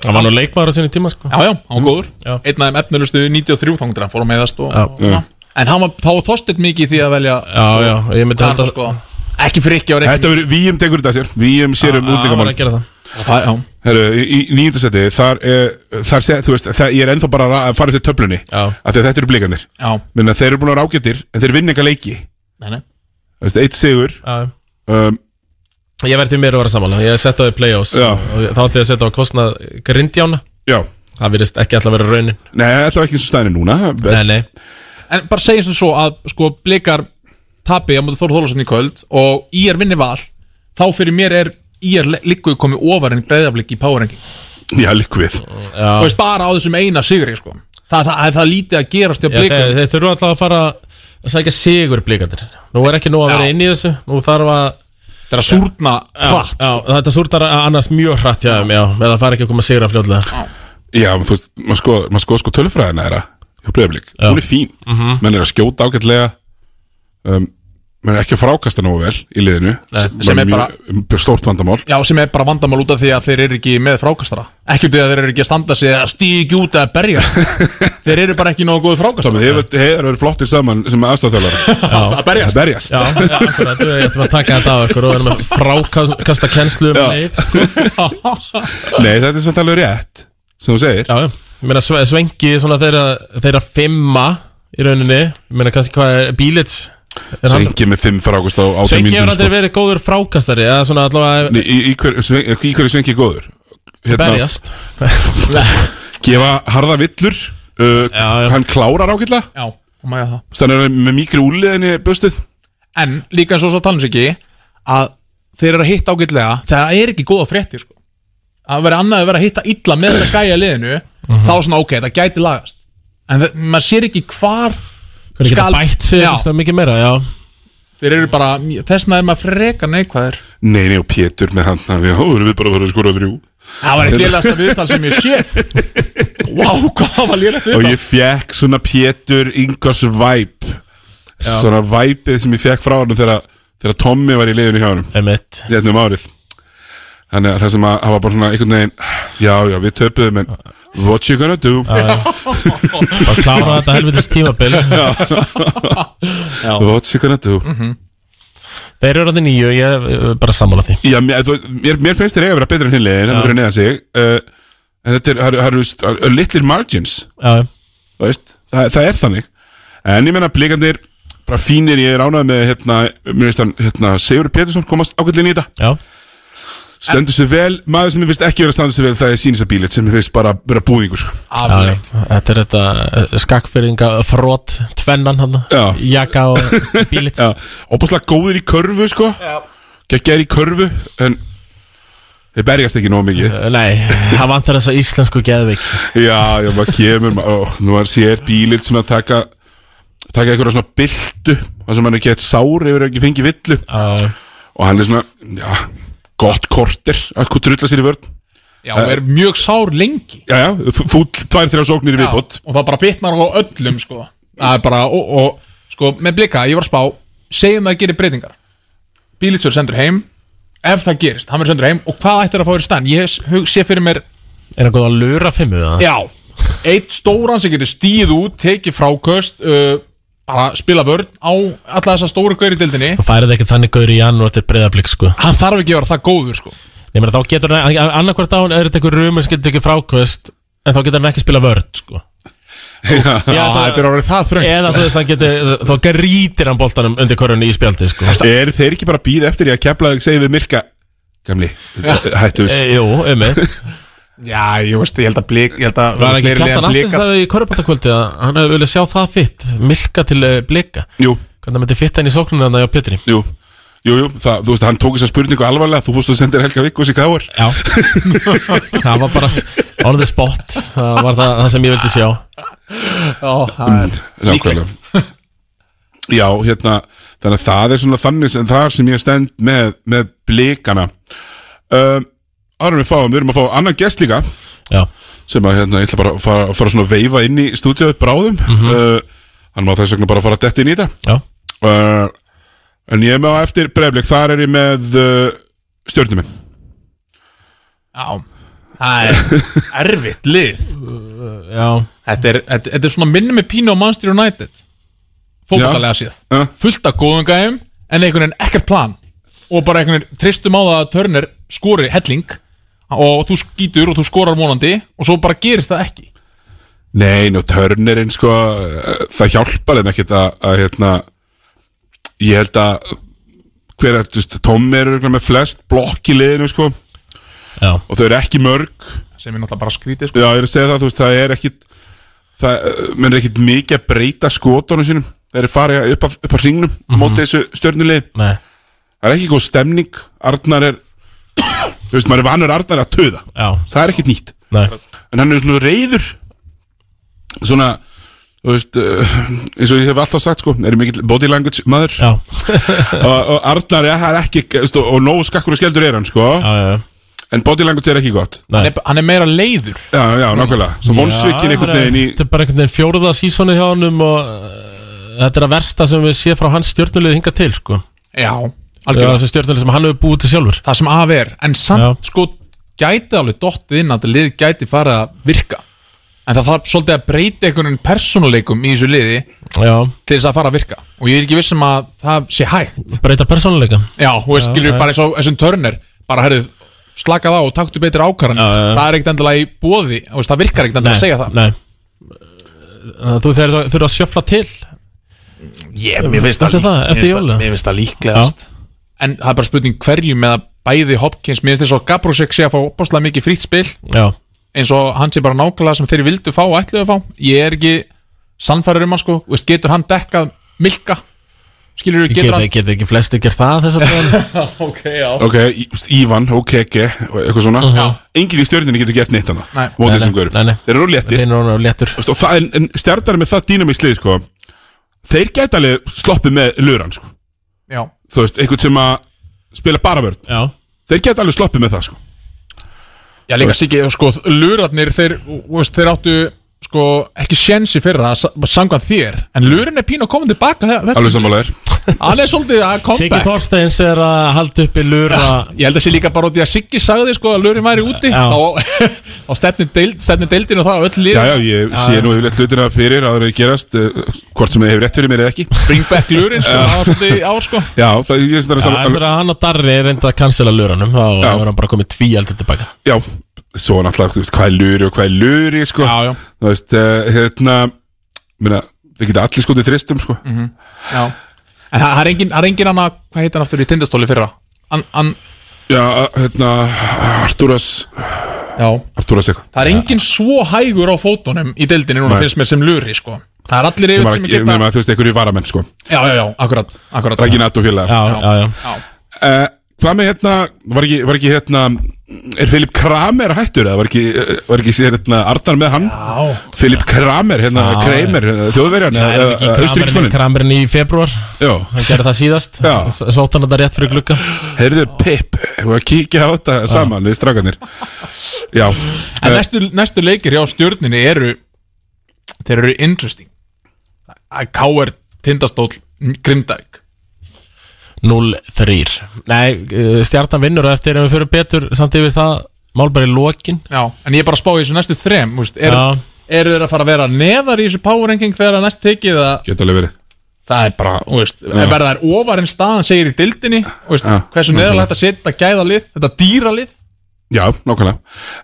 [SPEAKER 2] það var nú leikmaður á sinni tíma sko.
[SPEAKER 12] já, já, hann var góður
[SPEAKER 2] Já.
[SPEAKER 12] einn af þeim efnilustu 93 þangur hann fór að meðast og,
[SPEAKER 2] Já. Mm.
[SPEAKER 12] og svona. en hann var, þá var Þorsteinn mikið í því að velja
[SPEAKER 2] já, já, ég myndi
[SPEAKER 12] Hann,
[SPEAKER 2] halda
[SPEAKER 12] sko, ekki frikki á
[SPEAKER 1] Þetta
[SPEAKER 12] reikning
[SPEAKER 1] verður, Víum tekur þetta að sér Víum sér um
[SPEAKER 2] Það var að
[SPEAKER 1] útlíkamál
[SPEAKER 2] gera það
[SPEAKER 12] Það- já.
[SPEAKER 1] Herru, í nýjöndasetti, þar, er, þar sé, þú veist, það, ég er ennþá bara að ra- að fara til töflunni
[SPEAKER 2] Já.
[SPEAKER 1] Af því að þetta eru blikanir
[SPEAKER 12] Já.
[SPEAKER 1] Menna, þeir eru búin að vera ágættir, en þeir vinna eitthvað leiki
[SPEAKER 12] Nei, nei.
[SPEAKER 1] Þú veist, Eitt sigur
[SPEAKER 2] Já.
[SPEAKER 1] um,
[SPEAKER 2] Ég verði mér að vera sammála, ég setja á því play-offs
[SPEAKER 1] Já.
[SPEAKER 2] og þá ætlum ég að setja á kostnað grindjána
[SPEAKER 1] Já,
[SPEAKER 2] Það virðist ekki alltaf vera raunin
[SPEAKER 1] nei, þetta var ekki eins og stæðin er núna
[SPEAKER 2] Nei, nei,
[SPEAKER 12] En bara segjum sem svo að sko blikar tapi á móti Þór Þólasson í kvöld og í er vinni val þá fyrir mér er í er líku komið ofar en greiðablik í powerranking
[SPEAKER 1] Já, líku við
[SPEAKER 12] og veist bara á þessum eina sigri sko Það, það, það, það lítið að gerast hjá
[SPEAKER 2] Já,
[SPEAKER 12] blikum
[SPEAKER 2] þeir, þeir þurfa alltaf að fara að sækja sigur blikandir Nú er ekki nóg að vera
[SPEAKER 12] Já.
[SPEAKER 2] inn í þessu Nú þarf að
[SPEAKER 12] Það er að súrna hratt
[SPEAKER 2] já, Þetta súrtar að annars mjög hratt já, já, með það fara ekki að koma sigur að fljóðlega
[SPEAKER 1] Já, þú veist, maður sko, maður sko, sko
[SPEAKER 2] Mhm.
[SPEAKER 1] tölfræðina þeirra hjá Breiðablik, hún er fín menn er að skjóta ágætlega um, menn er ekki að frákasta nógu vel í liðinu
[SPEAKER 12] Nei, sem er bara-
[SPEAKER 1] mjög stórt vandamál
[SPEAKER 12] Já, sem er bara vandamál út af því að þeir eru ekki með frákastara Ekki út af því að þeir eru ekki að standa sig að stígi ekki út að berja Þeir eru bara ekki nógu góðu frákastara
[SPEAKER 1] Þeir eru flottir saman sem aðstofþjólar
[SPEAKER 12] Að berjast
[SPEAKER 1] Að berjast.
[SPEAKER 2] Já, já, akkurat, við ættum að taka þetta af okkur og erum að frákasta kennslu um leið sko.
[SPEAKER 1] Nei, þetta er samt alveg rétt sem þú segir
[SPEAKER 2] Já, já, ég meina sve- Svenki svona þeirra, þeirra fimma í rauninni, ég meina kannski hvað er Bílits er hann-
[SPEAKER 1] Svengi með fimm frákast á átjum
[SPEAKER 2] Svenki hefur
[SPEAKER 1] mínútum
[SPEAKER 2] aldrei
[SPEAKER 1] sko.
[SPEAKER 2] verið góður frákastari eða svona allavega
[SPEAKER 1] Nei, í, í, hver, Sven- í hverju Svengi er góður? Hérna-
[SPEAKER 2] berjast
[SPEAKER 1] Gefa harða villur uh, Hann klárar ákveðla
[SPEAKER 12] Já, og maður það
[SPEAKER 1] Þannig er með mikri úliðinni bustið
[SPEAKER 12] En líka eins og svo talum um sig ekki Að þeir eru að hitta ágætlega Það er ekki góða fréttir sko. Að vera annað að vera að hitta illa með þess að gæja liðinu Þá svona ok, það gæti lagast En það, maður sér ekki hvar
[SPEAKER 2] Hvernig geta
[SPEAKER 12] skal-
[SPEAKER 2] bætt sig
[SPEAKER 12] Já,
[SPEAKER 2] svona mikið meira, já
[SPEAKER 12] þeir eru bara Þessna er maður frekar neikvæðir
[SPEAKER 1] Nei, nei, og Pétur með hann Við höfum við bara að vera að skora þrjú
[SPEAKER 12] Það var eitt lélasta viðtal sem ég séð Vá, hvað það var lélast
[SPEAKER 1] Og
[SPEAKER 12] viðtal
[SPEAKER 1] ég fekk svona Pétur Ingars væp Svona væpið sem ég fekk frá hann Þegar, þegar Tommi var í liðinu hjá hann
[SPEAKER 2] Emitt
[SPEAKER 1] Þetta um árið Þannig að það sem að hafa bara svona einhvern veginn Já, já, við töpuðum en What you gonna do
[SPEAKER 2] og klára þetta helvitis tímabil
[SPEAKER 1] What you gonna do
[SPEAKER 2] Þeir eru orðin nýju, ég er eh, bara sammála því
[SPEAKER 1] Já, mér, þú, veist, mér, mér finnst þér eiga að vera betur en hinlegin Þannig fyrir neða sig uh, en Þetta er, það eru- það eru st- það eru litlir margins
[SPEAKER 2] Já,
[SPEAKER 1] þú veist, það, það er þannig En ég menna blikandir Bara fínir, ég er ánægð með hérna, Mér finnst hann, hérna, Sigur Pétursson komast ákveðlinn í þetta
[SPEAKER 2] já
[SPEAKER 1] Stendur sér vel, maður sem mér finnst ekki vera að standa sér vel Það er sínisa bílit sem mér finnst bara vera búðingur sko.
[SPEAKER 2] Já, Þetta er þetta eh, skakkfyrringa frót tvennan hann
[SPEAKER 1] Já.
[SPEAKER 2] Jaka og bílits
[SPEAKER 1] Já, opaslega góðir í körfu sko Gekkjar í körfu En þeir berjast ekki nóg mikið
[SPEAKER 2] Eh, Nei, það vantar þess að íslensku geðvik
[SPEAKER 1] Já, já, maður kemur ma- ó, Nú er sér bílið svona að taka Taka einhverja svona byltu Það sem hann er gett sár yfir að ekki fengi villu
[SPEAKER 2] Já,
[SPEAKER 1] Og hann er svona, já Gott korter að hvað trulla sér í vörn
[SPEAKER 12] Já, er mjög sár lengi
[SPEAKER 1] Já, já, f- fúll, tvær, þrjá sóknir í
[SPEAKER 12] Já,
[SPEAKER 1] viðbót
[SPEAKER 12] og það bara bitnar á öllum sko. það er bara og, og, sko, með blika, ég var að spá segjum það að gera breytingar bílitsverð sendur heim ef það gerist, hann verður sendur heim og hvað ættir að fá þér stann ég s- hug- sé fyrir mér,
[SPEAKER 2] er það góð að lura fimmu það?
[SPEAKER 12] já eitt stóran sem getur stíð út tekið fráköst uh, bara spila vörn á alla þessa stóru gaur í dildinni
[SPEAKER 2] Það færið ekki þannig gaur í janúar til breyðablík sko
[SPEAKER 12] hann þarf ekki að vera það góður sko.
[SPEAKER 2] Ég meina þá getur hann, annarkvært á hann er þetta einhver rumur sem getur ekki frákvöst En þá getur hann ekki spila vörd sko
[SPEAKER 1] Já,
[SPEAKER 2] Já, það-
[SPEAKER 12] það er orðið það þröngt
[SPEAKER 2] Eða
[SPEAKER 12] sko.
[SPEAKER 2] þú veist hann getur, þá grítir hann boltanum undir korunni í spjaldi sko
[SPEAKER 1] Er þeir ekki bara að býða eftir ég að kepla þau segið við Milka Gamli, hættu þess
[SPEAKER 2] E, jú, emi
[SPEAKER 12] já, ég veist, ég held að blik ég held að
[SPEAKER 2] Var ekki
[SPEAKER 12] fleiri lið en
[SPEAKER 2] Kjartan Atsins
[SPEAKER 12] Blikar-
[SPEAKER 2] að í korubáttakvöldi að hann hefði viljað sjá það fitt Milka til eh, blika
[SPEAKER 1] Jú,
[SPEAKER 2] Hvernig það myndi fitta hann í sóknuna þannig á Pétri
[SPEAKER 1] jú Jú, jú, það, þú veist, hann tók þess að spurningu alvarlega Þú fórst að senda þér Helga Vikkos í káar
[SPEAKER 2] Já Það var bara on the spot Það var það, það sem ég vildi sjá
[SPEAKER 1] Mm, Nákvæmlega Já, hérna, þannig að það er svona þannig sem það sem ég stend með, með blikana um, Árum við fáum, við erum að fá annan gest líka
[SPEAKER 2] Já,
[SPEAKER 1] sem að hérna, ég ætla bara að fara, fara svona að veifa inn í stúdíóið bráðum mm uh, hann má þess vegna bara að fara að detti inn í þetta
[SPEAKER 2] já,
[SPEAKER 1] uh, En ég er með á eftir breyflik, þar er ég með uh, stjórnum minn
[SPEAKER 12] Já, það er erfitt lið
[SPEAKER 2] já
[SPEAKER 12] Þetta er, þetta, þetta er svona minnum með pínu á Manchester United Fókvastalega séð
[SPEAKER 1] Já.
[SPEAKER 12] Fullt af góðum gæðum En einhvern veginn ekkert plan Og bara einhvern veginn tristum á það að Turner skori helling Og þú skýtur og þú skorar vonandi Og svo bara gerist það ekki
[SPEAKER 1] Nei, nú törnirinn sko eh, það hjálpar þeim ekkert að, að hérna, ég held að hver er, þú veist, Tommi er örugglega með flest blokk í liðinu sko og
[SPEAKER 2] Já,
[SPEAKER 1] þau eru ekki mörg
[SPEAKER 12] Sem er náttúrulega bara skrítið sko.
[SPEAKER 1] já, ég er að segja það, þú veist, það er ekkit það, eh, menn er ekkit mikið að breyta skotunum sínum, þeir eru farið upp að, upp að hringnum á
[SPEAKER 2] Mhm.
[SPEAKER 1] móti þessu stjörnulegi
[SPEAKER 2] nei,
[SPEAKER 1] það er ekki góð stemning, Arnar er þú veist, maður er vanur Arnar að töða
[SPEAKER 2] já,
[SPEAKER 1] það er ekkit nýtt
[SPEAKER 2] nei
[SPEAKER 1] en hann er svona reyður svona þú veist, uh, eins og ég hef alltaf sagt sko, er mikill body language maður
[SPEAKER 2] Já,
[SPEAKER 1] og, og Arnar ja, er ekki þú veist, og, og nógu skakkur og skeldur er hann sko
[SPEAKER 2] já, já, já.
[SPEAKER 1] en body language er ekki gott
[SPEAKER 2] Nei.
[SPEAKER 12] hann, er, hann er meira leiður
[SPEAKER 1] já, já, nákvæmlega, svo vonsvikir
[SPEAKER 2] Já,
[SPEAKER 1] einhvern
[SPEAKER 2] það er-
[SPEAKER 1] veginn í
[SPEAKER 2] Þetta er bara einhvern veginn fjóruða sísoni hjá honum og eh, þetta er að versta sem við sé frá hans stjórnulegð hinga til sko
[SPEAKER 12] Já,
[SPEAKER 2] algjörlega
[SPEAKER 12] algjörlega.
[SPEAKER 2] þessi stjórnulegð sem hann hefur búið til sjálfur
[SPEAKER 12] það sem af er en samt sko gæti alveg dottið inn að þetta lið gæti farið að virka en það þarf svolítið að breyta einhvern veginn persónuleikum í þessu liði
[SPEAKER 2] Já.
[SPEAKER 12] til þess að fara að virka og ég er ekki vissum að það sé hægt
[SPEAKER 2] breyta persónuleika
[SPEAKER 12] já,
[SPEAKER 2] Mm.
[SPEAKER 12] og
[SPEAKER 2] Já,
[SPEAKER 12] ég skilur
[SPEAKER 2] já.
[SPEAKER 12] bara eins og þessum törnir bara herrið slakað á og taktu betur ákvarðan það er ekkert endilega í bóði veist, það virkar ekkert endilega að segja það
[SPEAKER 2] nei. Þannig að Þú þurfir þurfir að sjöfla til
[SPEAKER 12] ég, mér finnst
[SPEAKER 2] Þessi
[SPEAKER 12] það,
[SPEAKER 2] það, eftir jóla.
[SPEAKER 12] mér finnst það líklegast en það er bara spurning hverjum með að bæði Hopkins, mér finnst þess að Gabrosek sé að fá opaslega mikið frýtt spil
[SPEAKER 2] Já.
[SPEAKER 12] eins og hann sé bara nákvæmlega sem þeir vildu fá og ætluðu að fá, ég er ekki sannfærir um hann sko, veist, getur hann dekkað milka, skilur þú,
[SPEAKER 2] Ég
[SPEAKER 12] getur
[SPEAKER 2] Geta,
[SPEAKER 12] hann
[SPEAKER 2] geta ekki flestu gert það þess að
[SPEAKER 12] ok, já
[SPEAKER 1] Ok, Í- Ívan, OKG og eitthvað svona Engin í stjörninni getur gett neitt hana
[SPEAKER 12] Nei.
[SPEAKER 1] Mótið
[SPEAKER 2] Mhm. Nei,
[SPEAKER 1] þessum
[SPEAKER 2] nei,
[SPEAKER 1] gaurum
[SPEAKER 2] nei, nei.
[SPEAKER 1] Þeir eru léttir
[SPEAKER 2] Þeir eru léttir
[SPEAKER 1] Og það, en, en stjarnar með það dýna mig slið sko Þeir gæti alveg sloppið með löran sko
[SPEAKER 12] Já.
[SPEAKER 1] Þú veist, einhvern sem að spila bara vörn
[SPEAKER 2] Já.
[SPEAKER 1] Þeir gæti alveg sloppið með það sko
[SPEAKER 12] Já, líka Siggi, sko, lurarnir, þeir, þú veist, þeir áttu, sko, ekki sjensi fyrra, sa- samkvæmt þér, en lurinn er pín að koma tilbaka, þe- þetta
[SPEAKER 1] Alveg sammála er
[SPEAKER 12] hann er svolítið að
[SPEAKER 2] Siggi
[SPEAKER 12] comeback.
[SPEAKER 2] Þorsteins er að halda upp í lura
[SPEAKER 12] Ég held að sé líka bara út í að Siggi sagði, sko, að lurinn væri úti,
[SPEAKER 2] Já.
[SPEAKER 12] þá, þá stefni, deild, stefni deildin og það á öll lið,
[SPEAKER 1] Já, já, ég sé nú yfirleitt hlutina fyrir áður að þau gerast uh, Hvort sem þau hefur rétt fyrir mér eða ekki
[SPEAKER 12] bring back lurinn, sko, það var svolítið á, sko.
[SPEAKER 1] Já, það, ég er
[SPEAKER 2] Já,
[SPEAKER 1] þetta
[SPEAKER 2] eftir að hann og Darri reynda að cancela luranum þá
[SPEAKER 1] Já.
[SPEAKER 2] er hann bara komið tví eldur tilbaka
[SPEAKER 1] Já, svo náttúrulega, þú veist, hvað er luri og hvað er luri, sko
[SPEAKER 12] Já, já.
[SPEAKER 1] Þú veist, uh, hérna, minna, þeir geta allir skotið þristum, sko
[SPEAKER 12] Já. En það það er engin, það er engin annað, hvað heit hann aftur í tindastóli fyrra? An, an,
[SPEAKER 1] Já, hérna, Artúras,
[SPEAKER 12] já.
[SPEAKER 1] Artúras eitthvað
[SPEAKER 12] Það er engin svo hægur á fótunum í deildinni núna,
[SPEAKER 1] Nei.
[SPEAKER 12] finnst mér, sem luri, sko. Það er allir
[SPEAKER 1] Ég
[SPEAKER 12] yfir
[SPEAKER 1] var
[SPEAKER 12] sem
[SPEAKER 1] ekki, ég meina, þú veist, einhverju varamenn, sko
[SPEAKER 12] Já, já, já, akkurat, akkurat.
[SPEAKER 1] Rækinat og félagar
[SPEAKER 2] Já, já, já
[SPEAKER 12] Já.
[SPEAKER 1] uh, Hvað með, hérna, var ekki, var ekki, hérna Er Filip Kramer hættur, eða var ekki, eh, var ekki sér, hérna, Arnar með hann?
[SPEAKER 12] Já.
[SPEAKER 1] Filip Kramer, hérna,
[SPEAKER 2] Já,
[SPEAKER 1] Kramer, þjóðverjan, austuríksmannin
[SPEAKER 2] Kramurinn í februar
[SPEAKER 1] Já,
[SPEAKER 2] Hann gerði það síðast
[SPEAKER 1] Já.
[SPEAKER 2] S- Sótt hann þetta rétt fyrir glugga
[SPEAKER 1] heyrðu Pip, við að kíkja á þetta saman við strákanir Já, eh,
[SPEAKER 12] En næstu, næstu leikir hjá stjórninni eru Þeir eru interesting Það er K.R. Tindastóll Grimdæk
[SPEAKER 2] 0-3 Nei, uh, stjartan vinnur á eftir En við fyrir betur samt yfir það Mál bara í lokin
[SPEAKER 12] Já, en ég er bara að spá í þessu næstu þrem úst, er,
[SPEAKER 2] Já.
[SPEAKER 12] Eru þeir að fara að vera neðar í þessu power ranking þegar að næst tekið eða
[SPEAKER 1] geta alveg verið
[SPEAKER 12] Það er bara, þú veist,
[SPEAKER 1] Já.
[SPEAKER 12] verða þær ofar en staðan segir í dildinni úst,
[SPEAKER 1] Já.
[SPEAKER 12] Hversu neðarlega þetta setja gæða lið, þetta dýra lið
[SPEAKER 1] Já, nákvæmlega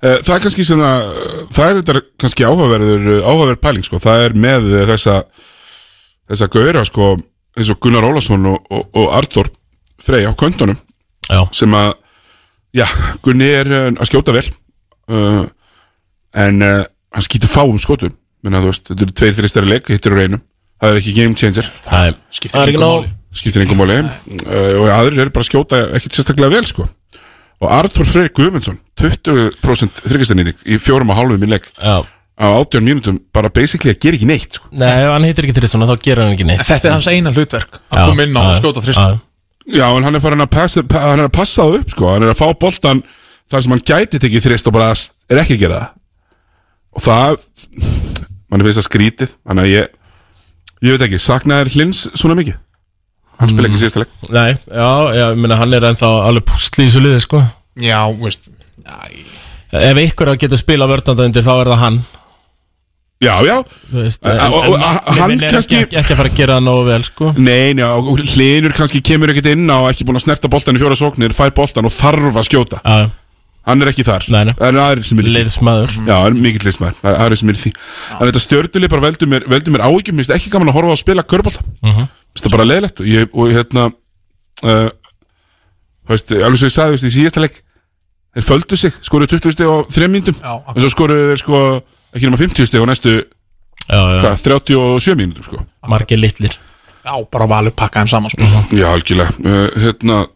[SPEAKER 1] Eh, Það er kannski svona, það er þetta kannski áhugaverður, áhugaverð pæling sko. það er með þessa þessa gauðra sko, eins og Gunnar Ólafsson og, og, og Arthur Frey á köndunum
[SPEAKER 2] Já,
[SPEAKER 1] sem að, já, Gunni er eh, að skjóta vel uh, en uh, hann skýtur fáum skotum, menna þú veist, þetta eru tveir þristari leik, hittir úr einum, það er ekki game changer
[SPEAKER 2] það er Það er ekki nóg
[SPEAKER 1] skiptir engum máli uh, og aðrir eru bara að skjóta ekkert sérstaklega vel sko. og Arthur Freyr Guðmundsson 20% þryggastarnýting í fjórum og hálfum í leik
[SPEAKER 2] Já
[SPEAKER 1] á 18 mínútum bara basically að gera ekki neitt sko.
[SPEAKER 2] Nei, ef hann hittir ekki þrjustan þá gerur hann ekki neitt
[SPEAKER 12] Þetta er hans eina hlutverk að koma inn á og skjóta þrista
[SPEAKER 1] já en hann er farin að passa, pa- hann er að passa það upp sko. hann er að fá boltan þar sem hann gæti tekið þrist og bara st- er ekki að gera það og það mann finnst það skrítið þannig að ég, ég veit ekki, saknaði hlins svona mikið hann spila ekki síðasta leik
[SPEAKER 2] Nei, já, já, ég meina hann er ennþá alveg pústl í þessu liði, sko
[SPEAKER 12] Já, þú veist já,
[SPEAKER 2] Ef einhver á að geta spila vörnandöndir þá er það hann
[SPEAKER 1] já, já,
[SPEAKER 2] Þú veist,
[SPEAKER 1] A- a- og- a- hann
[SPEAKER 2] minn er
[SPEAKER 1] kannski-
[SPEAKER 2] ekki, ekki að fara að gera það nógu vel, sko
[SPEAKER 1] Nei, njá, hlinur kannski kemur ekkert inn á ekki búin að snerta boltan í fjóra sóknir fær boltan og þarf að skjóta
[SPEAKER 2] Já,
[SPEAKER 1] hann er ekki þar,
[SPEAKER 2] Nei, nei.
[SPEAKER 1] það er aðrir sem er í því
[SPEAKER 2] liðsmaður
[SPEAKER 1] Já, það er mikill leysmaður, það er aðrir sem er í því Þannig að þetta stjörnuleg bara veldur mér, veldur mér áhyggjum Mér finnst ekki gaman að horfa á að spila körbolta Mér
[SPEAKER 2] Mhm.
[SPEAKER 1] finnst það bara leiðlegt og, ég, og hérna uh, þú veist, alveg svo ég sagði þú veist, í síðasta leik þeir földu sig, skoru 20 steg á 3 mínútum
[SPEAKER 12] Já, akkurat.
[SPEAKER 1] en svo skoru þeir sko ekki nema 50 steg á næstu
[SPEAKER 2] Já, já,
[SPEAKER 1] hva, 37 mínútum sko.
[SPEAKER 2] margir litlir
[SPEAKER 12] bara valur pakka þeim saman sko.
[SPEAKER 1] Já, algjörlega uh, hérna,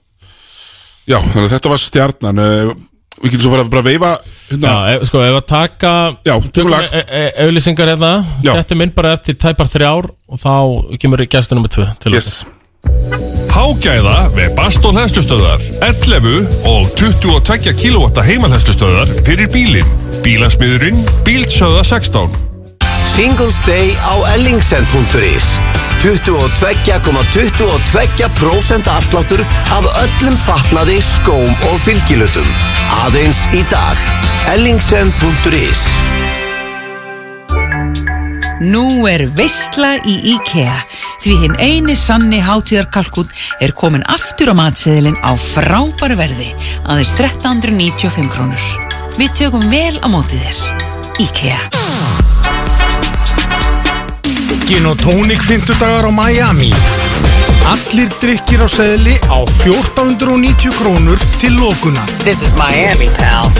[SPEAKER 1] Já, þannig að þetta var stjarnan uh, Við getum svo farið að bara veifa hérna,
[SPEAKER 2] Já, ef, sko, ef að taka
[SPEAKER 1] Já, tökum lag.
[SPEAKER 2] e- e- Auglýsingar hérna
[SPEAKER 1] Já.
[SPEAKER 2] Þetta er minn bara eftir tæpar þrjár Og þá kemur gæstu nummer tvö til
[SPEAKER 1] Yes,
[SPEAKER 3] Hágæða með Bastón hestustöðar 11 og 22 kW heimalhestustöðar fyrir bílinn Bílasmiðurinn, bílsöða 16
[SPEAKER 10] Singles Day á Ellingsen.is 22,22% afsláttur af öllum fatnaði, skóm og fylgilutum. Aðeins í dag. Ellingsen.is
[SPEAKER 13] Nú er veistla í IKEA því hinn eini sanni hátíðarkalkun er komin aftur á matseðilinn á frábæru verði aðeins 1395 krónur. Við tökum vel á móti þér. IKEA
[SPEAKER 4] Gin og tónik 50 dagar á Miami Allir drikkir á seðli á 1490 krónur til lókunar
[SPEAKER 14] This is Miami, pal.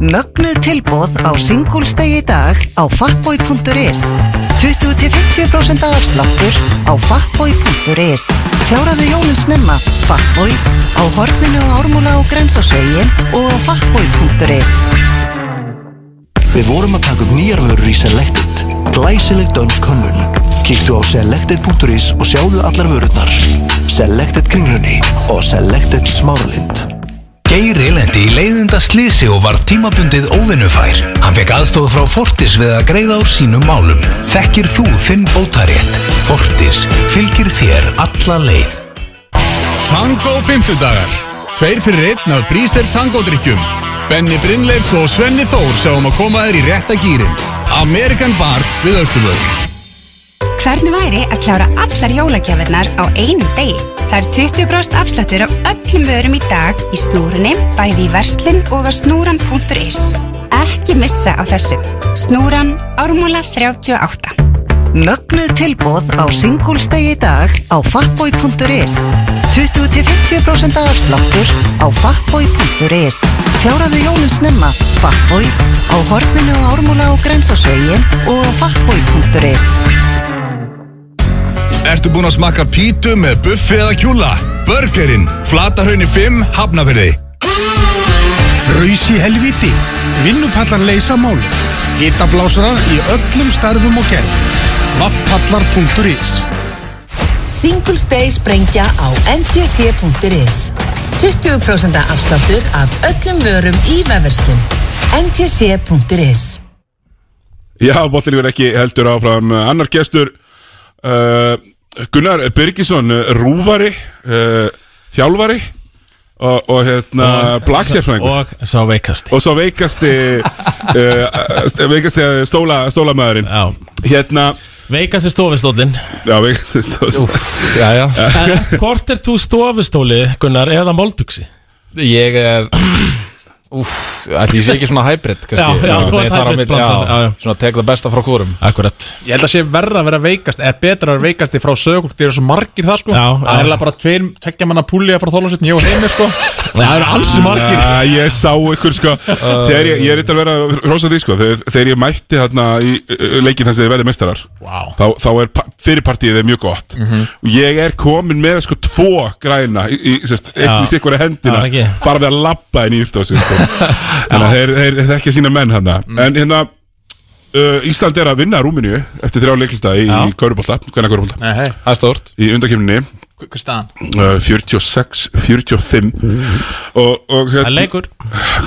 [SPEAKER 5] Mögnuð tilbóð á Singulsteg í dag á fatboy.is 20-50% afsláttur á fatboy.is Kláraðu jólinn snemma Fatboy á horninu á Ármúla og Grensásvegin og á fatboy.is
[SPEAKER 10] Við vorum að taka upp nýjar vörur í Selected. Glæsileg dönsk hönnun. Kíktu á selected.is og sjáðu allar vörurnar. Selected kringlunni og Selected smáralind.
[SPEAKER 15] Geiri lendi í leiðinda slísi og var tímabundið óvinnufær. Hann fekk aðstóð frá Fortis við að greiða úr sínum málum. Þekkir þú þinn bótarétt. Fortis fylgir þér alla leið.
[SPEAKER 16] Tango 50 dagar Tveir fyrir einn af Bríser tangodrykkjum Benni Brynleifs og Svenni Þór sjáum að koma þér í rétta gýrin Amerikan Bar við Östuböld
[SPEAKER 8] Hvernig væri að klára allar jólagjafinnar á einum degi? Það er 20% afsláttur af öllum vörum í dag í snúrunni, bæði í verslun og á snúran.is. Ekki missa á þessu. Snúran, ármúla 38.
[SPEAKER 5] Mögnuð tilbóð á Singulsteg í dag á fatboy.is 20-50% afsláttur á fatboy.is Kláraðu jólinn snemma Fatboy á horninu á Ármúla og Grensásvegin og á fatboy.is
[SPEAKER 17] Ertu búinn að smakka pítu með buffi eða kjúla? Burgerinn, Flatarhaunni 5, Hafnafyrði.
[SPEAKER 4] Fraus í helviti. Vinnupallar leysa málið. Hitablásara í öllum starfum og gerðum. Vaffpallar.is
[SPEAKER 18] Singles Day sprengja á ntc.is 20% afsláttur af öllum vörum í vefverslum ntc.is
[SPEAKER 1] Já, bollir verður ekki heldur áfram uh, annar gestur uh, Gunnar Birgisson uh, rúvari, uh, þjálfari og, og hérna blagsérfræðingur
[SPEAKER 2] Og sá veikasti
[SPEAKER 1] og svo veikasti uh, veikasti stóla, stólamæðurinn já. hérna
[SPEAKER 2] Veikasti stofustólinn
[SPEAKER 1] já, veikasti stóla
[SPEAKER 12] já, já.
[SPEAKER 2] En hvort er þú stofustóli, Gunnar, eða molduksi?
[SPEAKER 12] Ég er Úf, ætli ég sé ekki svona hybrid kannski.
[SPEAKER 2] Já, já, þú
[SPEAKER 12] Nei,
[SPEAKER 2] ert
[SPEAKER 12] þar á
[SPEAKER 2] hybrid
[SPEAKER 12] milli,
[SPEAKER 2] blandar,
[SPEAKER 12] já, Svona tek það besta frá kórum
[SPEAKER 2] Akkurat
[SPEAKER 12] Ég held að sé verra að vera veikast eða betra að vera veikasti frá sögur þeir eru svo margir það sko Það er eiginlega bara tveir tekja manna púlja frá þólasutn ég og heimir sko Það eru ansi margir
[SPEAKER 1] Já, ég sá ykkur sko Þegar ég, ég er eitthvað að vera að rosa því sko Þegar, þegar ég mætti hérna í uh, leikinn þess að þið verði meistarar wow. þá, þá er pa- fyrirpartíið er mjög gott
[SPEAKER 12] Mhm.
[SPEAKER 1] og ég er komin með sko tvo græna í, í, sérst, einn í
[SPEAKER 12] Já.
[SPEAKER 1] sikkur hendina
[SPEAKER 12] Já, ekki.
[SPEAKER 1] bara við að labba inn í yftósi sko. en þeir, þeir, þeir ekki sína menn hérna
[SPEAKER 12] Mm.
[SPEAKER 1] en hérna Uh, Ísland er að vinna Rúminíu eftir þrjá leiklita í, í Kaurubólta, hvernig Kaurubólta
[SPEAKER 12] Nei, hei, það er stórt
[SPEAKER 1] í undarkjöfninni
[SPEAKER 12] Hvað er staðan?
[SPEAKER 1] Uh, 46, 45
[SPEAKER 12] Mm.
[SPEAKER 1] og, og hérna
[SPEAKER 2] Það er leikur.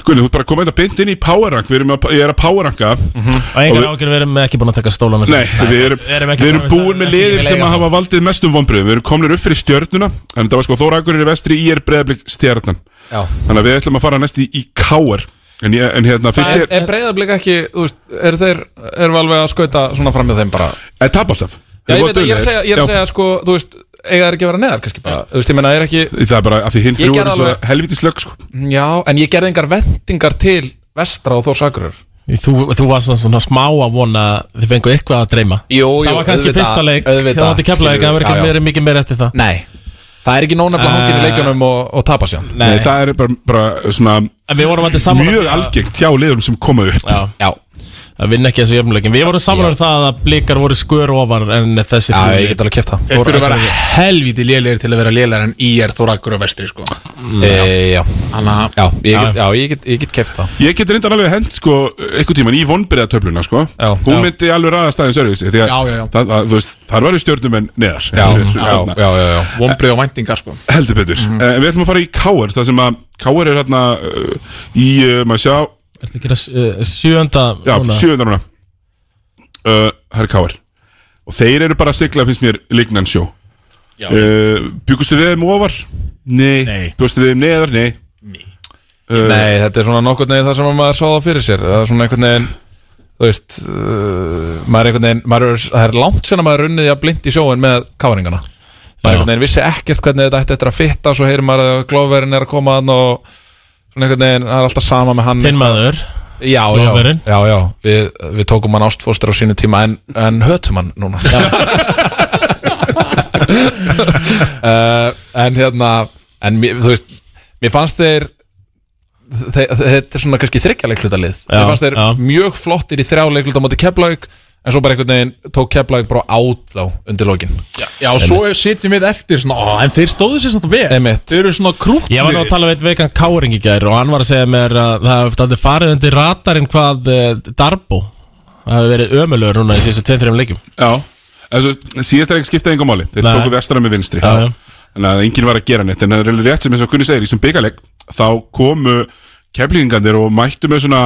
[SPEAKER 1] Gunni, þú ert bara að koma þetta beint inn í powerrank Við erum að, ég er að powerranka
[SPEAKER 12] Mhm.
[SPEAKER 2] Og engar ágjör við erum ekki búin að taka stóla
[SPEAKER 1] Nei, við erum, við erum búin með liðin sem að hafa valdið mestum vonbröðum Við erum komnir upp fyrir stjörnuna En þetta var sko Þórakurinn í vestri, ég er breðablík stjörnan
[SPEAKER 12] Já.
[SPEAKER 1] Þannig að við ætlum að fara næst í, í káar en, ég- en hérna, fyrst
[SPEAKER 12] Er,
[SPEAKER 1] er,
[SPEAKER 12] er breyðablík ekki, þú veist, er þeir erum við alveg að skauta svona fram með þeim bara
[SPEAKER 1] er tap alltaf
[SPEAKER 12] Já, ég
[SPEAKER 1] Þeir voru
[SPEAKER 12] veit að ég er að
[SPEAKER 1] duglegir.
[SPEAKER 12] segja, ég er að
[SPEAKER 1] Já.
[SPEAKER 12] segja sko, þú veist, eiga þeir ekki að vera neðar kannski bara, þú veist, ég menna, er ekki
[SPEAKER 1] Það er bara að því hinn
[SPEAKER 12] Ég
[SPEAKER 1] þrjú
[SPEAKER 12] gerði
[SPEAKER 1] er svo
[SPEAKER 12] alveg-
[SPEAKER 1] helviti slögg sko.
[SPEAKER 12] Já, en ég gerði engar vendingar til vestra og þó sagrur
[SPEAKER 2] Þú, þú varst svona, svona smá að vona að Þið fengu eitthvað að dreyma
[SPEAKER 12] Jú, jú,
[SPEAKER 2] Það var kannski
[SPEAKER 12] auðvitað,
[SPEAKER 2] fyrsta leik
[SPEAKER 12] auðvitað,
[SPEAKER 2] Það var til keflaði Það var
[SPEAKER 12] skilur
[SPEAKER 2] ekki
[SPEAKER 12] við, já, já.
[SPEAKER 2] meira- mikið meira eftir það
[SPEAKER 12] Nei Það er ekki nónafla hangin í
[SPEAKER 2] Eh,
[SPEAKER 12] leikjunum og, og tapa sér
[SPEAKER 1] Nei. það er bara, bara svona
[SPEAKER 2] En við vorum allir sammála
[SPEAKER 1] Mjög
[SPEAKER 2] um það.
[SPEAKER 1] algengt hjá liðum sem koma upp
[SPEAKER 2] Já,
[SPEAKER 12] já.
[SPEAKER 2] Að vinna ekki þessu jöfnuleikin Við vorum samanlega það að blikar voru skör ofar En þessi
[SPEAKER 12] Já, ég get alveg kæft það Þeir fyrir að vera helviti lélegir til að vera lélegir en í er Þórakur og Vestri sko e, Já, Anna, já, ég get, já, ég get, ég get kæft það
[SPEAKER 1] Ég get reyndan alveg hend sko einhvern tíman í vonbyrðatöfluna sko já, Hún
[SPEAKER 12] já.
[SPEAKER 1] myndi alveg ræðast aðeins öruvísi Því að
[SPEAKER 12] Já, já, já.
[SPEAKER 1] Það, að, þú veist, þar varu stjórnum en neðar
[SPEAKER 12] Já, já, já, já, já. Vombrið og væntingar sko
[SPEAKER 1] Heldur betur mm Við ætlum að fara í Káar Það sem að Káar er hérna uh, í, uh, maður sjá
[SPEAKER 2] Ertu að gera uh, sjöönda
[SPEAKER 1] Já, sjöðundar núna uh, Eh, Það er Káar og þeir eru bara að sigla finnst mér lignan sjó
[SPEAKER 19] Já.
[SPEAKER 1] uh, byggustu við þeim ofar? Nei, Nei. byggustu við þeim neðar? Nei Eh,
[SPEAKER 12] Nei, þetta er svona nokkurn veginn það sem að maður sá það fyrir sér Það er svona einhvern veginn Þú veist, uh, maður er einhvern veginn maður er, Það er langt sen að maður er runnið að blind í sjóin með káringana Maður einhvern veginn vissi ekkert hvernig þetta ætti eftir að fitta Svo heyrir maður að glóðverðin er að koma hann Og svona einhvern veginn, það er alltaf sama með hann
[SPEAKER 2] Þinn maður,
[SPEAKER 12] Já, já,
[SPEAKER 2] Glóðverinn.
[SPEAKER 12] já, já, við, við tókum hann ástfóstur á sínu tíma en, en hötum hann núna uh, En hérna, en mér, þú veist, mér fannst þeir þe- þe- þetta er svona kannski þryggjarleikluta lið
[SPEAKER 2] Já,
[SPEAKER 12] mér fannst þeir mjög flottir í þrjá leikluta á móti Keflavík en svo bara einhvern veginn tók Keflavík bara át þá undir lokin Já,
[SPEAKER 19] Já, og svo sitjum við eftir svona, ó, en þeir stóðu sér svona vel
[SPEAKER 12] Einmitt.
[SPEAKER 19] Þeir eru svona krútlir
[SPEAKER 2] Ég var nú að tala við einn veikan káring í gær og hann var að segja mér að það hefði aldrei farið undir ratarinn hvað eh, Darbo það hefði verið ömulegur núna í síðustu 2-3 leikjum
[SPEAKER 1] Já, þessu, síðasta reik skiptaði engum máli Þeir
[SPEAKER 2] Nei.
[SPEAKER 1] tóku vestra með vinstri
[SPEAKER 2] Já, já.
[SPEAKER 1] Þannig að enginn var að gera neitt En það er rétt sem eins og Gunni segir, í sem byggaleg Þá komu keflingandir og mættu með svona,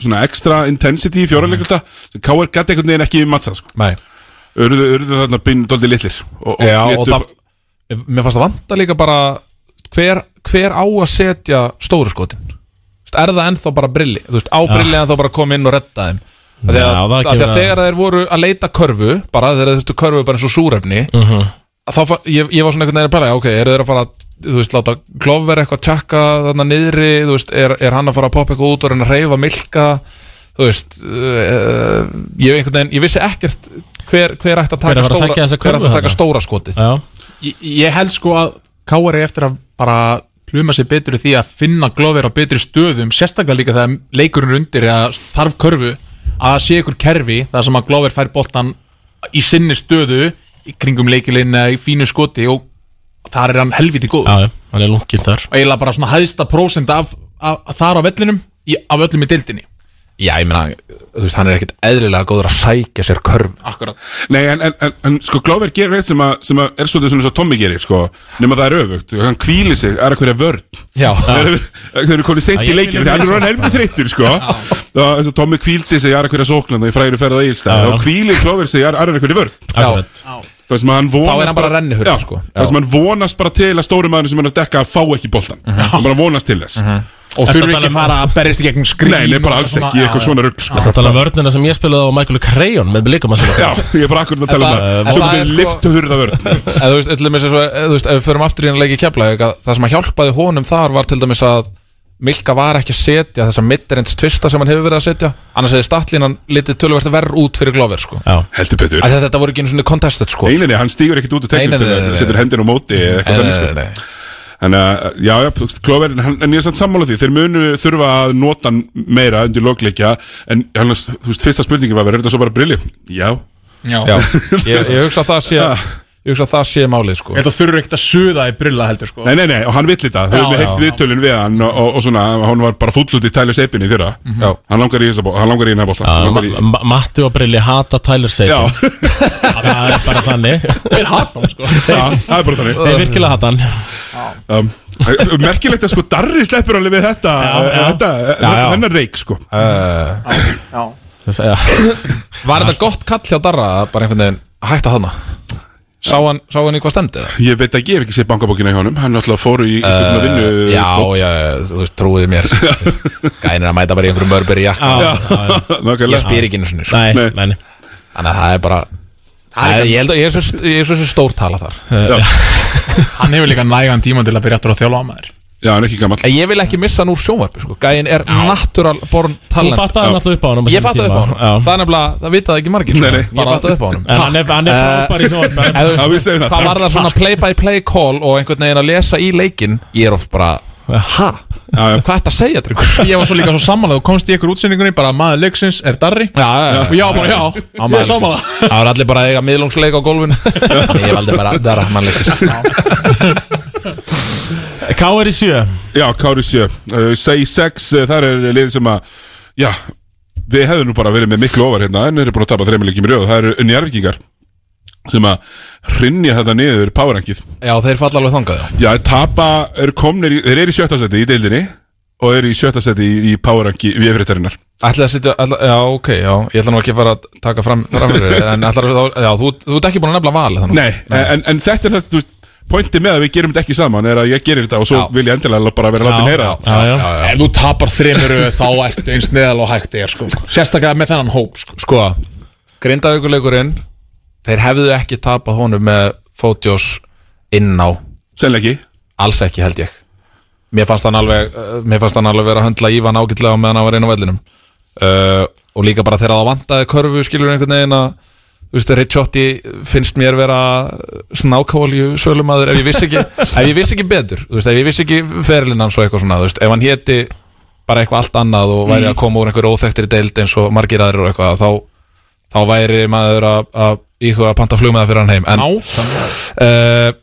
[SPEAKER 1] svona extra intensity í fjóraleglita sem K.R. gæti einhvern veginn ekki matsað sko.
[SPEAKER 12] Nei
[SPEAKER 1] Urðu, urðu þarna binn dóldi litlir og, og,
[SPEAKER 12] og, Já, og
[SPEAKER 1] létu-
[SPEAKER 12] það, mér- mér fannst það vanda líka bara hver, hver á að setja stóru skotin Þú veist, er það ennþá bara brilli Þú veist, á
[SPEAKER 2] Já.
[SPEAKER 12] brilli ennþá bara að koma inn og redda þeim Af því að,
[SPEAKER 2] Ah. Já, það
[SPEAKER 12] af því
[SPEAKER 2] kemur
[SPEAKER 12] að
[SPEAKER 2] að-
[SPEAKER 12] þegar þeir voru að leita körfu bara þegar þeir þurftu körfu bara eins og súrefni
[SPEAKER 2] Mhm.
[SPEAKER 12] að þá, fa- ég, ég var svona einhvern veginn að pæla ok, eru þeir að fara að, þú veist, láta klofver eitthvað tjekka þarna niðri, þú veist, er, er hann að fara að poppa eitthvað út og reyna að reyfa milka þú veist, uh, ég, einhvern veginn, ég vissi ekkert hver, hver ætti að
[SPEAKER 2] Hver er að fara að
[SPEAKER 12] taka stóra,
[SPEAKER 2] sækja þessa
[SPEAKER 12] hver ætti
[SPEAKER 2] körfu
[SPEAKER 12] að taka
[SPEAKER 2] þarna?
[SPEAKER 12] stóra skotið
[SPEAKER 2] Já.
[SPEAKER 19] Ég, ég held sko að K.R. er eftir að bara pluma sig betur í því að finna glóðir á betri stöðum sérstaklega líka þegar leikurinn er undir eða þarf körfu að sé ykkur kerfi þar sem að glóðir fær boltan í sinni stöðu í kringum leikilinn eða í fínu skoti og þar er hann helviti góð
[SPEAKER 2] Já, já, hann er lungið þar
[SPEAKER 19] og eiginlega bara svona hæðsta prósent af, af, af þar á vellinum í, af öllum í dildinni
[SPEAKER 12] Já, ég meina, þú veist, hann er ekkert eðlilega góður að sækja sér körf
[SPEAKER 19] Akkurat
[SPEAKER 1] Nei, en, en, en, en sko Glover gerir eitt sem, að, sem að er svolítið svona eins og Tommy gerir sko, nema það er öfugt, hann kvíli sig er eitthvað vörn
[SPEAKER 12] Já.
[SPEAKER 1] Þeir þeir eru konið
[SPEAKER 12] Já,
[SPEAKER 1] seint
[SPEAKER 12] ég
[SPEAKER 1] í leikin
[SPEAKER 12] vil
[SPEAKER 1] þegar hann er
[SPEAKER 12] lesa
[SPEAKER 1] hann helfið þreyttur sko þá eins og Tommy kvíldi sig er eitthvað sóknan í fræðinu ferð á
[SPEAKER 12] Já,
[SPEAKER 1] Egilstæð
[SPEAKER 12] já.
[SPEAKER 1] þá kvíli Glover sig er eitthvað vörn
[SPEAKER 12] Akkurat.
[SPEAKER 1] Það sem að hann vonast
[SPEAKER 12] Þá er hann bara rennihurð,
[SPEAKER 1] Já,
[SPEAKER 12] sko. Já. Mhm.
[SPEAKER 1] Það sem hann vonast bara til að stóri maður sem hann er að dekka fá ekki boltan Hann bara vonast til þess
[SPEAKER 19] Og Ertu þurfi að tala ekki um- fara að berjast í gegnum skrín
[SPEAKER 1] Nei, nei, bara
[SPEAKER 19] og
[SPEAKER 1] alls
[SPEAKER 19] svona-
[SPEAKER 1] ekki,
[SPEAKER 19] Já,
[SPEAKER 1] eitthvað
[SPEAKER 19] já.
[SPEAKER 1] svona rugg sko.
[SPEAKER 2] Það tala um vörnina sem ég spilaði á Michael Crayon með líka maður
[SPEAKER 1] Já, ég er bara akkurat að tala um það Svo getur sko... liftuhurða vörn
[SPEAKER 12] eða þú veist, til dæmis eins og, eða, þú veist, ef við förum aftur í hann leiki kefla það sem að hjálpaði honum þar var til dæmis að Milka var ekki að setja þessa midderins tvista sem hann hefur verið að setja annars hefði statlínan litið töluvert verð út fyrir glófir sko.
[SPEAKER 1] heldur betur
[SPEAKER 12] að þetta voru ekki einu svona contested sko.
[SPEAKER 1] Nei, nei, nei, hann stígur ekkert út úr
[SPEAKER 12] Nei,
[SPEAKER 1] teknum
[SPEAKER 12] nei,
[SPEAKER 1] til
[SPEAKER 12] nei, nei,
[SPEAKER 1] að
[SPEAKER 12] nei.
[SPEAKER 1] setur hendin á móti eða
[SPEAKER 12] Nei,
[SPEAKER 1] eitthvað
[SPEAKER 12] nei,
[SPEAKER 1] þannig
[SPEAKER 12] nei, nei.
[SPEAKER 1] sko. Þannig að, já, já, þú veist, Klover, hann- en ég er satt sammála því, þeir munu þurfa að nota hann meira undir lokleikja, en hann, þú veist, fyrsta spurningin var, verður þetta svo bara brilli? Já.
[SPEAKER 12] Já. ég, ég hugsa að það sé ég hugsa að það sé málið sko.
[SPEAKER 19] Þetta þurfur ekkert að suða í brilla heldur sko
[SPEAKER 1] Nei, nei, nei, og hann vill þetta, þau
[SPEAKER 19] Já,
[SPEAKER 1] hefum
[SPEAKER 19] já,
[SPEAKER 1] heilt
[SPEAKER 19] já.
[SPEAKER 1] viðtölin við hann og, og, og svona, hann var bara fúll út í Tyler Seipin í fyrra,
[SPEAKER 12] Já.
[SPEAKER 1] hann langar í þessa bó- hann langar í hennar bóta, hann langar í...
[SPEAKER 2] Ma- Matti og Brilli hata Tyler Sagan
[SPEAKER 1] Já.
[SPEAKER 2] Það er bara þannig
[SPEAKER 19] Þeir hata hann sko
[SPEAKER 1] Já, það er bara þannig
[SPEAKER 2] Þeir virkilega hata hann
[SPEAKER 1] um, Merkilegt að sko Darri sleppur alveg við þetta, þetta
[SPEAKER 2] Já, já.
[SPEAKER 1] hennar reik sko
[SPEAKER 19] Já
[SPEAKER 12] Eh, Var þetta gott kall hjá Darra að bara einhvern veginn hætta þarna Sá hann, sá hann í hvað stemdi það?
[SPEAKER 1] Ég veit ekki, ég hef ekki séð bankabókina hjá honum Hann náttúrulega fór í einhvern svona vinnu
[SPEAKER 12] Uh, já, já, já, þú veist, trúið mér Gænir að mæta bara í einhverju mörberi jakka
[SPEAKER 1] Já, já, já. Nákvæmlega.
[SPEAKER 12] Ég spyr ekki einu sinni sko.
[SPEAKER 2] Nei, Nei.
[SPEAKER 12] nei Þannig að það er bara Það er, ég held að ég er svo, ég er svo sem stór tala þar
[SPEAKER 19] Hann hefur líka nægan tíma til að byrja aftur að þjálfa á maður
[SPEAKER 1] Já, hann er ekki gammal
[SPEAKER 12] Ég vil ekki missa hann úr sjónvarpi, sko Gæin er natural born talent
[SPEAKER 2] Þú fattaði hann alltaf upp á honum á
[SPEAKER 12] Ég
[SPEAKER 2] sínum
[SPEAKER 12] fattaði upp á
[SPEAKER 2] tíma.
[SPEAKER 12] honum
[SPEAKER 2] Já.
[SPEAKER 12] Það er nefnilega, það vitaði ekki margir sko.
[SPEAKER 2] Nei, nei.
[SPEAKER 12] Ég fattaði upp á honum
[SPEAKER 2] En hann er- hann er frábær í sjónvarpi.
[SPEAKER 12] Eða þú veist,
[SPEAKER 2] Já, við segjum það.
[SPEAKER 12] Hvað var það svona play-by-play call og einhvern veginn að lesa í leikin Ég er of bara, ha? Hvað ætti að segja, drengur?
[SPEAKER 19] Ég var svo líka svo sammála Þú komst í ykkur útsendingunni Bara maður leiksins er darri
[SPEAKER 12] Já, já,
[SPEAKER 19] Og já, bara já Ég er sammála
[SPEAKER 12] Það var allir bara að eiga miðlungsleik á gólfinu Ég valdi bara, það er að mann leysist
[SPEAKER 2] K.R. í sjö
[SPEAKER 1] Já, Kári sjö uh, Say 6, uh, þar er lið sem að Já, við hefðum nú bara verið með miklu ofar hérna En eru búin að tapa þreima leikjum í röð Það eru unnjarvíkingar Sem að hrinja þetta niður powerrankið
[SPEAKER 12] Já, þeir falla alveg þangað já.
[SPEAKER 1] Já, þeir tapa, er komnir, í- þeir eru í sjötta seti í deildinni Og eru í sjötta seti í, í powerranki Við fyrirtarinnar
[SPEAKER 12] Ætlaði að setja, ætla, já ok, já, ég ætla nú ekki að fara að taka fram, fram fyrir þér, En ætlaði að, já, þú, þú ert ekki búin að nefna val þannig.
[SPEAKER 1] Nei, en, en þetta er það, þú veist Pointi með að við gerum þetta ekki saman er að ég gerir þetta og svo vil ég endilega bara vera látin heyra það.
[SPEAKER 10] Ef þú tapar þreymur þá ertu eins neðal og hægt er sko. Sérstaklega með þennan hóp sko.
[SPEAKER 12] Sko, grindaugurleikurinn Þeir hefðu ekki tapað honum með Fótjós inn á
[SPEAKER 1] Sennilega ekki
[SPEAKER 12] Alls ekki held ég Mér fannst hann alveg, eh, mér fannst hann alveg vera að höndla Ívan ágætlega á meðan hann var inn á vellinum uh, Og líka bara þegar það vantaði körfu skilur einhvern veginn að Þú veist, Richotti finnst mér vera snákáolju sölumadur ef ég vissi ekki, ef ég vissi ekki betur þú veist, ef ég vissi ekki ferilinn hans og eitthvað svona þú veist, ef hann héti bara eitthvað allt annað og væri
[SPEAKER 10] Mm.
[SPEAKER 12] að koma úr einhver óþekktri deild eins og margir aðrir og eitthvað þá, þá væri maður að, að íhuga að panta flugmiða fyrir hann heim en uh,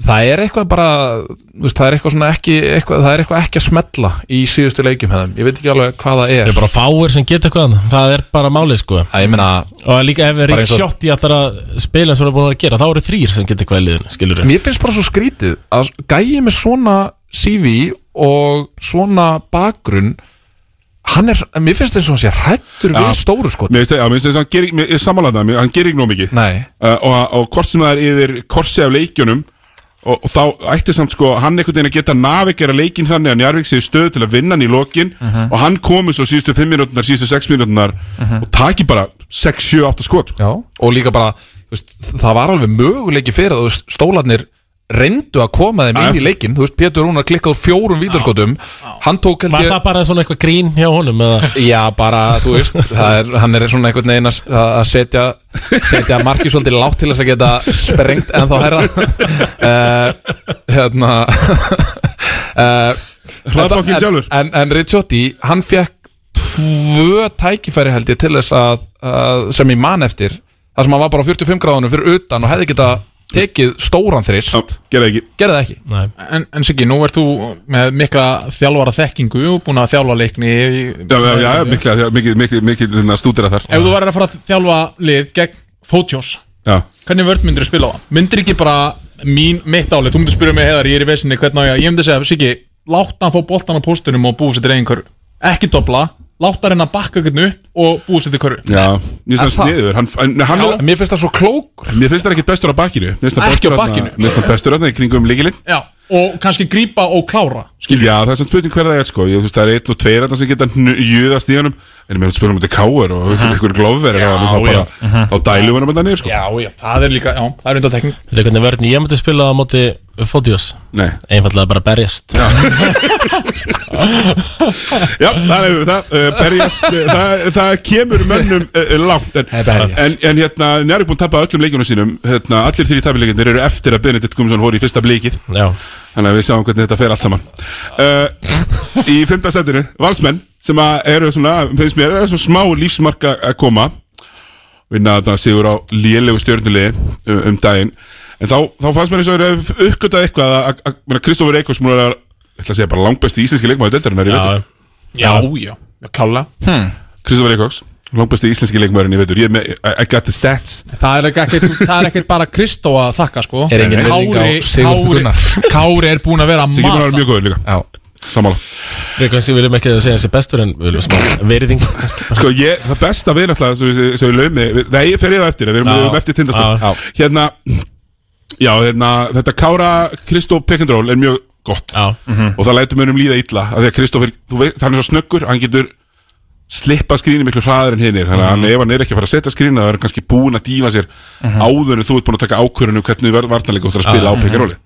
[SPEAKER 12] það er eitthvað bara þú veist, það er eitthvað svona ekki eitthvað, það er eitthvað ekki að smella í síðustu leikjum hefðum, ég veit ekki alveg hvað það
[SPEAKER 2] Það
[SPEAKER 12] er
[SPEAKER 2] er bara fáir sem geta eitthvað annað. Það er bara málið sko
[SPEAKER 12] Æ, meina,
[SPEAKER 2] Og líka ef
[SPEAKER 12] Bara
[SPEAKER 2] Rick
[SPEAKER 12] eins og-
[SPEAKER 2] Schotti ætlar að spila eins og hann er búin að vera að gera Þá eru þrýr sem geta eitthvað í liðinu, skilur
[SPEAKER 12] Mér finnst bara svo skrítið að gæi með svona CV og svona bakgrunn hann er, mér finnst eins og hann sé hrættur við stóru sko
[SPEAKER 1] Mér finnst það- já, mér finnst þess að hann gerir, mér- ég sammála það, mér- hann gerir ekki nóg mikið uh, og, og hvort sem það er yfir korsi af leikjunum og, og þá ætti samt sko hann einhvern veginn að geta navigera leikin þannig að Njarvík sé í stöðu til að vinna hann í lokin
[SPEAKER 12] Mhm.
[SPEAKER 1] og hann komi svo síðustu 5 minúturnar, síðustu 6 minúturnar
[SPEAKER 12] Mhm.
[SPEAKER 1] og taki bara 6, 7, 8 skot sko.
[SPEAKER 12] Já, og líka bara þú veist, það var alveg möguleiki fyrir að þú veist, stólarnir reyndu að koma þeim inn í leikin þú veist, Pétur Rúnar klikkað úr fjórum vítaskotum hann tók held
[SPEAKER 2] Var
[SPEAKER 12] ég
[SPEAKER 2] það bara svona eitthvað grín hjá honum eða?
[SPEAKER 12] Já, bara, þú veist, það er, hann er svona einhvern veginn að- að setja, setja markið svolítið látt til þess að geta sprengt en þá herra uh, hérna uh,
[SPEAKER 1] Hlaðbankinn sjálfur.
[SPEAKER 12] en, en Ricciotti, hann fekk tvö tækifæri held ég til þess að, að sem ég man eftir það sem hann var bara á 45 gráðunum fyrir utan og hefði geta tekið stóran þrist
[SPEAKER 1] gerði ekki,
[SPEAKER 12] gerði ekki.
[SPEAKER 10] En, en Siggi, nú ert þú með mikla þjálfara þekkingu og búin að þjálfa leikni
[SPEAKER 1] Já, já, já, mikla, já, mikið, mikið, mikið, mikið stúdira þar
[SPEAKER 10] Ef þú værir að fara að þjálfa lið gegn Fótjós
[SPEAKER 1] Já.
[SPEAKER 10] Hvernig vörð myndir þú spila á það? Myndir ekki bara mín, mitt álið, þú myndir spyrja mig heiðar, ég er í vesinni, hvernig á ég að- Ég myndi segja, Siggi, láta hann fá boltan á póstunum og búið sér til einhverju Ekki dobla, láta hann að bakka hvernig upp og búið sér til hverju
[SPEAKER 1] Já, mér finnst það
[SPEAKER 10] En það-
[SPEAKER 1] sniður hann, hann, hann,
[SPEAKER 10] Já,
[SPEAKER 12] Mér finnst það svo klókur
[SPEAKER 1] Mér finnst það ekki bestur á bakinu Mér finnst það
[SPEAKER 10] Ekki
[SPEAKER 1] bestur
[SPEAKER 10] á
[SPEAKER 1] þarna-
[SPEAKER 10] bakinu.
[SPEAKER 1] Mér finnst það bestur þarna í kringum líkilinn
[SPEAKER 10] Já, og kannski grípa og klára
[SPEAKER 1] Já, það er samt spurning hver það er sko Ég, þú veist, Það er einn og tveir þarna sem geta júðast í honum En mér spilum um þetta káur og einhver, einhver glofver
[SPEAKER 10] Uh-huh. Já,
[SPEAKER 1] Þá
[SPEAKER 10] já. Uh-huh.
[SPEAKER 1] bara, þá dælum við hann með það niður sko
[SPEAKER 10] Já, já, það er líka, já, það er undan tekning
[SPEAKER 2] Þetta er hvernig verðin ég myndi spila á móti Fótiós
[SPEAKER 1] Nei
[SPEAKER 2] Einfallega bara berjast
[SPEAKER 1] Já, það er það, uh, berjast, uh, það, það kemur mönnum uh, langt en, en, en hérna, Njárvík búin að tapa öllum leikjunum sínum hérna, Allir þrjir tapileikindir eru eftir að Benedikt Gumsson voru í fyrsta blíkið
[SPEAKER 2] Já.
[SPEAKER 1] Þannig að við sjáum hvernig þetta fer allt saman uh, Í fymta setinu, valsmenn sem að eru svona, finnst mér, eru svona smá lífsmarka að koma vinna þetta sigur á lélegu stjörnulegi um, um daginn en þá, þá fannst mér eins og þeir uppgötað eitthvað að- að- að meina, Kristófur Eikos múl er að ég ætla að segja bara langbesti íslenski leikmaður deildarinnar í vetur
[SPEAKER 10] Já, já, klála hmm.
[SPEAKER 1] Kristófur Eikos, langbesti íslenski leikmaðurinn í vetur ég er með, I, I got the stats
[SPEAKER 10] Það er ekkert, það er ekkert bara Kristó að þakka sko
[SPEAKER 1] Er engin virðing á
[SPEAKER 10] Kári-
[SPEAKER 1] Sigurð
[SPEAKER 10] Kári-
[SPEAKER 1] Gunnar.
[SPEAKER 10] Kári er búin að vera að
[SPEAKER 1] Siggi Gunnar er
[SPEAKER 10] mata.
[SPEAKER 1] mjög góður líka
[SPEAKER 12] Já.
[SPEAKER 1] Sammála
[SPEAKER 2] Við kannski viljum ekki að segja þessi bestur En við viljum smá veriðing
[SPEAKER 1] Sko ég, það besta við náttúrulega sem við, sem við laumi, við- nei ég fer ég það eftir, við erum,
[SPEAKER 2] Já.
[SPEAKER 1] við erum eftir tindastöld
[SPEAKER 2] Já.
[SPEAKER 1] Hérna, já hérna, þetta Kára Kristó Pekendról er mjög gott já. Og það lætur mönum líða illa, af því að Kristó, hann er svo snöggur, hann getur slippa skrýni miklu hraðar en hinnir Þannig að hann- ef hann er ekki að fara að setja skrýna, það er hann kannski búin að dífa sér áður en þú ert búin að taka ákvörunum hvernig verð vartanleika þú ætlar að spila á
[SPEAKER 10] Já.
[SPEAKER 1] Pekendróli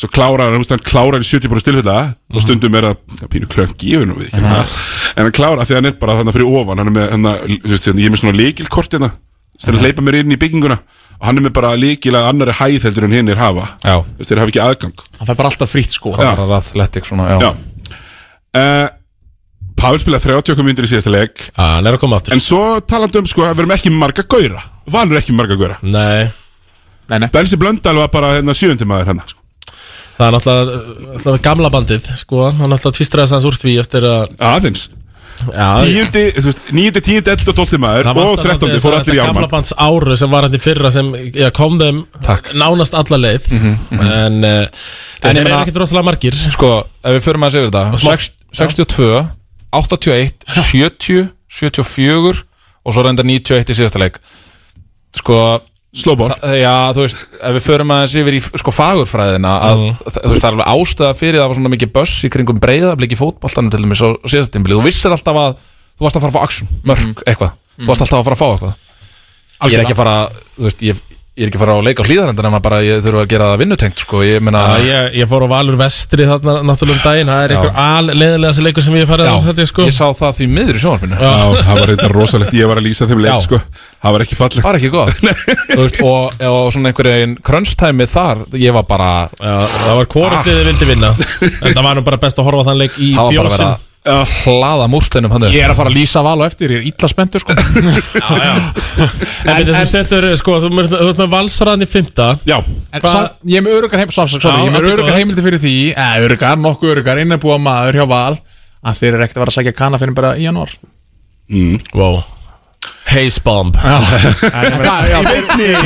[SPEAKER 1] Svo klárar hann, þú veist, hann klárar í 70% tilfella og stundum er það það pínu klöngi yfir nú við ekki það. En hann klárar því að hann er bara þannig fyrir ofan, hann er með, hann, þú veist, ég er með svona líkilkort hérna, þannig að leipa mér inn í bygginguna og hann er með bara líkil að annari hæð heldur en hinn er hafa.
[SPEAKER 12] Já.
[SPEAKER 1] Þú veist, þeir hafa ekki aðgang.
[SPEAKER 10] Hann fær bara alltaf frýtt sko
[SPEAKER 1] Já.
[SPEAKER 12] Conor Athletic svona, já,
[SPEAKER 1] Já. Uh, Pavel spilaði 30 okkur myndir í síðasta leik.
[SPEAKER 2] Já, hann er að koma aftur.
[SPEAKER 1] En svo talandi um, sko, að við erum ekki með marga gauðra. Valur er ekki með marga gauðra.
[SPEAKER 2] Nei.
[SPEAKER 10] Nei, nei.
[SPEAKER 1] Bensi Blöndal var bara hérna sjöundi maður hérna, sko.
[SPEAKER 2] Það er náttúrulega, náttúrulega gamla bandið sko. Hann náttúrulega tvistraði hans úr því eftir að
[SPEAKER 1] Aðeins Tíundi, þú veist, níundi, tíundi, eldi og tólti maður og
[SPEAKER 2] Það vantar
[SPEAKER 1] þrettóndi
[SPEAKER 2] náttúrulega
[SPEAKER 1] fór
[SPEAKER 2] þessa-
[SPEAKER 1] allir í
[SPEAKER 2] þetta
[SPEAKER 1] ármann.
[SPEAKER 2] Gamla bands áru sem var hann í fyrra sem já, kom þeim Takk. nánast alla leið En, uh, en
[SPEAKER 12] En ég
[SPEAKER 2] þeir eru
[SPEAKER 12] meina-
[SPEAKER 2] ekkert rosalega margir
[SPEAKER 12] Sko, ef við förum að segja þetta
[SPEAKER 2] smá-
[SPEAKER 12] 62 81, 70, 74 og svo reyndar 91 í síðasta leik sko
[SPEAKER 1] Slóbor
[SPEAKER 12] Já, þú veist, ef við förum aðeins yfir í sko fagurfræðina að,
[SPEAKER 1] Mm.
[SPEAKER 12] þa- þú veist, það er alveg ástæða fyrir það var svona mikið böss í kringum breyðabliki fótboltanum til dæmis og síðasta tímbili, þú vissir alltaf að þú varst að fara að fá aksjum, mörg, eitthvað
[SPEAKER 20] Mm.
[SPEAKER 12] þú varst alltaf að fara að fá eitthvað Ég er ekki að fara, þú veist, ég, ég er ekki að fara að leika á hlýðarendar nema bara ég þurfa að gera það vinnutengt, sko, ég meina
[SPEAKER 2] Já, ég, ég fór á Valur Vestri þarna náttúrulega um daginn Það er
[SPEAKER 12] Já.
[SPEAKER 2] einhver alleðilegast leikur sem ég hef farið á þetta sko
[SPEAKER 12] Ég sá það því miður í sjónvarpinu
[SPEAKER 1] Já, það var reynda rosalegt, ég var að lýsa þeim leik
[SPEAKER 12] Já.
[SPEAKER 1] sko. Það var ekki fallegt
[SPEAKER 12] var ekki gott Þú veist, og, og svona einhverjum krönstæmi þar ég var bara
[SPEAKER 2] já, það var Hvort þið vildi vinna En það var nú bara best að horfa á þann leik í
[SPEAKER 12] Það var bara
[SPEAKER 2] fjósin
[SPEAKER 12] verið að hlaða múrsteinum hann
[SPEAKER 20] Ég er að fara að lýsa val og eftir, ég er illa spenntur sko
[SPEAKER 2] En þú setur, sko, þú ert með- þú ert með valsaraðan í fymta
[SPEAKER 1] Já
[SPEAKER 20] En samt, ég er með örugar heim, sorry, sorry, ég
[SPEAKER 2] Já,
[SPEAKER 20] er með
[SPEAKER 2] allt í
[SPEAKER 20] örugar
[SPEAKER 2] góðu.
[SPEAKER 20] heimildi fyrir því eða örugar, nokkuð örugar, innabúa maður hjá val að þeir eru ekkert að vera að sækja kanna fyrir bara í janúar
[SPEAKER 1] mm.
[SPEAKER 2] Wow Hazebomb
[SPEAKER 1] Eh,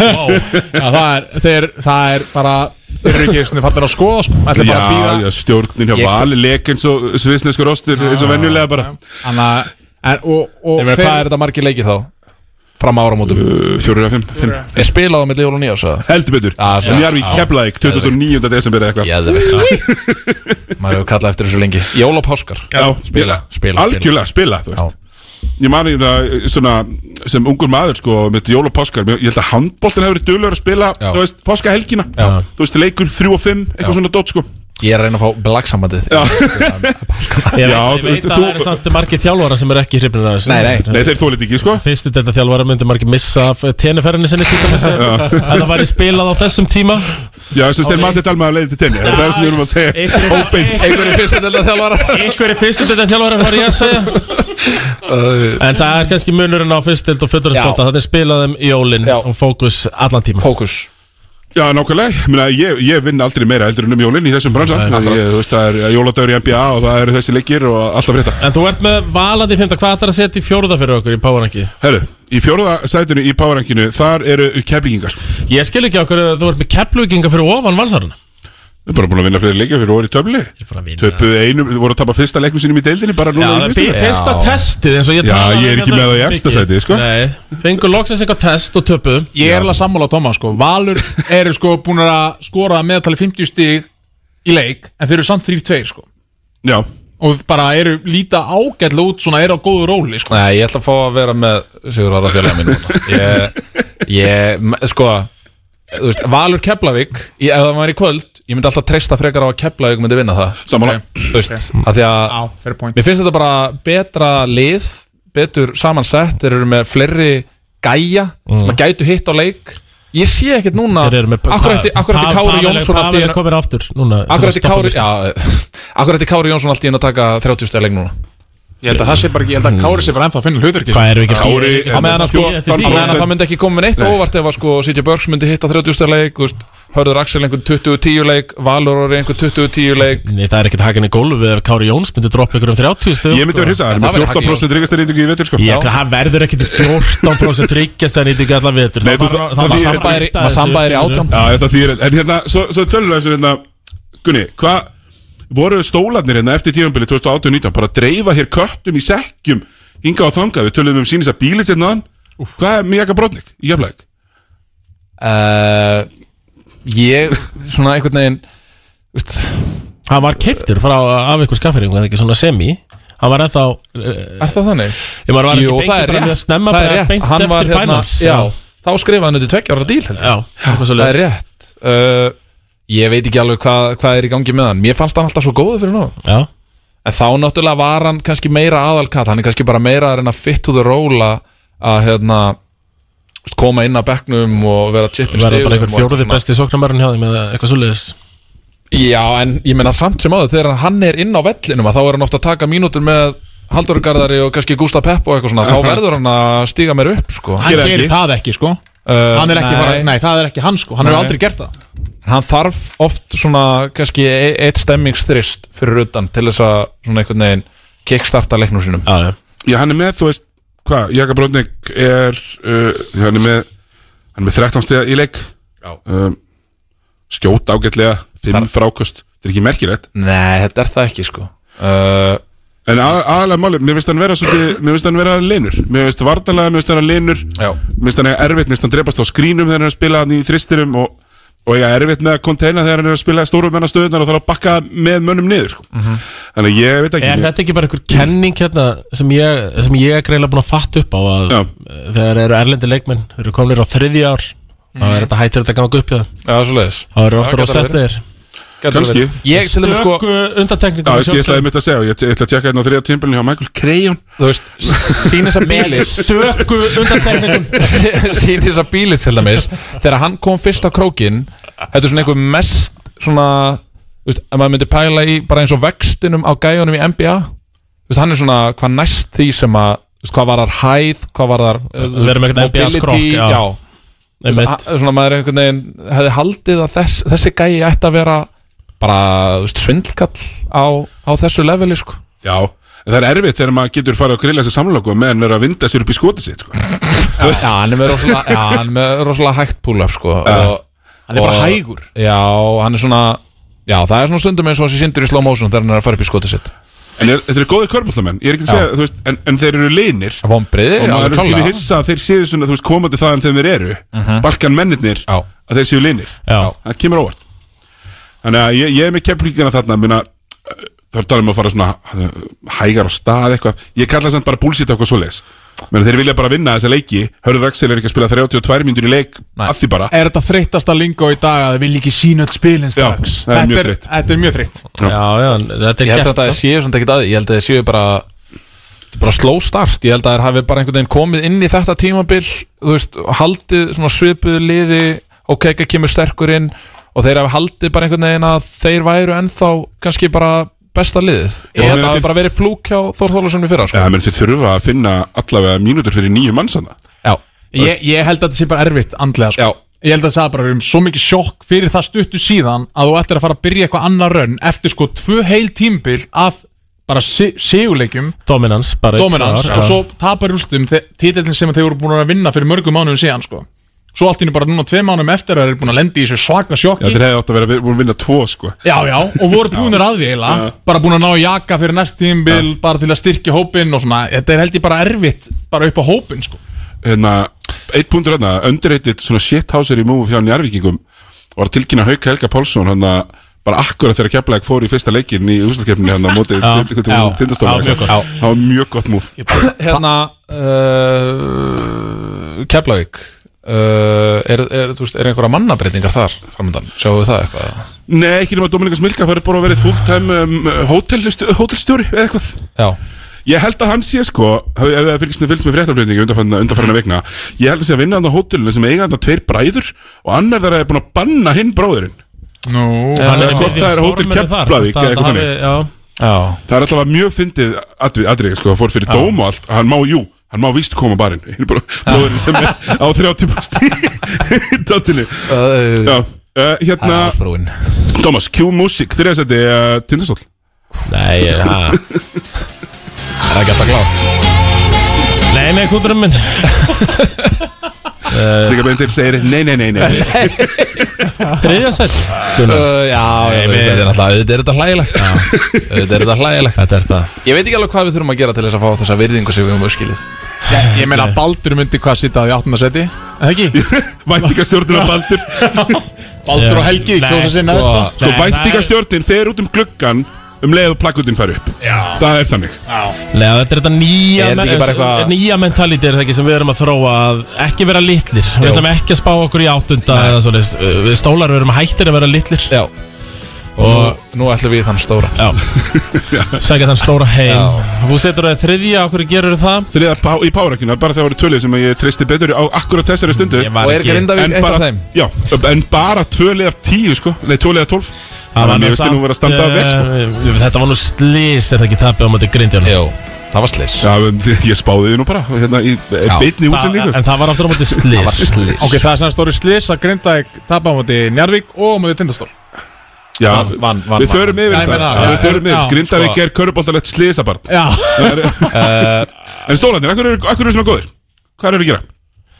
[SPEAKER 20] Wow. Já, það er, þeir, það er bara þeir eru ekki svona fattir að skoða sko. Það er bara að
[SPEAKER 1] Já,
[SPEAKER 20] býða
[SPEAKER 1] já, stjórnin hjá
[SPEAKER 20] Ég-
[SPEAKER 1] vali leik eins og svisneskur ostur eins og venjulega bara
[SPEAKER 20] Þannig að og, og
[SPEAKER 12] Ég meina, hvað er þetta margir leiki þá? Fram áramótum
[SPEAKER 1] uh, Fjórir af fimm, fimm
[SPEAKER 12] Ég spilaði á milli jól og nýjás
[SPEAKER 1] Heldur betur
[SPEAKER 12] svona.
[SPEAKER 1] En ég er í
[SPEAKER 12] Já.
[SPEAKER 1] Keflæk 29. desember eða eitthvað
[SPEAKER 12] Maður hefur kallað eftir þessu lengi Jól og páskar
[SPEAKER 1] Já, spila,
[SPEAKER 12] spila.
[SPEAKER 1] Algjörlega spila, þú veist Ég mani það svona sem ungur maður sko með jól og páskar, ég held að handbóltin hefur verið duðlegur að spila,
[SPEAKER 12] Já.
[SPEAKER 1] þú veist, páskahelgina
[SPEAKER 12] Já.
[SPEAKER 1] þú veist, leikur 3 og 5, eitthvað svona dót sko
[SPEAKER 12] Ég er að reyna að fá blagsambandið
[SPEAKER 1] Já,
[SPEAKER 2] Ég veit,
[SPEAKER 1] Já,
[SPEAKER 2] ég
[SPEAKER 1] þú
[SPEAKER 2] veit
[SPEAKER 1] veist,
[SPEAKER 2] að
[SPEAKER 1] þú-
[SPEAKER 2] það er samt margir þjálfara sem er ekki hrifnir af þessu
[SPEAKER 1] Nei, nei. Nei, þeir þolið ekki, sko
[SPEAKER 2] Fyrstu delta þjálfara myndi margir missa af eh, tenniferðinni sinni til dæmis eh,
[SPEAKER 1] Já.
[SPEAKER 2] Ef það væri spilað á þessum tíma
[SPEAKER 1] Já, þess að þeir matið talmaði að leiði til tenni Það er sem við erum að segja Óbeint
[SPEAKER 12] Einhverjir fyrstu delta þjálfara
[SPEAKER 2] Einhverjir fyrstu delta þjálfara var ég að segja En það er kannski munurinn á fyrstu delta og fjöldurinsbólta Það er spilaðum jólin og fókus allan tíma
[SPEAKER 12] Fókus
[SPEAKER 1] Já, nákvæmlega, Ég meina, ég, ég vinn aldrei meira heldur en um jólinn í þessum bransan
[SPEAKER 2] Nei,
[SPEAKER 1] Ég,
[SPEAKER 2] akkurat.
[SPEAKER 1] Þú veist, það er jóladagur í NBA og það eru þessi leikir og alltaf frétta
[SPEAKER 2] En þú ert með valandi í fymta, hvað ætlar að setja í fjóruða fyrir okkur í Párangi?
[SPEAKER 1] Herru, í fjóruða sætinu í powerrankinu, þar eru keflingingar
[SPEAKER 2] Ég skil ekki okkur að þú ert með kefluginga fyrir ofan valsarana
[SPEAKER 1] Við erum bara búin að vinna fyrir leikja fyrir orði töfli Töpuð einum, voru að tapa fyrsta leiknum sínum í deildinni bara núna
[SPEAKER 2] Já,
[SPEAKER 1] í
[SPEAKER 2] það er
[SPEAKER 1] síðustu
[SPEAKER 2] bí-
[SPEAKER 1] viku.
[SPEAKER 2] fyrsta testið eins og ég
[SPEAKER 1] Já,
[SPEAKER 2] talaði um
[SPEAKER 1] ég er ekki
[SPEAKER 2] hérna
[SPEAKER 1] með það í
[SPEAKER 2] mikið.
[SPEAKER 1] efsta sæti, sko
[SPEAKER 2] Nei, fengur loksins eitthvað test og töpuðum
[SPEAKER 20] Ég er alveg að sammála á Tóma sko. Valur eru sko búin að skora að meðaltali 50 stig í leik en þeir eru samt 3-2 sko.
[SPEAKER 1] Já
[SPEAKER 20] og bara eru líta ágætla út svona eru á góðu róli sko.
[SPEAKER 12] Nei, ég ætla að fá að vera með Sigur Ára félaga mín núna. Ég, ég m- sko þú veist, Valur Keflavík ég, ef það var í kvöld, ég myndi alltaf treysta frekar á að Keflavík myndi vinna það
[SPEAKER 1] Sammála.
[SPEAKER 12] Þú veist, að því að
[SPEAKER 20] Á, fair point.
[SPEAKER 12] mér finnst þetta bara betra lið betur samansett, þeir eru með fleiri gæja sem að gætu hitt á leik ég sé ekkert núna
[SPEAKER 2] Mm. Þeir eru með
[SPEAKER 12] akkurat í Kári Jónsson allt í
[SPEAKER 2] Pavel er
[SPEAKER 12] einu-
[SPEAKER 2] komin aftur núna
[SPEAKER 12] Akkurat í Kári já, akkurat í Kári Jónsson allt í einu að taka 30 steg leik núna
[SPEAKER 20] Ég held að það sé bara ekki, ég held að Kári sé bara ennþá að finna hlutverki
[SPEAKER 2] Hvað erum við ekki að-
[SPEAKER 20] Kári,
[SPEAKER 2] Kári-
[SPEAKER 12] á meðan að sko, á meðan að það
[SPEAKER 20] það
[SPEAKER 12] myndi ekki koma með neitt
[SPEAKER 20] Nei.
[SPEAKER 12] óvart ef að sko Sitja Börgs myndi hitta 30 stær leik þú veist, Hörður Axel einhvern 20-10 leik Valur orði einhvern 20-10 leik
[SPEAKER 2] Nei, það er ekkert hakan í gólfi ef Kári Jóns myndi droppa ykkur um 30 stöð
[SPEAKER 12] Ég myndi vera hissa, hann er með 14%
[SPEAKER 1] reyndingu í vetur sko
[SPEAKER 2] Ég,
[SPEAKER 12] Já.
[SPEAKER 2] hann verður ekkert 14% ryggjast en í því allan vetur
[SPEAKER 1] Nei,
[SPEAKER 2] Það
[SPEAKER 1] þú-
[SPEAKER 2] var-
[SPEAKER 1] það-
[SPEAKER 2] það
[SPEAKER 1] það
[SPEAKER 2] var
[SPEAKER 1] þýðir-
[SPEAKER 2] samba í-
[SPEAKER 1] maður samba er í
[SPEAKER 2] skilurðu.
[SPEAKER 1] átján Já, þetta þýðir En hérna, svo, svo tölum við þessu hérna Gunni, hvað voru stólarnir hérna eftir tímanbili 2018-19 bara að dreifa hér köttum í sekkjum hingað og þangað, við tölum um sínins að bíli sérna hann Hvað er Mika Brodnik í jafnleik?
[SPEAKER 12] uh, Ég, svona einhvern veginn veist,
[SPEAKER 2] Hann var keiftur frá af ykkur skaffæringu eða ekki svona semi Hann var ennþá Er
[SPEAKER 12] það þannig?
[SPEAKER 2] Ég var var ekki
[SPEAKER 12] Jú,
[SPEAKER 2] beint
[SPEAKER 12] það er
[SPEAKER 2] bara mjög
[SPEAKER 12] rétt,
[SPEAKER 2] snemma
[SPEAKER 12] það er
[SPEAKER 2] bara
[SPEAKER 12] rétt.
[SPEAKER 2] beint
[SPEAKER 12] Hann
[SPEAKER 2] eftir
[SPEAKER 12] var hérna,
[SPEAKER 2] finals,
[SPEAKER 12] já,
[SPEAKER 2] já.
[SPEAKER 12] Þá skrifaði hann undir tveggja ára díl held ég.
[SPEAKER 2] Já, eitthvað
[SPEAKER 12] Það
[SPEAKER 2] svoleiðis.
[SPEAKER 12] er rétt uh, Ég veit ekki alveg hvað, hvað er í gangi með hann Mér fannst hann alltaf svo góður fyrir nú
[SPEAKER 2] Já
[SPEAKER 12] En þá náttúrulega var hann kannski meira aðalkat Hann er kannski bara meira að reyna fit to the roll að- að hérna veist, koma inn að bekknum og vera tippin
[SPEAKER 2] Verður bara einhver fjóruði besti sóknarmærin hjá þeim eða eitthvað svoleiðis
[SPEAKER 12] Já, en ég menna samt sem áður þegar hann er inn á vellinum að þá er hann ofta að taka mínútur með Halldóru Garðari og kannski Gústa Pepp og eitthvað svona þá verður hann að stíga mér upp sko
[SPEAKER 20] Hann Gerir gerir ekki. það ekki sko Hann er ekki bara, nei það er ekki hann sko, hann hefur
[SPEAKER 12] Uh, Nei.
[SPEAKER 20] aldrei gert það
[SPEAKER 12] hann þarf oft svona kannski e- eitt stemmingsþrist fyrir utan til þess að svona einhvern veginn kickstarta leiknum sínum
[SPEAKER 2] Já,
[SPEAKER 1] Já, hann er með, þú veist, hvað, Jaka Brodnik er, uh, hann er með hann er með 13 stiga í leik um, skjóta ágætlega 5 frákost, þetta er ekki merkilegt
[SPEAKER 12] Nei, þetta er það ekki sko uh,
[SPEAKER 1] En að- aðalega máli, mér finnst hann vera svolítið, mér finnst hann vera linur Mér finnst vartalega, mér finnst hann linur Já. Mér finnst hann eiga erfitt, mér finnst hann drepast á skrínum þegar hann er að spila hann í þristirum og, og eiga erfitt með að konteina þegar hann er að spila stórum mennastöðunar og þarf að bakka með mönnum niður sko. Þannig að ég veit ekki
[SPEAKER 2] Er
[SPEAKER 1] mér-
[SPEAKER 2] þetta ekki bara einhver kenning hérna sem ég, sem ég er greinlega búin að fatta upp á að Já. þegar eru erlendi leikmenn þeir eru komnir á þriðja ár þá er þetta hættir þetta að ganga upp hjá þeim
[SPEAKER 21] Já, svo leiðis
[SPEAKER 2] þá eru
[SPEAKER 21] Já, gæti
[SPEAKER 2] oftar á
[SPEAKER 21] alveg
[SPEAKER 2] setleir
[SPEAKER 21] Gæti alveg verið. Ég til dæmis sko-
[SPEAKER 2] Stöku undantekningu
[SPEAKER 1] Já, ég skil það ég mitt að segja, og ég ætla- ég ætla að tjekka hérna á þriða tímbilinu hjá Michael Crayon
[SPEAKER 21] Þú veist, sína þess að bíli
[SPEAKER 2] Stöku
[SPEAKER 21] undantekningum Sýnir þess að bílið til dæmis Þegar hann kom fyrst á krókin Þetta er svona einhver mest svona þú veist, Ef maður myndi pæla í bara eins og vextinum á gæjunum í NBA þú veist, Hann er svona hvað næst því sem að þú veist, Hvað var þar hæð, hvað eh, var þar
[SPEAKER 2] Við erum ekkert NBA skrokk, já.
[SPEAKER 21] já. Þú veist,
[SPEAKER 2] Einmitt.
[SPEAKER 21] að- Svona maður einhvern veginn Hefði haldið að þess, þessi gæji ætti að vera Bara þú veist, svindlkall á, á þessu leveli sko
[SPEAKER 1] Já, en það er erfitt þegar maður getur farið að grilla sér samlokku meðan vera að vinda sér upp í skoti sitt sko.
[SPEAKER 21] Já, hann er með rosalega, já, hann er með rosalega hægt pull-up sko og,
[SPEAKER 12] Hann er bara hægur.
[SPEAKER 21] Já, hann er svona Já, það er svona stundum eins og þessi sindur í slow motion þegar hann er að fara upp í skotið sitt
[SPEAKER 1] En er, þetta eru góði körbóltamenn, ég er ekki að
[SPEAKER 21] Já.
[SPEAKER 1] segja, þú veist, en, en þeir eru linir
[SPEAKER 21] Vombriði,
[SPEAKER 1] Og maður er ekki við hissa að þeir séu svona, þú veist, komandi þaðan þegar þeir eru
[SPEAKER 21] Mhm.
[SPEAKER 1] Balkan mennirnir,
[SPEAKER 21] Já.
[SPEAKER 1] að þeir séu linir
[SPEAKER 2] Já.
[SPEAKER 1] Það kemur á óvart Þannig að ég, ég er með keflíkina þarna, minna Það er talað um að fara svona uh, hægar á stað eitthvað Ég kalla samt bara bullshit á eitthvað svoleiðis Men þeir vilja bara vinna þessa leiki Hörður Axel er ekki að spila 32 mínútur í leik Af því bara
[SPEAKER 12] Er þetta þreyttasta lingó í dag að þið vilja ekki sína öll spilin strax?
[SPEAKER 1] það er
[SPEAKER 12] Þetta
[SPEAKER 1] mjög þreytt.
[SPEAKER 12] Þetta er mjög þreytt
[SPEAKER 21] Já, já, þetta
[SPEAKER 12] er
[SPEAKER 21] Ég held
[SPEAKER 12] gert,
[SPEAKER 21] að það
[SPEAKER 2] sko.
[SPEAKER 12] samt.
[SPEAKER 21] séu svona ekki að því Ég held að það séu bara þetta er bara slow start, ég held að það hafi bara einhvern veginn komið inn í þetta tímabil þú veist, og haldið svona svipuðu liði ok, ekki kemur sterkur inn og þeir hafi haldið bara einhvern veginn að þeir væru ennþá kannski bara besta liðið
[SPEAKER 1] Já,
[SPEAKER 21] ég held að
[SPEAKER 1] meina
[SPEAKER 21] það
[SPEAKER 1] þeir-
[SPEAKER 21] hafi bara verið flúk hjá Þór Þólarsson við fyrra sko.
[SPEAKER 1] Já, menn þeir þurfa að finna allavega mínútur fyrir nýju mannsana
[SPEAKER 21] Já
[SPEAKER 12] Ég, ég held að þetta sé bara erfitt andlega sko. Ég held að það bara er um svo mikið sjokk fyrir það stuttu síðan að þú ættir að fara að byrja eitthvað annað raun eftir sko tvö heil tímbil af bara si seguleikjum
[SPEAKER 2] Dominans, bara í tvö
[SPEAKER 12] Dominans
[SPEAKER 2] ár,
[SPEAKER 12] og
[SPEAKER 2] já.
[SPEAKER 12] svo tapar rústum titillin sem þeir voru búin að vinna fyrir mörgum mánuðum síðan sko. Svo allt inni bara núna tvei mánuðum eftir að þeir eru búin að lendi í þessu svaka
[SPEAKER 1] Já,
[SPEAKER 12] sjokki
[SPEAKER 1] þeir hefði átt að vera við- voru að vinna tvo sko
[SPEAKER 12] Já, já, og voru búinir að því eiginlega
[SPEAKER 1] Já.
[SPEAKER 12] Bara búin að ná í jaka fyrir næst tímbil Bara til að styrkja hópinn og svona Þetta er held ég bara erfitt, bara upp á hópinn sko.
[SPEAKER 1] hérna, eitt punktur hérna, underrated svona shithouser í múfu fjár njárvíkingum var að tilkynna Hauk Helga Pálsson hann bara akkurat þegar Keflæk fór í fyrsta leikin í úslakeppinni hann á móti
[SPEAKER 21] Já. Já. Já,
[SPEAKER 1] tindastóla
[SPEAKER 21] mjög gott.
[SPEAKER 1] það var mjög gott múf
[SPEAKER 21] hérna uh, Keflavík uh, er, er, þú veist, er einhverja mannabreitingar þar framöndan, sjáum við það eitthvað
[SPEAKER 1] Nei, ekki nema Dominikas Milka það er bara verið fulltime um, hótelstjóri hótelstjóri eða eitthvað
[SPEAKER 21] Já.
[SPEAKER 1] Ég held að hann sé sko, ef ef það fylgst með, fylgst með fréttaflutningi undanfarnar undanfarnar vikna ég held að sé að vinna hann á hótelinu sem eiga hann að tveir bræður og annar þeirra er búin að banna hinn bróðurinn
[SPEAKER 12] Nú,
[SPEAKER 1] Hann er hvort það er hótel Keflavík eða eitthvað þannig
[SPEAKER 21] Já.
[SPEAKER 1] Það er alltaf mjög fyndið atrið, atrið sko, það fór fyrir dóm og allt, hann má, jú, hann má víst koma á barinn, hinn er bara blóðurinn sem er á 30 stíl í tóttinu. Já, uh,
[SPEAKER 21] Það
[SPEAKER 1] hérna,
[SPEAKER 21] er ásbrúin.
[SPEAKER 1] Thomas, Q Music, þriðasætti, uh, Tindastól.
[SPEAKER 2] Nei, eh, ha.
[SPEAKER 21] Það er ekki alltaf klár
[SPEAKER 2] Nei, nei, kúturum minn
[SPEAKER 1] Sigga Beintir segir, nei, nei, nei, nei.
[SPEAKER 2] Þriðja sæl
[SPEAKER 21] Uh, já, já, þú veist, þetta er náttúrulega auðvitað er þetta hlægilegt Auðvitað er þetta hlægilegt Þetta er þetta Ég veit ekki alveg hvað við þurfum að gera til þess að fá þessa virðingu sem við höfum auðskilið
[SPEAKER 12] Ég, ég meina Baldur myndi hvað sitta í 18. seti Það ekki?
[SPEAKER 1] Væntingastjórnir og Baldur
[SPEAKER 12] Baldur og Helgi kjósa sér neðsta
[SPEAKER 1] Sko, væntingastjórnin fer út um gluggan um leið og plakkutin fær upp. Já. Það er þannig.
[SPEAKER 2] Nei, þetta er þetta nýja,
[SPEAKER 1] Er þetta ekki bara eitthvað-
[SPEAKER 2] nýja mentality er það ekki sem við erum að þróa að ekki vera litlir Við
[SPEAKER 21] Jú.
[SPEAKER 2] ætlum ekki að spá okkur í áttunda eða svoleiðis. Uh, Við stólar erum hættir að vera litlir
[SPEAKER 21] Já Og nú ætlum við í þann stóra
[SPEAKER 2] Já Sækja þann stóra heim Þú setur það þriðja, okkur gerur það
[SPEAKER 1] Þriðja pá, í párakinu, bara það voru tölvið sem ég treysti betur á akkurat þessari stundu
[SPEAKER 2] Ég var Og er ekki- Grindavík
[SPEAKER 1] En
[SPEAKER 2] eitt af
[SPEAKER 1] bara-
[SPEAKER 2] þeim?
[SPEAKER 1] Já, en bara tölvið af tíu sko, nei tölvið af tólf Þannig að mér veist nú vera að standa vel sko
[SPEAKER 2] sko Þetta var nú slís er það ekki tapið á mæti grindjana
[SPEAKER 21] Jó, það var slís
[SPEAKER 1] Já, en þið- ég spáði því nú bara, hérna í
[SPEAKER 2] Já.
[SPEAKER 1] beitni
[SPEAKER 2] Það-
[SPEAKER 1] útsendingu
[SPEAKER 2] en það var aftur á móti slys. Það var slys.
[SPEAKER 12] Ok, það er sem stóri slis að grinda ekki tapa á móti Njarvík og á móti Tindastól
[SPEAKER 1] Já,
[SPEAKER 12] Vann, vann, vann,
[SPEAKER 1] við förum
[SPEAKER 12] vann.
[SPEAKER 1] yfir
[SPEAKER 12] Já, ég
[SPEAKER 1] þetta,
[SPEAKER 12] meina,
[SPEAKER 1] við
[SPEAKER 12] já,
[SPEAKER 1] förum yfir,
[SPEAKER 12] já,
[SPEAKER 1] Grindavík
[SPEAKER 12] sko.
[SPEAKER 1] er köruboltalegt slisabarn
[SPEAKER 12] Já.
[SPEAKER 1] Það er- En stólarnir, akkur eru akkur eru svona góðir? Hvað eru að gera?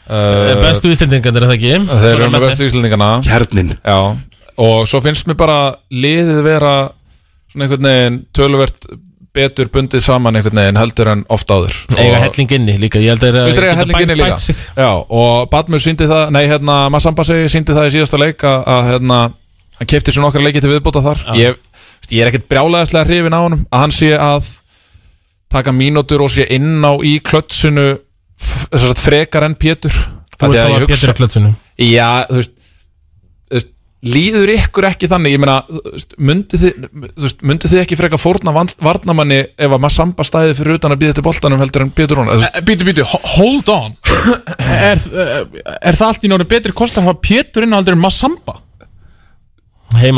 [SPEAKER 12] Eh,
[SPEAKER 2] Uh, Bestu Íslendingarnir er það ekki
[SPEAKER 21] Þeir eru með bestu íslendingana
[SPEAKER 1] Kjarnin
[SPEAKER 21] Já Og svo finnst mér bara liðið vera Svona einhvern veginn töluvert
[SPEAKER 12] betur bundið saman einhvern veginn heldur en oft áður
[SPEAKER 2] Eiga helling inni líka Ég held að eh,
[SPEAKER 12] Þú veist, eiga
[SPEAKER 2] geta
[SPEAKER 12] helling inni
[SPEAKER 2] bætt-
[SPEAKER 12] líka
[SPEAKER 2] bætt sig.
[SPEAKER 12] Já, og Batmur síndi það, nei, hérna Massamba segi, síndi það í síðasta leik að, að hérna, hann kefti sér nokkra leiki til viðbúta þar
[SPEAKER 2] Já.
[SPEAKER 12] ég, þú veist, ég er ekkert brjálæðislega hrifin á honum að hann sé að taka mínútur og sé inn á í klötsinu f- sem sagt, frekar enn Pétur
[SPEAKER 2] Þú
[SPEAKER 12] Af því
[SPEAKER 2] veist
[SPEAKER 12] að
[SPEAKER 2] það
[SPEAKER 12] ég
[SPEAKER 2] var Pétur
[SPEAKER 12] hugsa-
[SPEAKER 2] í klötsunum
[SPEAKER 12] Já, þú veist, þú veist líður ykkur ekki þannig, ég meina þú veist, myndið þið, þú veist, myndið þið ekki freka fórna van- varnamanni ef að maður samba stæði fyrir utan að býða til boltanum heldur en Pétur Rúnar
[SPEAKER 22] Býtu, býtu, hold on er, eh, er það allt í náttúrulega betri kostar hvað Pétur inn á aldrei en Massamba?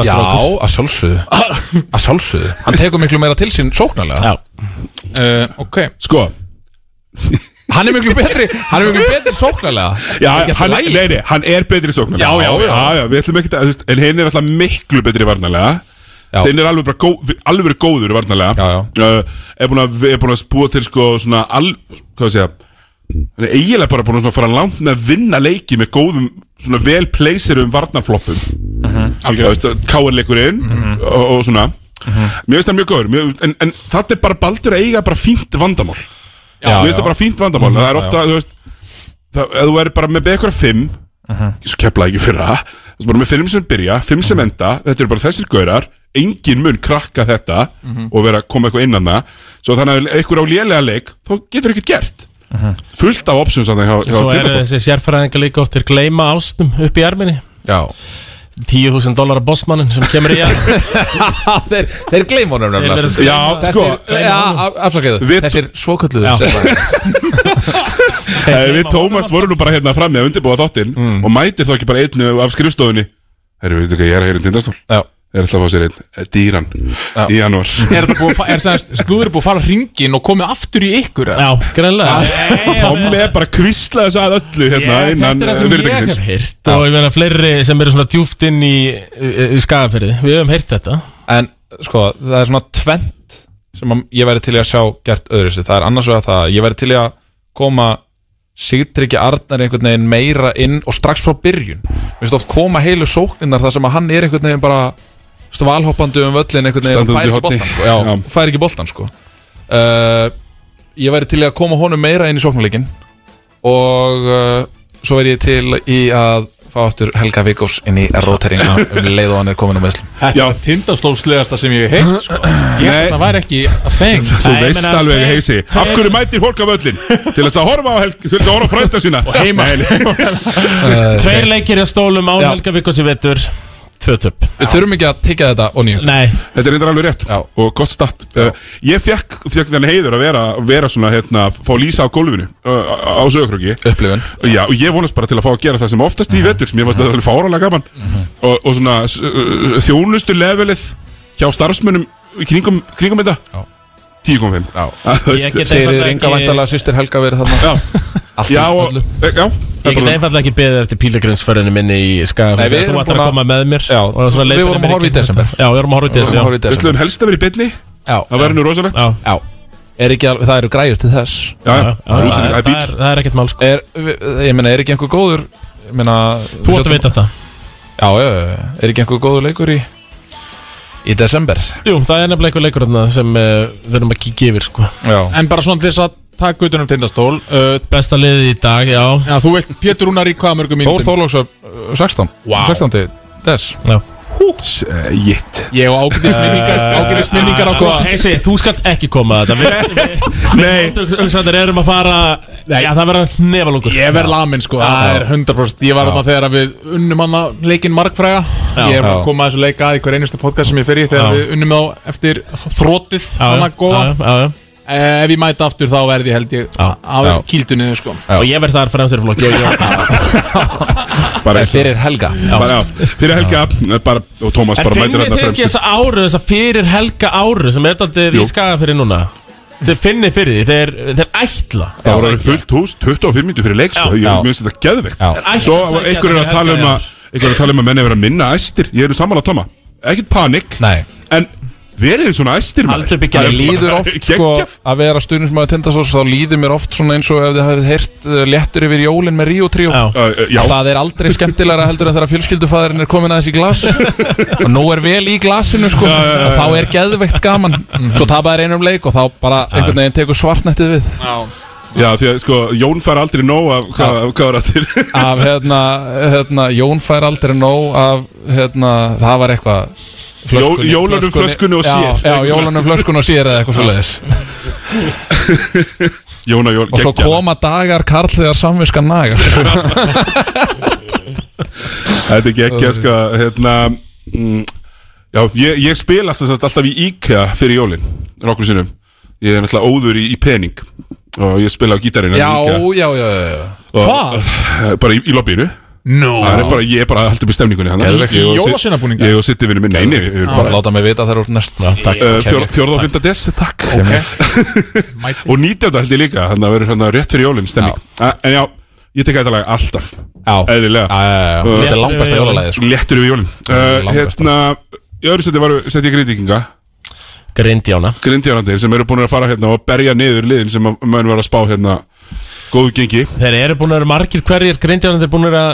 [SPEAKER 12] Já, að sjálfsögðu Að sjálfsögðu Hann tekur miklu meira til sín sóknarlega Eh,
[SPEAKER 22] uh, Ok
[SPEAKER 1] Sko
[SPEAKER 12] Hann er miklu betri Hann er miklu betri sóknarlega
[SPEAKER 1] Já,
[SPEAKER 12] Er ekki allt í
[SPEAKER 1] hann,
[SPEAKER 12] lagi?
[SPEAKER 1] nei, nei, hann er betri sóknar
[SPEAKER 12] Já, já, já.
[SPEAKER 1] við ætlum ekki að, þú veist, en hinn er alltaf miklu betri varnarlega Steinn er alveg bara góð, alveg verið góður varnarlega já, já. Uh, er búin að, er búin að spúa til sko svona al, hvað sé ég hann er eiginlega bara búin að svona fara langt með að vinna leiki með góðum, svona vel pleysirum varnarfloppum mm
[SPEAKER 12] Mhm.
[SPEAKER 1] -hmm. Káinleikurinn og, og svona
[SPEAKER 12] Mhm.
[SPEAKER 1] Mér finnst það mjög góður, mjög, en, en þetta er bara baldur að eiga bara fínt vandamál
[SPEAKER 12] Já,
[SPEAKER 1] Mér finnst
[SPEAKER 12] já.
[SPEAKER 1] það bara fínt vandamál,
[SPEAKER 12] Mhm,
[SPEAKER 1] það er
[SPEAKER 12] já,
[SPEAKER 1] ofta,
[SPEAKER 12] já.
[SPEAKER 1] þú veist það, ef þú er bara með bekkar fimm
[SPEAKER 12] Mhm.
[SPEAKER 1] svo keplaði ekki fyrra þú er bara með fimm sem byrja, fimm sem enda þetta eru bara þessir gaurar, engin mun krakka þetta
[SPEAKER 12] Mhm.
[SPEAKER 1] og vera að koma eitthvað innan það svo þannig að ef einhver á lélega leik þá getur ekkert gert
[SPEAKER 2] Mhm.
[SPEAKER 1] fullt af options þannig hjá, hjá
[SPEAKER 2] Svo er
[SPEAKER 1] Tindastól.
[SPEAKER 2] þessi sérfæræðingar líka oft Þeir gleyma ástum upp í erminni
[SPEAKER 12] Já
[SPEAKER 2] 10.000 dólar að bossmannin sem kemur í að
[SPEAKER 12] þeir, þeir gleyma honum
[SPEAKER 2] Þeir verða að
[SPEAKER 12] nefnilega
[SPEAKER 2] gleyma-
[SPEAKER 12] Já,
[SPEAKER 2] Þessir
[SPEAKER 12] sko
[SPEAKER 2] gleyma honum.
[SPEAKER 12] Já, afsakaðu
[SPEAKER 1] Við-
[SPEAKER 12] Þessir svokölluðu
[SPEAKER 1] Já.
[SPEAKER 12] sem-
[SPEAKER 1] Eh, Við Tómas vorum nú bara hérna frammi að undirbúa þáttinn
[SPEAKER 12] Mm.
[SPEAKER 1] og mætir þá ekki bara einu af skrifstofunni Herru, veistu hvað, ég er að heyra um tindastól Ég er alltaf að fá sér einn, eh, dýran í janúar
[SPEAKER 22] Er það búið að, fa- er sagðist, slúður búið að fara hringin og komið aftur í ykkur?
[SPEAKER 2] Já, greinlega
[SPEAKER 1] Tommi er bara að kvísla þessu að öllu hérna
[SPEAKER 2] Ég-
[SPEAKER 1] innan
[SPEAKER 2] þetta er það
[SPEAKER 1] eh,
[SPEAKER 2] sem ég
[SPEAKER 1] fyrirtækisins.
[SPEAKER 2] hef heyrt og ég meina fleiri sem eru svona djúft inn í, í skagafyrði við höfum heyrt þetta
[SPEAKER 12] En sko, það er svona tvent sem að ég væri til í að sjá gert öðru sér. Það er annars vegar það að ég væri til í að koma Sigtryggi Arnar einhvern veginn meira inn og strax frá byrjun. Mér finnst oft koma heilu sókninnar þar sem að hann er einhvern veginn bara þú veist, valhoppandi um völlin einhvern veginn
[SPEAKER 1] Standandi
[SPEAKER 12] og fær
[SPEAKER 1] í horni.
[SPEAKER 12] ekki boltan sko. Já,
[SPEAKER 1] Já.
[SPEAKER 12] fær ekki boltan sko. Uh, ég væri til í að koma honum meira inn í sóknarleikin og uh, svo væri ég til í að fá aftur Helga Vikos inn í róteringa um leið og hann er komin á meðslum.
[SPEAKER 22] Þetta er tindastólslegasta sem ég hef heitt sko. Ég held að það væri ekki að þeng
[SPEAKER 1] Þú veist alveg heisi Af hverju mætir fólk af öllin Til þess að horfa á helg Til þess að horfa á frænda sína Og
[SPEAKER 2] heima. tveir leikir í stólum á
[SPEAKER 12] Já.
[SPEAKER 2] Helga Vikkos í vetur tvö töp
[SPEAKER 12] Við þurfum ekki að tikka þetta og nýju
[SPEAKER 2] Nei
[SPEAKER 1] Þetta er reyndar alveg rétt Já. Og gott start uh, Ég fekk, fekk þennan heiður að vera, vera svona hérna, Fá lýsa á gólfinu uh, á- Á sögurkröki
[SPEAKER 12] Upplifun
[SPEAKER 1] Já, og ég vonast bara til að fá að gera það sem oftast í
[SPEAKER 2] Mhm.
[SPEAKER 1] vetur Mér fannst þetta alveg fáralega gaman og, og svona s- uh, þjónustu levelið Hjá starfsmönnum í kringum, kringum þetta Já 10.5
[SPEAKER 2] Ég get
[SPEAKER 12] Sigriður
[SPEAKER 2] einfaldlega
[SPEAKER 12] Inga
[SPEAKER 2] ekki-
[SPEAKER 12] væntalega sýstir Helga verið þarna
[SPEAKER 1] Já, já, og, e, já
[SPEAKER 2] Ég get einfallega ekki beðið eftir pílagrinsferðinu minni í
[SPEAKER 12] Nei, við
[SPEAKER 2] Skagafjörði Þú
[SPEAKER 12] erum
[SPEAKER 2] ætlar
[SPEAKER 12] búin
[SPEAKER 2] að
[SPEAKER 12] að-
[SPEAKER 2] koma með mér já,
[SPEAKER 12] við vorum að horfa í desember.
[SPEAKER 2] Já, við vorum að horfa í
[SPEAKER 12] Við vorum að horfa í
[SPEAKER 2] desember
[SPEAKER 12] desember. Við ætluðum
[SPEAKER 1] helst að vera í beinni
[SPEAKER 12] Já
[SPEAKER 1] Það verður nú rosalegt
[SPEAKER 2] Já,
[SPEAKER 12] Er ekki alveg, það eru græjur til þess
[SPEAKER 1] Já, já.
[SPEAKER 2] Það er útsending, það er bíll. Það er- það er ekkert mál sko
[SPEAKER 12] er, við- Ég meina, er ekki einhver góður ég meina,
[SPEAKER 2] Þú átt að vita það
[SPEAKER 12] Já, já, já, er ekki einhver góður leikur í Í desember
[SPEAKER 2] Jú, það er nefnilega einhver leikur þarna sem uh, við erum að kíkja yfir sko
[SPEAKER 12] Já
[SPEAKER 22] En bara svona til þess að taka utan um tindastól uh,
[SPEAKER 2] Besta liðið í dag, já
[SPEAKER 22] Já, þú veilt Pétur Rúnar í hvað mörgum
[SPEAKER 12] Þór uh,
[SPEAKER 22] mínútum?
[SPEAKER 12] Þórlóksöf 16
[SPEAKER 22] Vá.
[SPEAKER 12] 16. des
[SPEAKER 2] Já
[SPEAKER 1] Shit
[SPEAKER 22] Ég og ágætis minningar
[SPEAKER 12] Eh,
[SPEAKER 22] Ágætis minningar á
[SPEAKER 2] Sko,
[SPEAKER 22] hvað
[SPEAKER 2] heisi, þú skalt ekki koma að þetta
[SPEAKER 1] Nei
[SPEAKER 2] Við hugsaðar erum að fara Já, það verður nefalungur
[SPEAKER 22] Ég verð lamin sko, það
[SPEAKER 2] Já.
[SPEAKER 22] er 100% Ég var
[SPEAKER 2] Já.
[SPEAKER 22] þarna þegar að við unnum hana leikinn markfræga
[SPEAKER 2] Já.
[SPEAKER 22] Ég er að
[SPEAKER 2] Já.
[SPEAKER 22] koma að þessu leika að í hver einustu podcast sem ég fer í
[SPEAKER 2] Já.
[SPEAKER 22] Þegar við unnum þá eftir þrótið hana góða
[SPEAKER 2] já, já, já.
[SPEAKER 22] Eh, Ef ég mæta aftur þá verð ég held ég á
[SPEAKER 2] Já.
[SPEAKER 22] kýldunni sko
[SPEAKER 2] Og ég verð þar fremstur í flokki
[SPEAKER 1] bara
[SPEAKER 12] fyrir Helga
[SPEAKER 1] bara, já, fyrir Helga eh, bara, og Tómas
[SPEAKER 2] En
[SPEAKER 1] bara mætir hérna
[SPEAKER 2] finnið þið ekki
[SPEAKER 1] fremstur
[SPEAKER 2] þessa áru, þessa fyrir helga áru sem er daldið í
[SPEAKER 1] Jú.
[SPEAKER 2] skaga fyrir núna Þið finnið fyrir því, þeir, þeir ætla
[SPEAKER 1] það voru alveg fullt hús 25 minnir fyrir leik sko.
[SPEAKER 2] Já.
[SPEAKER 1] ég
[SPEAKER 2] Já.
[SPEAKER 1] minnst þetta geðveikt
[SPEAKER 2] Já.
[SPEAKER 1] svo
[SPEAKER 2] Ætla að sækja
[SPEAKER 1] einhver er
[SPEAKER 2] fyrir
[SPEAKER 1] að tala um
[SPEAKER 2] Helga,
[SPEAKER 1] að einhver er að tala um að menni vera minna æstir ég er sammála Tóma ekkert panik
[SPEAKER 12] Nei.
[SPEAKER 1] en Verið þið svona æstir maður
[SPEAKER 12] Aldrei byggja
[SPEAKER 1] Það er
[SPEAKER 12] líður
[SPEAKER 1] bara
[SPEAKER 12] oft sko
[SPEAKER 1] geggjað.
[SPEAKER 12] að vera stuðnum sem að tenda svo þá líður mér oft svona eins og ef þið hafið heyrt uh, léttur yfir jólin með Ríó Tríó
[SPEAKER 1] uh, já.
[SPEAKER 12] það er aldrei skemmtilegra heldur en þegar fjölskyldufæðurinn er komin aðeins í glas og nú er vel í glasinu sko og þá er geðveikt gaman
[SPEAKER 1] Mhm.
[SPEAKER 12] svo tapaðir einum leik og þá bara einhvern veginn tekur svartnættið við
[SPEAKER 1] Já, því að sko, Jón fær aldrei nóg af hvað af hvað er aftur
[SPEAKER 12] af hérna, hérna Jón fær aldrei nóg af hérna, það var eitthvað flöskunni-
[SPEAKER 1] Jó- jólunum, flöskunni og
[SPEAKER 12] Já,
[SPEAKER 1] sér.
[SPEAKER 12] já, jólunum flöskun og sér eða eitthvað svo leiðis
[SPEAKER 1] Jóna Jón,
[SPEAKER 12] og svo
[SPEAKER 1] geggjað.
[SPEAKER 12] koma dagar karl þegar samviskan nagar
[SPEAKER 1] Þetta er geggja sko hérna, mm, Já, ég, ég spila sem sagt alltaf í IKEA fyrir jólin Nokkur sinnum Ég er náttúrulega óður í, í pening Og ég spila á gítarinn
[SPEAKER 12] já,
[SPEAKER 1] í IKEA
[SPEAKER 12] já, já, já, já.
[SPEAKER 1] Og-
[SPEAKER 12] Hvað?
[SPEAKER 1] Bara í, í lobbyinu
[SPEAKER 12] Nú.
[SPEAKER 1] Það er bara, Ég er bara alltaf með stemningunni þannig.
[SPEAKER 12] Geðveikt.
[SPEAKER 1] Ég og Sid-
[SPEAKER 12] Jólasveinabúningar.
[SPEAKER 1] Ég og sitt yfir minn, nei, nei við erum
[SPEAKER 12] Bara láta mig vita þar úr næst
[SPEAKER 1] Uh, fjór- Fjórða og fymta des, takk Og nýtjönda held ég líka Þannig að verður hérna rétt fyrir jólinn stemming A- En já, ég tek þetta lag alltaf
[SPEAKER 12] Já,
[SPEAKER 1] eðlilega
[SPEAKER 12] já, já.
[SPEAKER 1] Uh,
[SPEAKER 12] Þetta er langbesta jólalagið, sko.
[SPEAKER 1] Léttur yfir jólinn uh, Hérna, í öðru seti varu Seti ég grindvíkinga
[SPEAKER 2] Grindjána
[SPEAKER 1] Grindjánandir sem eru búin að fara hérna og berja niður liðin sem að menn var að spá hérna Góðu gengi
[SPEAKER 2] Þeir eru búin að vera margir hverjir grindjarnir búin að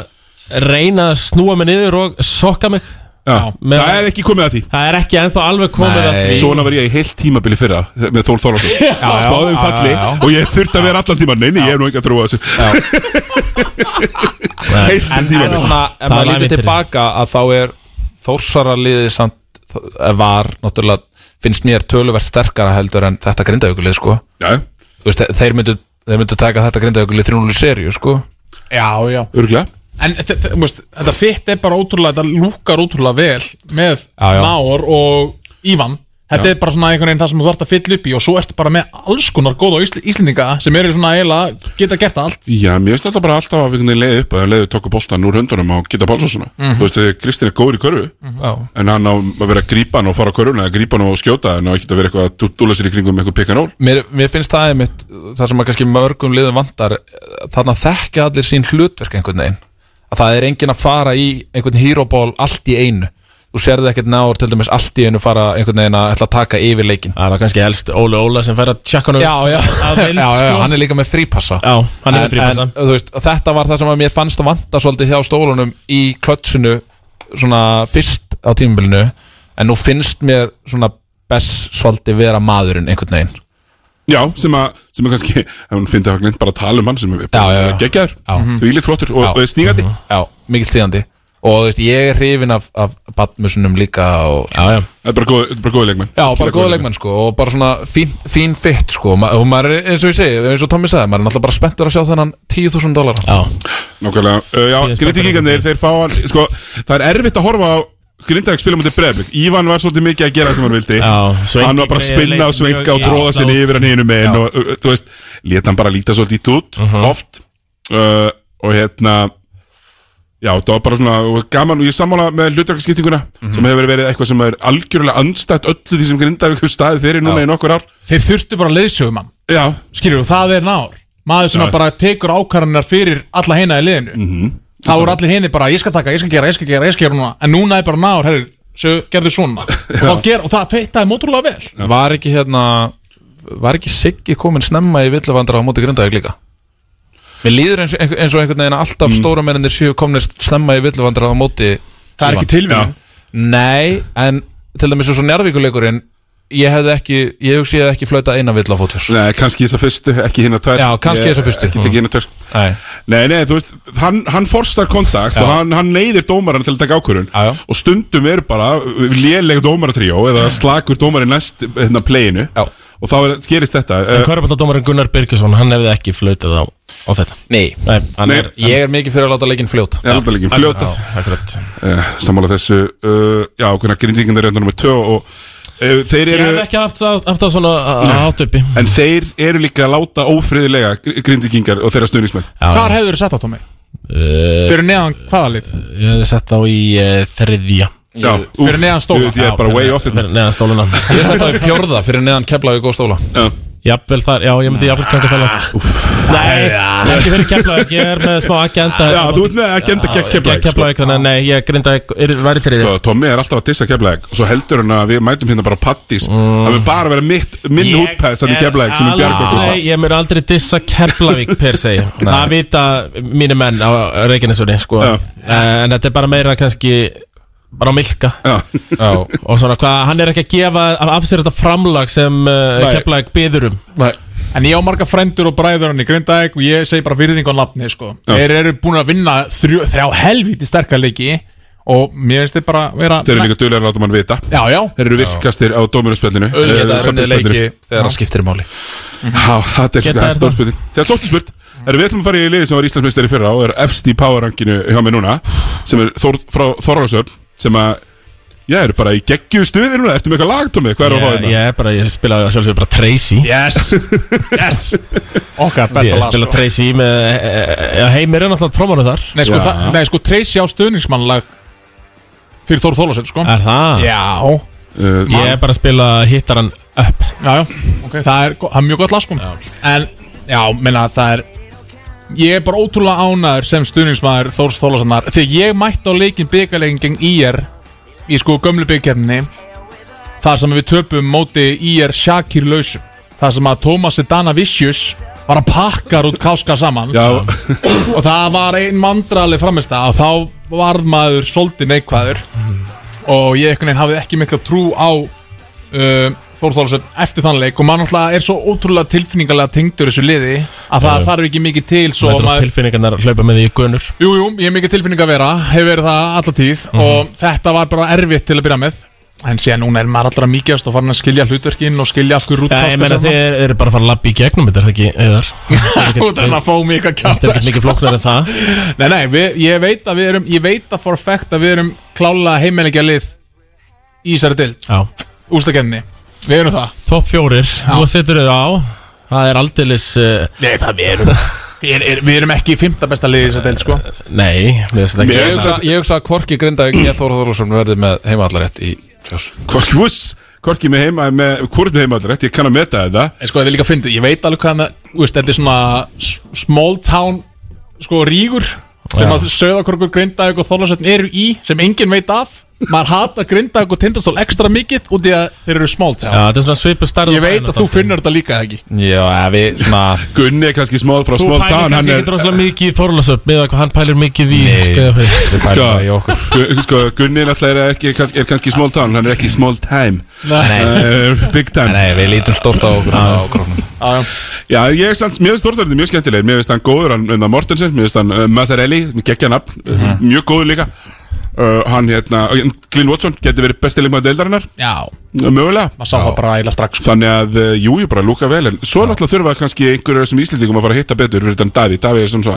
[SPEAKER 2] reyna að snúa mig niður og sokka mig
[SPEAKER 1] Já, Ah, það er ekki komið að því
[SPEAKER 2] Það er ekki ennþá alveg komið að því
[SPEAKER 1] Svona var ég í heilt tímabili fyrra með Þól Þorvarsson
[SPEAKER 2] já,
[SPEAKER 1] Spáðum
[SPEAKER 2] já,
[SPEAKER 1] falli
[SPEAKER 2] já, já.
[SPEAKER 1] og ég þurfti að vera allan tíma Nei, nei, ég hef nú ekki að þrúa þessu Heilt
[SPEAKER 12] En-
[SPEAKER 1] tímabil.
[SPEAKER 12] En svona, ef
[SPEAKER 1] Það
[SPEAKER 12] maður
[SPEAKER 1] er
[SPEAKER 12] lítur
[SPEAKER 1] ævintýri.
[SPEAKER 12] tilbaka að þá er Þórsara liðið samt eh, var náttúrulega, finnst mér töluvert sterkara heldur en þetta grindaugulið sko.
[SPEAKER 1] Já.
[SPEAKER 12] Veist, þe- þeir myndu þeir myndu taka þetta grindaugulið 3-0 í seríu sko.
[SPEAKER 4] Já, já
[SPEAKER 1] Örglega
[SPEAKER 4] En þe- þe- þú veist, þetta fitt er bara ótrúlega Þetta lúkar ótrúlega vel með
[SPEAKER 12] Já, já.
[SPEAKER 4] Már og Ívan Þetta
[SPEAKER 12] Já.
[SPEAKER 4] er bara svona einhvern veginn það sem þú þarft að fylla upp í og svo ertu bara með alls konar góða Ísl Íslendinga sem eru svona eiginlega geta gert allt
[SPEAKER 1] Já, mér finnst þetta bara alltaf að við leiði upp að leiði tóku boltan úr höndunum á Gita Pálssonsuna
[SPEAKER 4] Mhm.
[SPEAKER 1] Þú veist, þegar Kristinn er góður í körfu
[SPEAKER 2] Mhm.
[SPEAKER 12] Já.
[SPEAKER 1] en hann á að vera að grípa hann og fara á körfuna eða grípa hann og skjóta en á ekki að vera eitthvað að dúla sér í kringum með eitthvað pikanól
[SPEAKER 12] mér, mér finnst það einmitt það sem að kannski mörgum liðum vantar þannig að þekka allir sín hlutverk einhvern veginn að það er enginn að fara í einhvern hýróból allt í einu þú sérði ekkert náður til dæmis allt í einu fara einhvern veginn að ætla að taka yfir leikin
[SPEAKER 2] Það er kannski helst Óli Óla sem fær að tjekka hann
[SPEAKER 12] Já, já,
[SPEAKER 2] að vild,
[SPEAKER 12] já, já,
[SPEAKER 2] sko.
[SPEAKER 12] hann er líka með frípassa
[SPEAKER 2] Já, hann er með
[SPEAKER 12] En-
[SPEAKER 2] frípassa.
[SPEAKER 12] en, þú veist, Þetta var það sem að mér fannst að vanta svolítið hjá stólunum í klötsinu svona fyrst á tímabilinu en nú finnst mér svona best svolítið vera maðurinn einhvern veginn
[SPEAKER 1] Já, sem að, sem að kannski, ef hún finnst að hafa glint bara að tala um hann sem er bara geggjaður Þú ílið þróttur og, og er stígandi
[SPEAKER 2] Mhm.
[SPEAKER 12] Já, mikill stígandi Og þú veist, ég er hrifin af, af badmusunum líka og,
[SPEAKER 2] Já, já
[SPEAKER 1] Þetta er bara góð- þetta er bara góði leikmenn
[SPEAKER 12] Já, bara góða leikmenn sko og bara svona fín, fín fit sko Ma, og maður er, eins og ég segi, eins og Tommi sagði maður er náttúrulega bara spenntur að sjá þennan 10.000 dólar
[SPEAKER 2] Já,
[SPEAKER 1] Nákvæmlega, uh, já, grindvíkingarnir, þeir fá hann sko, það er erfitt að horfa á Grindavík spila mútið breyðblik, Ívan var svolítið mikið að gera sem hann vildi,
[SPEAKER 2] Svenki
[SPEAKER 1] hann var bara að spinna
[SPEAKER 2] leik
[SPEAKER 1] og svenka og
[SPEAKER 2] mjög
[SPEAKER 1] tróða sinni
[SPEAKER 2] jákvætt.
[SPEAKER 1] yfir hann hinum einn
[SPEAKER 2] Já.
[SPEAKER 1] og uh, þú veist, leta hann bara líta svolítið ít út oft uh, og hérna já, það var bara svona og gaman og ég sammála með hlutverkarskiptinguna sem hefur verið eitthvað sem er algjörlega andstætt öllu því sem Grindavík hefur staðið fyrir núna í nokkur ár
[SPEAKER 4] Þeir þurftu bara leiðsögum hann
[SPEAKER 1] Já
[SPEAKER 4] Skilur, það er nár Maður sem
[SPEAKER 1] Já.
[SPEAKER 4] að bara tekur ákvarðanar fyrir alla heina í liðinu
[SPEAKER 12] Mhm.
[SPEAKER 4] Þá eru allir heini bara, ég skal taka, ég skal gera, ég skal gera, ég skal gera núna En núna er bara nár, herri, svo gerðu svona Og, þá ger, og það feittaði mótrúlega vel
[SPEAKER 12] Var ekki hérna var ekki Siggi komin snemma í villavandra á móti grindaðið líka Mér líður eins, eins, eins og einhvern veginn að alltaf mm. stóra mennindir séu komin snemma í villavandra á móti
[SPEAKER 4] Það er ekki tilviljun.
[SPEAKER 12] Nei, en til dæmis eins og njárvíkuleikurinn ég hefði ekki, ég hugsi ég hefði ekki flöta eina villavótur
[SPEAKER 1] Nei, kannski þessa fyrstu, ekki hérna tvær
[SPEAKER 12] Já, kannski
[SPEAKER 1] Ég-
[SPEAKER 12] þessa fyrstu.
[SPEAKER 1] Ekki tekið hérna tvær sko.
[SPEAKER 12] Nei.
[SPEAKER 1] nei, þú veist, hann, hann forstar kontakt
[SPEAKER 12] Já.
[SPEAKER 1] og hann, hann neyðir dómaran til að taka ákvörun já, já. og stundum er bara léleg dómaratríó eða slakur dómari næst hérna pleginu og þá er, gerist þetta
[SPEAKER 2] En
[SPEAKER 1] Eh,
[SPEAKER 2] Körbaldadómarinn Gunnar Birgisson, hann hefði ekki flautað á, á þetta
[SPEAKER 12] Nei,
[SPEAKER 2] hann
[SPEAKER 1] Nei.
[SPEAKER 2] er,
[SPEAKER 12] ég er mikið fyrir að láta leikinn fljóta
[SPEAKER 1] Já, láta leikinn fljóta.
[SPEAKER 2] akkurat
[SPEAKER 1] uh, sammála þessu uh, já, hvernig að grindvíkingar er nummer 2 og uh, þeir
[SPEAKER 2] Ég
[SPEAKER 1] eru
[SPEAKER 2] hef ekki haft, haft, haft það svona að
[SPEAKER 1] Nei.
[SPEAKER 2] hátt uppi
[SPEAKER 1] en þeir eru líka að láta ófriðilega gr- grindvíkingar og þeirra stuðnismenn
[SPEAKER 4] Hvar hefur þið sett á Tómi?
[SPEAKER 21] Eh,
[SPEAKER 4] Fyrir neðan hvaða lið?
[SPEAKER 2] Ég hefði sett þá í uh, þriðja
[SPEAKER 1] Já,
[SPEAKER 4] Fyrir neðan stóla.
[SPEAKER 1] Ég er bara way off hérna. it
[SPEAKER 2] Fyrir neðan stóluna
[SPEAKER 12] Ég ætla þetta í fjórða fyrir neðan keflavík og stóla
[SPEAKER 1] Já
[SPEAKER 2] Jafnvel þar, já, ég myndi jafnvel ganga það langt Nei, ekki fyrir Keflavík Ég er með smá agenda
[SPEAKER 1] Já, þú ert með agenda gegn Keflavík, sko.
[SPEAKER 2] Keflavík, þannig að nei, ég grinda væri til
[SPEAKER 1] Sko, Tommi er alltaf að dissa keflæk og svo heldur hann að við mætum hérna bara á pattis það mun bara vera mitt, minn húppæðs þannig keflæk sem er bjarga okkur
[SPEAKER 2] Nei, ég mér aldrei dissa Keflavík per se Það vita mínu menn á Reykjanesunni sko. En þetta er bara meira kannski bara á milka Já. og svona hvað, hann er ekki að gefa af sér þetta framlag sem uh,
[SPEAKER 12] Nei.
[SPEAKER 2] Keflavík byður um
[SPEAKER 12] Nei. En ég á marga frendur og bræður hann í Grindæk og ég segi bara virðingu á nafni sko. Þeir eru búin að vinna þrjá, þrjá helvíti sterkar leiki og mér finnst þeir bara vera
[SPEAKER 1] Þeir eru líka duðlega að láta mann vita
[SPEAKER 12] Já, já
[SPEAKER 1] Þeir eru virkastir á dómurarspjallinu
[SPEAKER 21] Auðvitað er unnið leiki þegar það skiptir máli
[SPEAKER 1] Já, það
[SPEAKER 21] Geta
[SPEAKER 1] er það er
[SPEAKER 21] þeir
[SPEAKER 1] stór
[SPEAKER 21] það?
[SPEAKER 1] spurning Það er stórt spurt Erum við ætlum að fara í liði sem var Íslandsmeistari í fyrra og er efst í powerrankinu hjá mér núna sem er Þór, frá Þorlásöfn sem að Já, eru bara í geggju stuði núna Ertu með eitthvað lag, Tommi? Hvað er að fá
[SPEAKER 2] Ég,
[SPEAKER 1] þetta?
[SPEAKER 2] ég er bara, ég spilaði að sjálfsögur bara Tracy
[SPEAKER 12] Yes, yes Okkar besta
[SPEAKER 2] Ég
[SPEAKER 12] lag,
[SPEAKER 2] spila
[SPEAKER 12] sko.
[SPEAKER 2] Tracy með Já, heimir er náttúrulega trómanu þar
[SPEAKER 12] Nei, sko, það, nei, sko Tracy á stöðningsmannlag fyrir Þór Þólasöld, sko
[SPEAKER 2] Er það?
[SPEAKER 12] Já
[SPEAKER 1] Eh,
[SPEAKER 2] Ég er bara að spila hittaran upp
[SPEAKER 12] Já, já, okay. það, er, go- það er mjög gott lag, sko En, já, menna, það er Ég er bara ótrúlega ánæður sem stuðningsmaður Þórs Þólasöndar Þegar ég mætti á leikin byggarleikin geng IR Í sko gömlu byggkefni Það sem við töpum móti IR Shakir lausum Það sem að Thomas Dana Vicious var að pakkar út káska saman
[SPEAKER 1] Já
[SPEAKER 12] Og það var ein mandrali framist það Og þá varð maður svolítið neikvæður Og ég einhvern veginn hafði ekki mikla trú á uh, Þór Þórsson eftir þann leik Og maður náttúrulega er svo ótrúlega tilfinningalega tengdur þessu liði Að
[SPEAKER 2] Já, já.
[SPEAKER 12] það þarf ekki mikið til
[SPEAKER 2] Svo
[SPEAKER 12] svo
[SPEAKER 2] Þetta er
[SPEAKER 12] maður-
[SPEAKER 2] tilfinningarnar að hlaupa með því í gunnur
[SPEAKER 12] Jú, jú, ég er mikið tilfinning að vera, hefur verið það alla tíð
[SPEAKER 2] Mhm.
[SPEAKER 12] og þetta var bara erfitt til að byrja með en síðan núna er maður allra mikilvægast og farin að skilja hlutverkin og skilja aftur út
[SPEAKER 2] Já, ég meina þið eru bara að fara að labba í gegnum Þetta er það ekki, eðar
[SPEAKER 12] Þú þarf að fá mig að kjáta
[SPEAKER 2] Þetta er ekki mikið flóknar en það
[SPEAKER 12] Nei, nei, við, ég veit að við erum ég veit að for a fact að við erum klálega heimælingja lið í þessari dild
[SPEAKER 2] Já.
[SPEAKER 12] Ústakefni, við erum það
[SPEAKER 2] Topp fjórir, þú setur þau á Það er aldeilis uh,
[SPEAKER 12] Nei, það við erum er, er, Við erum ekki fymta besta lið í þessari dild, sko
[SPEAKER 2] Nei, mér finnst þetta
[SPEAKER 21] Ég
[SPEAKER 2] ekki
[SPEAKER 21] hugsa- ég hugsa að Korki Grindavík ég Þóra Þóraðsson verði með heimallarétt í kljós
[SPEAKER 1] Korki vuss Korki með heima með, Hvort með heima allrætt Ég kann að meta þetta
[SPEAKER 12] En sko, þetta er líka fyndið, ég veit alveg hvað það, þú veist, þetta er svona s- small town, sko, rígur sem
[SPEAKER 2] Já.
[SPEAKER 12] að söðakorkur, grindaðug og þólasötn eru í, sem enginn veit af maður hata grindaðug og tindastól ekstra mikið út í að þeir eru small town
[SPEAKER 2] Já, þetta er svona svipu starð
[SPEAKER 12] Ég veit að þú finnur þetta líka ekki
[SPEAKER 21] Já, ef við svona
[SPEAKER 1] Gunni er kannski smóð frá
[SPEAKER 2] Þú
[SPEAKER 1] smóð
[SPEAKER 2] pælir
[SPEAKER 1] tann
[SPEAKER 2] kannski ekki droslega mikið í Þorlasöp með hvað hann pælir mikið í
[SPEAKER 1] Nei,
[SPEAKER 2] Skagafirði.
[SPEAKER 1] sko, Gu- sko, Gunni náttúrulega er, ekki, kannski- er kannski small town, hann er ekki small time
[SPEAKER 2] Nei.
[SPEAKER 1] uh, Big time
[SPEAKER 21] Nei, við lítum stort á okkur á króknum
[SPEAKER 1] Já, ég er samt, mér finnst Þórstæðin mjög skemmtilegir Mér finnst hann góður, hann hann Mortensen Mér finnst hann uh, Mazzarelli, geggja nafn uh
[SPEAKER 21] Mhm.
[SPEAKER 1] Mjög góður líka uh, Hann hérna, og Glyn Watson geti verið besti leikmaður deildarinnar
[SPEAKER 12] Já.
[SPEAKER 1] Mögulega
[SPEAKER 12] Maður sá það bara eila strax
[SPEAKER 1] Þannig að, uh, jú, ég bara lúka vel En svo náttúrulega þurfa kannski einhverjum sem Íslendingum að fara að hitta betur Fyrir þann Davi, Davi er sem svo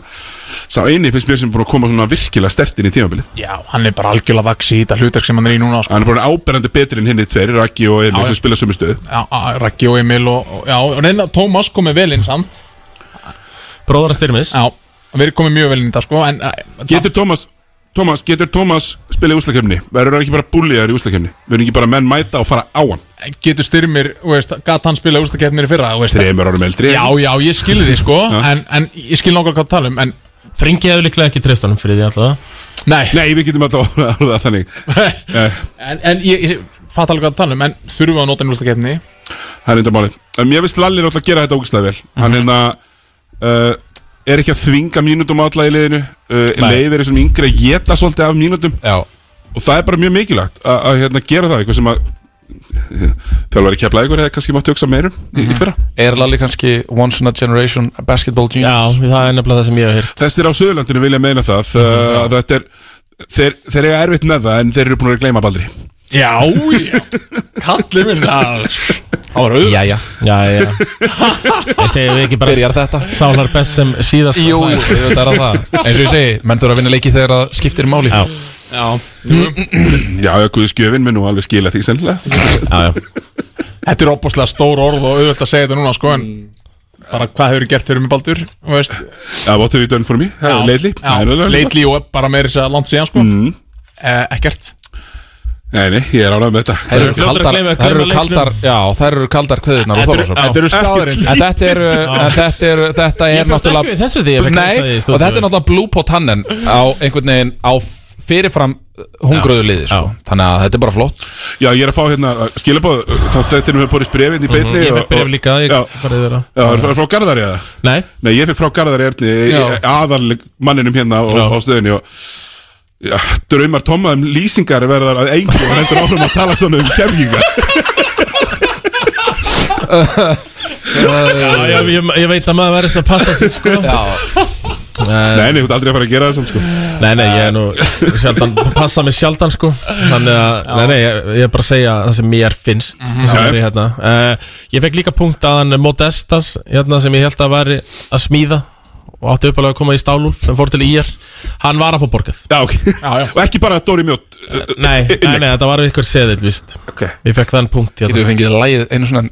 [SPEAKER 1] Sá eini finnst mér sem er búin að koma svona virkilega stert inn í tímabilið
[SPEAKER 12] Já, hann er bara algjörlega vaksi í þetta hlutverk sem hann er í núna sko.
[SPEAKER 1] Hann er bara áberandi betri en henni tveir Raki og Emil
[SPEAKER 12] Já,
[SPEAKER 1] sem
[SPEAKER 12] já.
[SPEAKER 1] spila sömu stöðu
[SPEAKER 12] Já, á- Raggi og Emil og, og já, og reyna Tómas komið vel inn samt
[SPEAKER 2] Bróðara styrmis
[SPEAKER 12] Já, við erum komið mjög vel inn í þetta, sko en,
[SPEAKER 1] Getur Tómas Tómas, getur Tómas spila í úslakefni? Verður hann ekki bara búlíðar í úslakefni? Verður ekki bara menn mæta og fara á hann?
[SPEAKER 12] Getur styrmir, þú veist, gat hann spila úrstakefnir í fyrra, þú veist
[SPEAKER 1] Þreymur árum eldri
[SPEAKER 12] Já, já, ég skilði þið sko en, en ég skil nákvæmlega hvað það tala um En
[SPEAKER 2] Fringi hefur líklega ekki treyst honum fyrir því alltaf
[SPEAKER 12] Nei
[SPEAKER 1] Nei, við getum alltaf að orða það þannig Eh,
[SPEAKER 12] En, en ég, ég fatt alveg hvað það tala um En þurfum við að nota njúlstakefni
[SPEAKER 1] Það er enda málið um, Ég veist Lalli er alltaf að gera þetta ógustlega vel
[SPEAKER 12] Mhm.
[SPEAKER 1] Hann hérna uh, Er ekki að þvinga mínútum alla í liðinu uh,
[SPEAKER 21] Nei.
[SPEAKER 1] Leifir er svona yngri að geta svolítið af mínútum
[SPEAKER 21] já.
[SPEAKER 1] Og það er bara mjög mikilvægt að, að hérna, gera það Eitthvað sem að eh, Þjálfari keflaði ykkur hefði kannski mátt hugsa meirum í,
[SPEAKER 12] Mhm.
[SPEAKER 1] í fyrra
[SPEAKER 21] Er Lalli kannski once in a generation basketball genius?
[SPEAKER 2] Já, það er nefnilega það sem ég hef heyrt
[SPEAKER 1] Þessir á Suðurlandinu vilja meina það mm Þetta er Þeir, þeir eru erfitt með það en þeir eru búin að gleyma baldri
[SPEAKER 12] Já, já Kallið minn Það Það var sko. auðvitað
[SPEAKER 21] Jæja
[SPEAKER 2] Já, já Ég segi við ekki bara
[SPEAKER 21] Byrjar þetta
[SPEAKER 2] Sálar best sem síðast
[SPEAKER 21] Jú,
[SPEAKER 2] hlær.
[SPEAKER 21] þetta er að það Eins og ég segi, menn þurfa að vinna leiki þegar það skiptir máli Já,
[SPEAKER 12] já
[SPEAKER 1] Já, já, Guðskjöfin mun nú alveg skila því sennilega
[SPEAKER 12] Þetta er opaslega stór orð og auðvitað að segja þetta núna sko En bara hvað hefur gert fyrir mig Baldur Þú veist
[SPEAKER 1] Já, what have you done for me? Lately
[SPEAKER 12] Já,
[SPEAKER 1] Það er alveg-
[SPEAKER 12] Lately og bara meira þess að langt síðan sko mm. Eh, Ekkert
[SPEAKER 1] Nei, nei, ég er ánægð með þetta
[SPEAKER 12] Þær eru kaldar, þær eru kaldar, já, þær eru kaldar kveðunar
[SPEAKER 1] Þetta eru- þetta eru staðreyndir.
[SPEAKER 12] En þetta eru, en þetta eru, þetta
[SPEAKER 2] Ég
[SPEAKER 12] er
[SPEAKER 2] bjóst ekki við þessu því ég fekk að
[SPEAKER 12] Nei,
[SPEAKER 2] lesa því í
[SPEAKER 12] og
[SPEAKER 2] stúdíói.
[SPEAKER 12] þetta er náttúrulega blue pot hannen á einhvern veginn á fyrirfram eh, hungröðu liði, sko Þannig að þetta er bara flott
[SPEAKER 1] Já, ég er að fá hérna skilabóð Þetta er mér borist brefinn í beinni
[SPEAKER 2] Ég fekk bref
[SPEAKER 1] og-
[SPEAKER 2] líka
[SPEAKER 1] Já,
[SPEAKER 2] ég farið þeirra
[SPEAKER 1] Já, er það frá Garðari eða?
[SPEAKER 2] Nei
[SPEAKER 1] Nei, ég fyrir frá Garðari Erni
[SPEAKER 2] Já.
[SPEAKER 1] aðal manninum hérna á,
[SPEAKER 2] Já.
[SPEAKER 1] á stöðinni og já, draumar Tomma um lýsingar verðar að engu og hendur áfram að tala svona um kemmingar
[SPEAKER 2] Já, já, ég, ég veit að maður verðist að passa sig sko. Nei,
[SPEAKER 1] nei, þú ert aldrei að fara að gera það sko.
[SPEAKER 2] Nei, nei, ég er nú sjaldan Passa mig sjaldan sko Þannig að, nei, nei, ég, ég er bara að segja það sem mér finnst
[SPEAKER 12] Mhm.
[SPEAKER 2] sem
[SPEAKER 12] Já,
[SPEAKER 2] er í,
[SPEAKER 12] já.
[SPEAKER 2] hérna. uh, Ég fekk líka punkt að hann Modestas, hérna sem ég held að væri að smíða og átti uppalega að koma í stálúf en fór til IR, hann var að fá borgað
[SPEAKER 1] Já, ok, já, já. og ekki bara Dóri Mjótt
[SPEAKER 2] Nei, nei, nei, þetta var ykkur seðil, víst
[SPEAKER 1] okay.
[SPEAKER 2] Ég fekk þann punkt hérna.
[SPEAKER 12] Getum við fengið lægið einu svona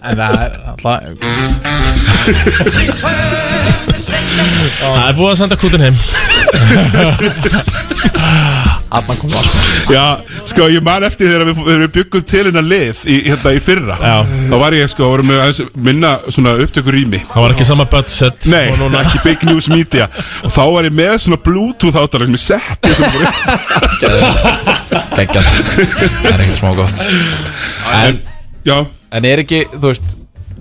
[SPEAKER 23] En það er alltaf
[SPEAKER 2] Það er búið að senda kútin heim
[SPEAKER 23] Þarna kom það sko.
[SPEAKER 1] Já, sko, ég man eftir þegar við, þegar við byggum til hennar lið í, hérna í fyrra Já. Þá var ég, sko, vorum við aðeins minna svona upptökur rými
[SPEAKER 2] Það var ekki sama budget
[SPEAKER 1] Nei,
[SPEAKER 2] og núna.
[SPEAKER 1] ekki Big News Media Og þá var ég með svona Bluetooth áttalag sem ég setti sem
[SPEAKER 12] Gægjað Það er ekkert smá gott En,
[SPEAKER 1] já.
[SPEAKER 12] en er ekki, þú veist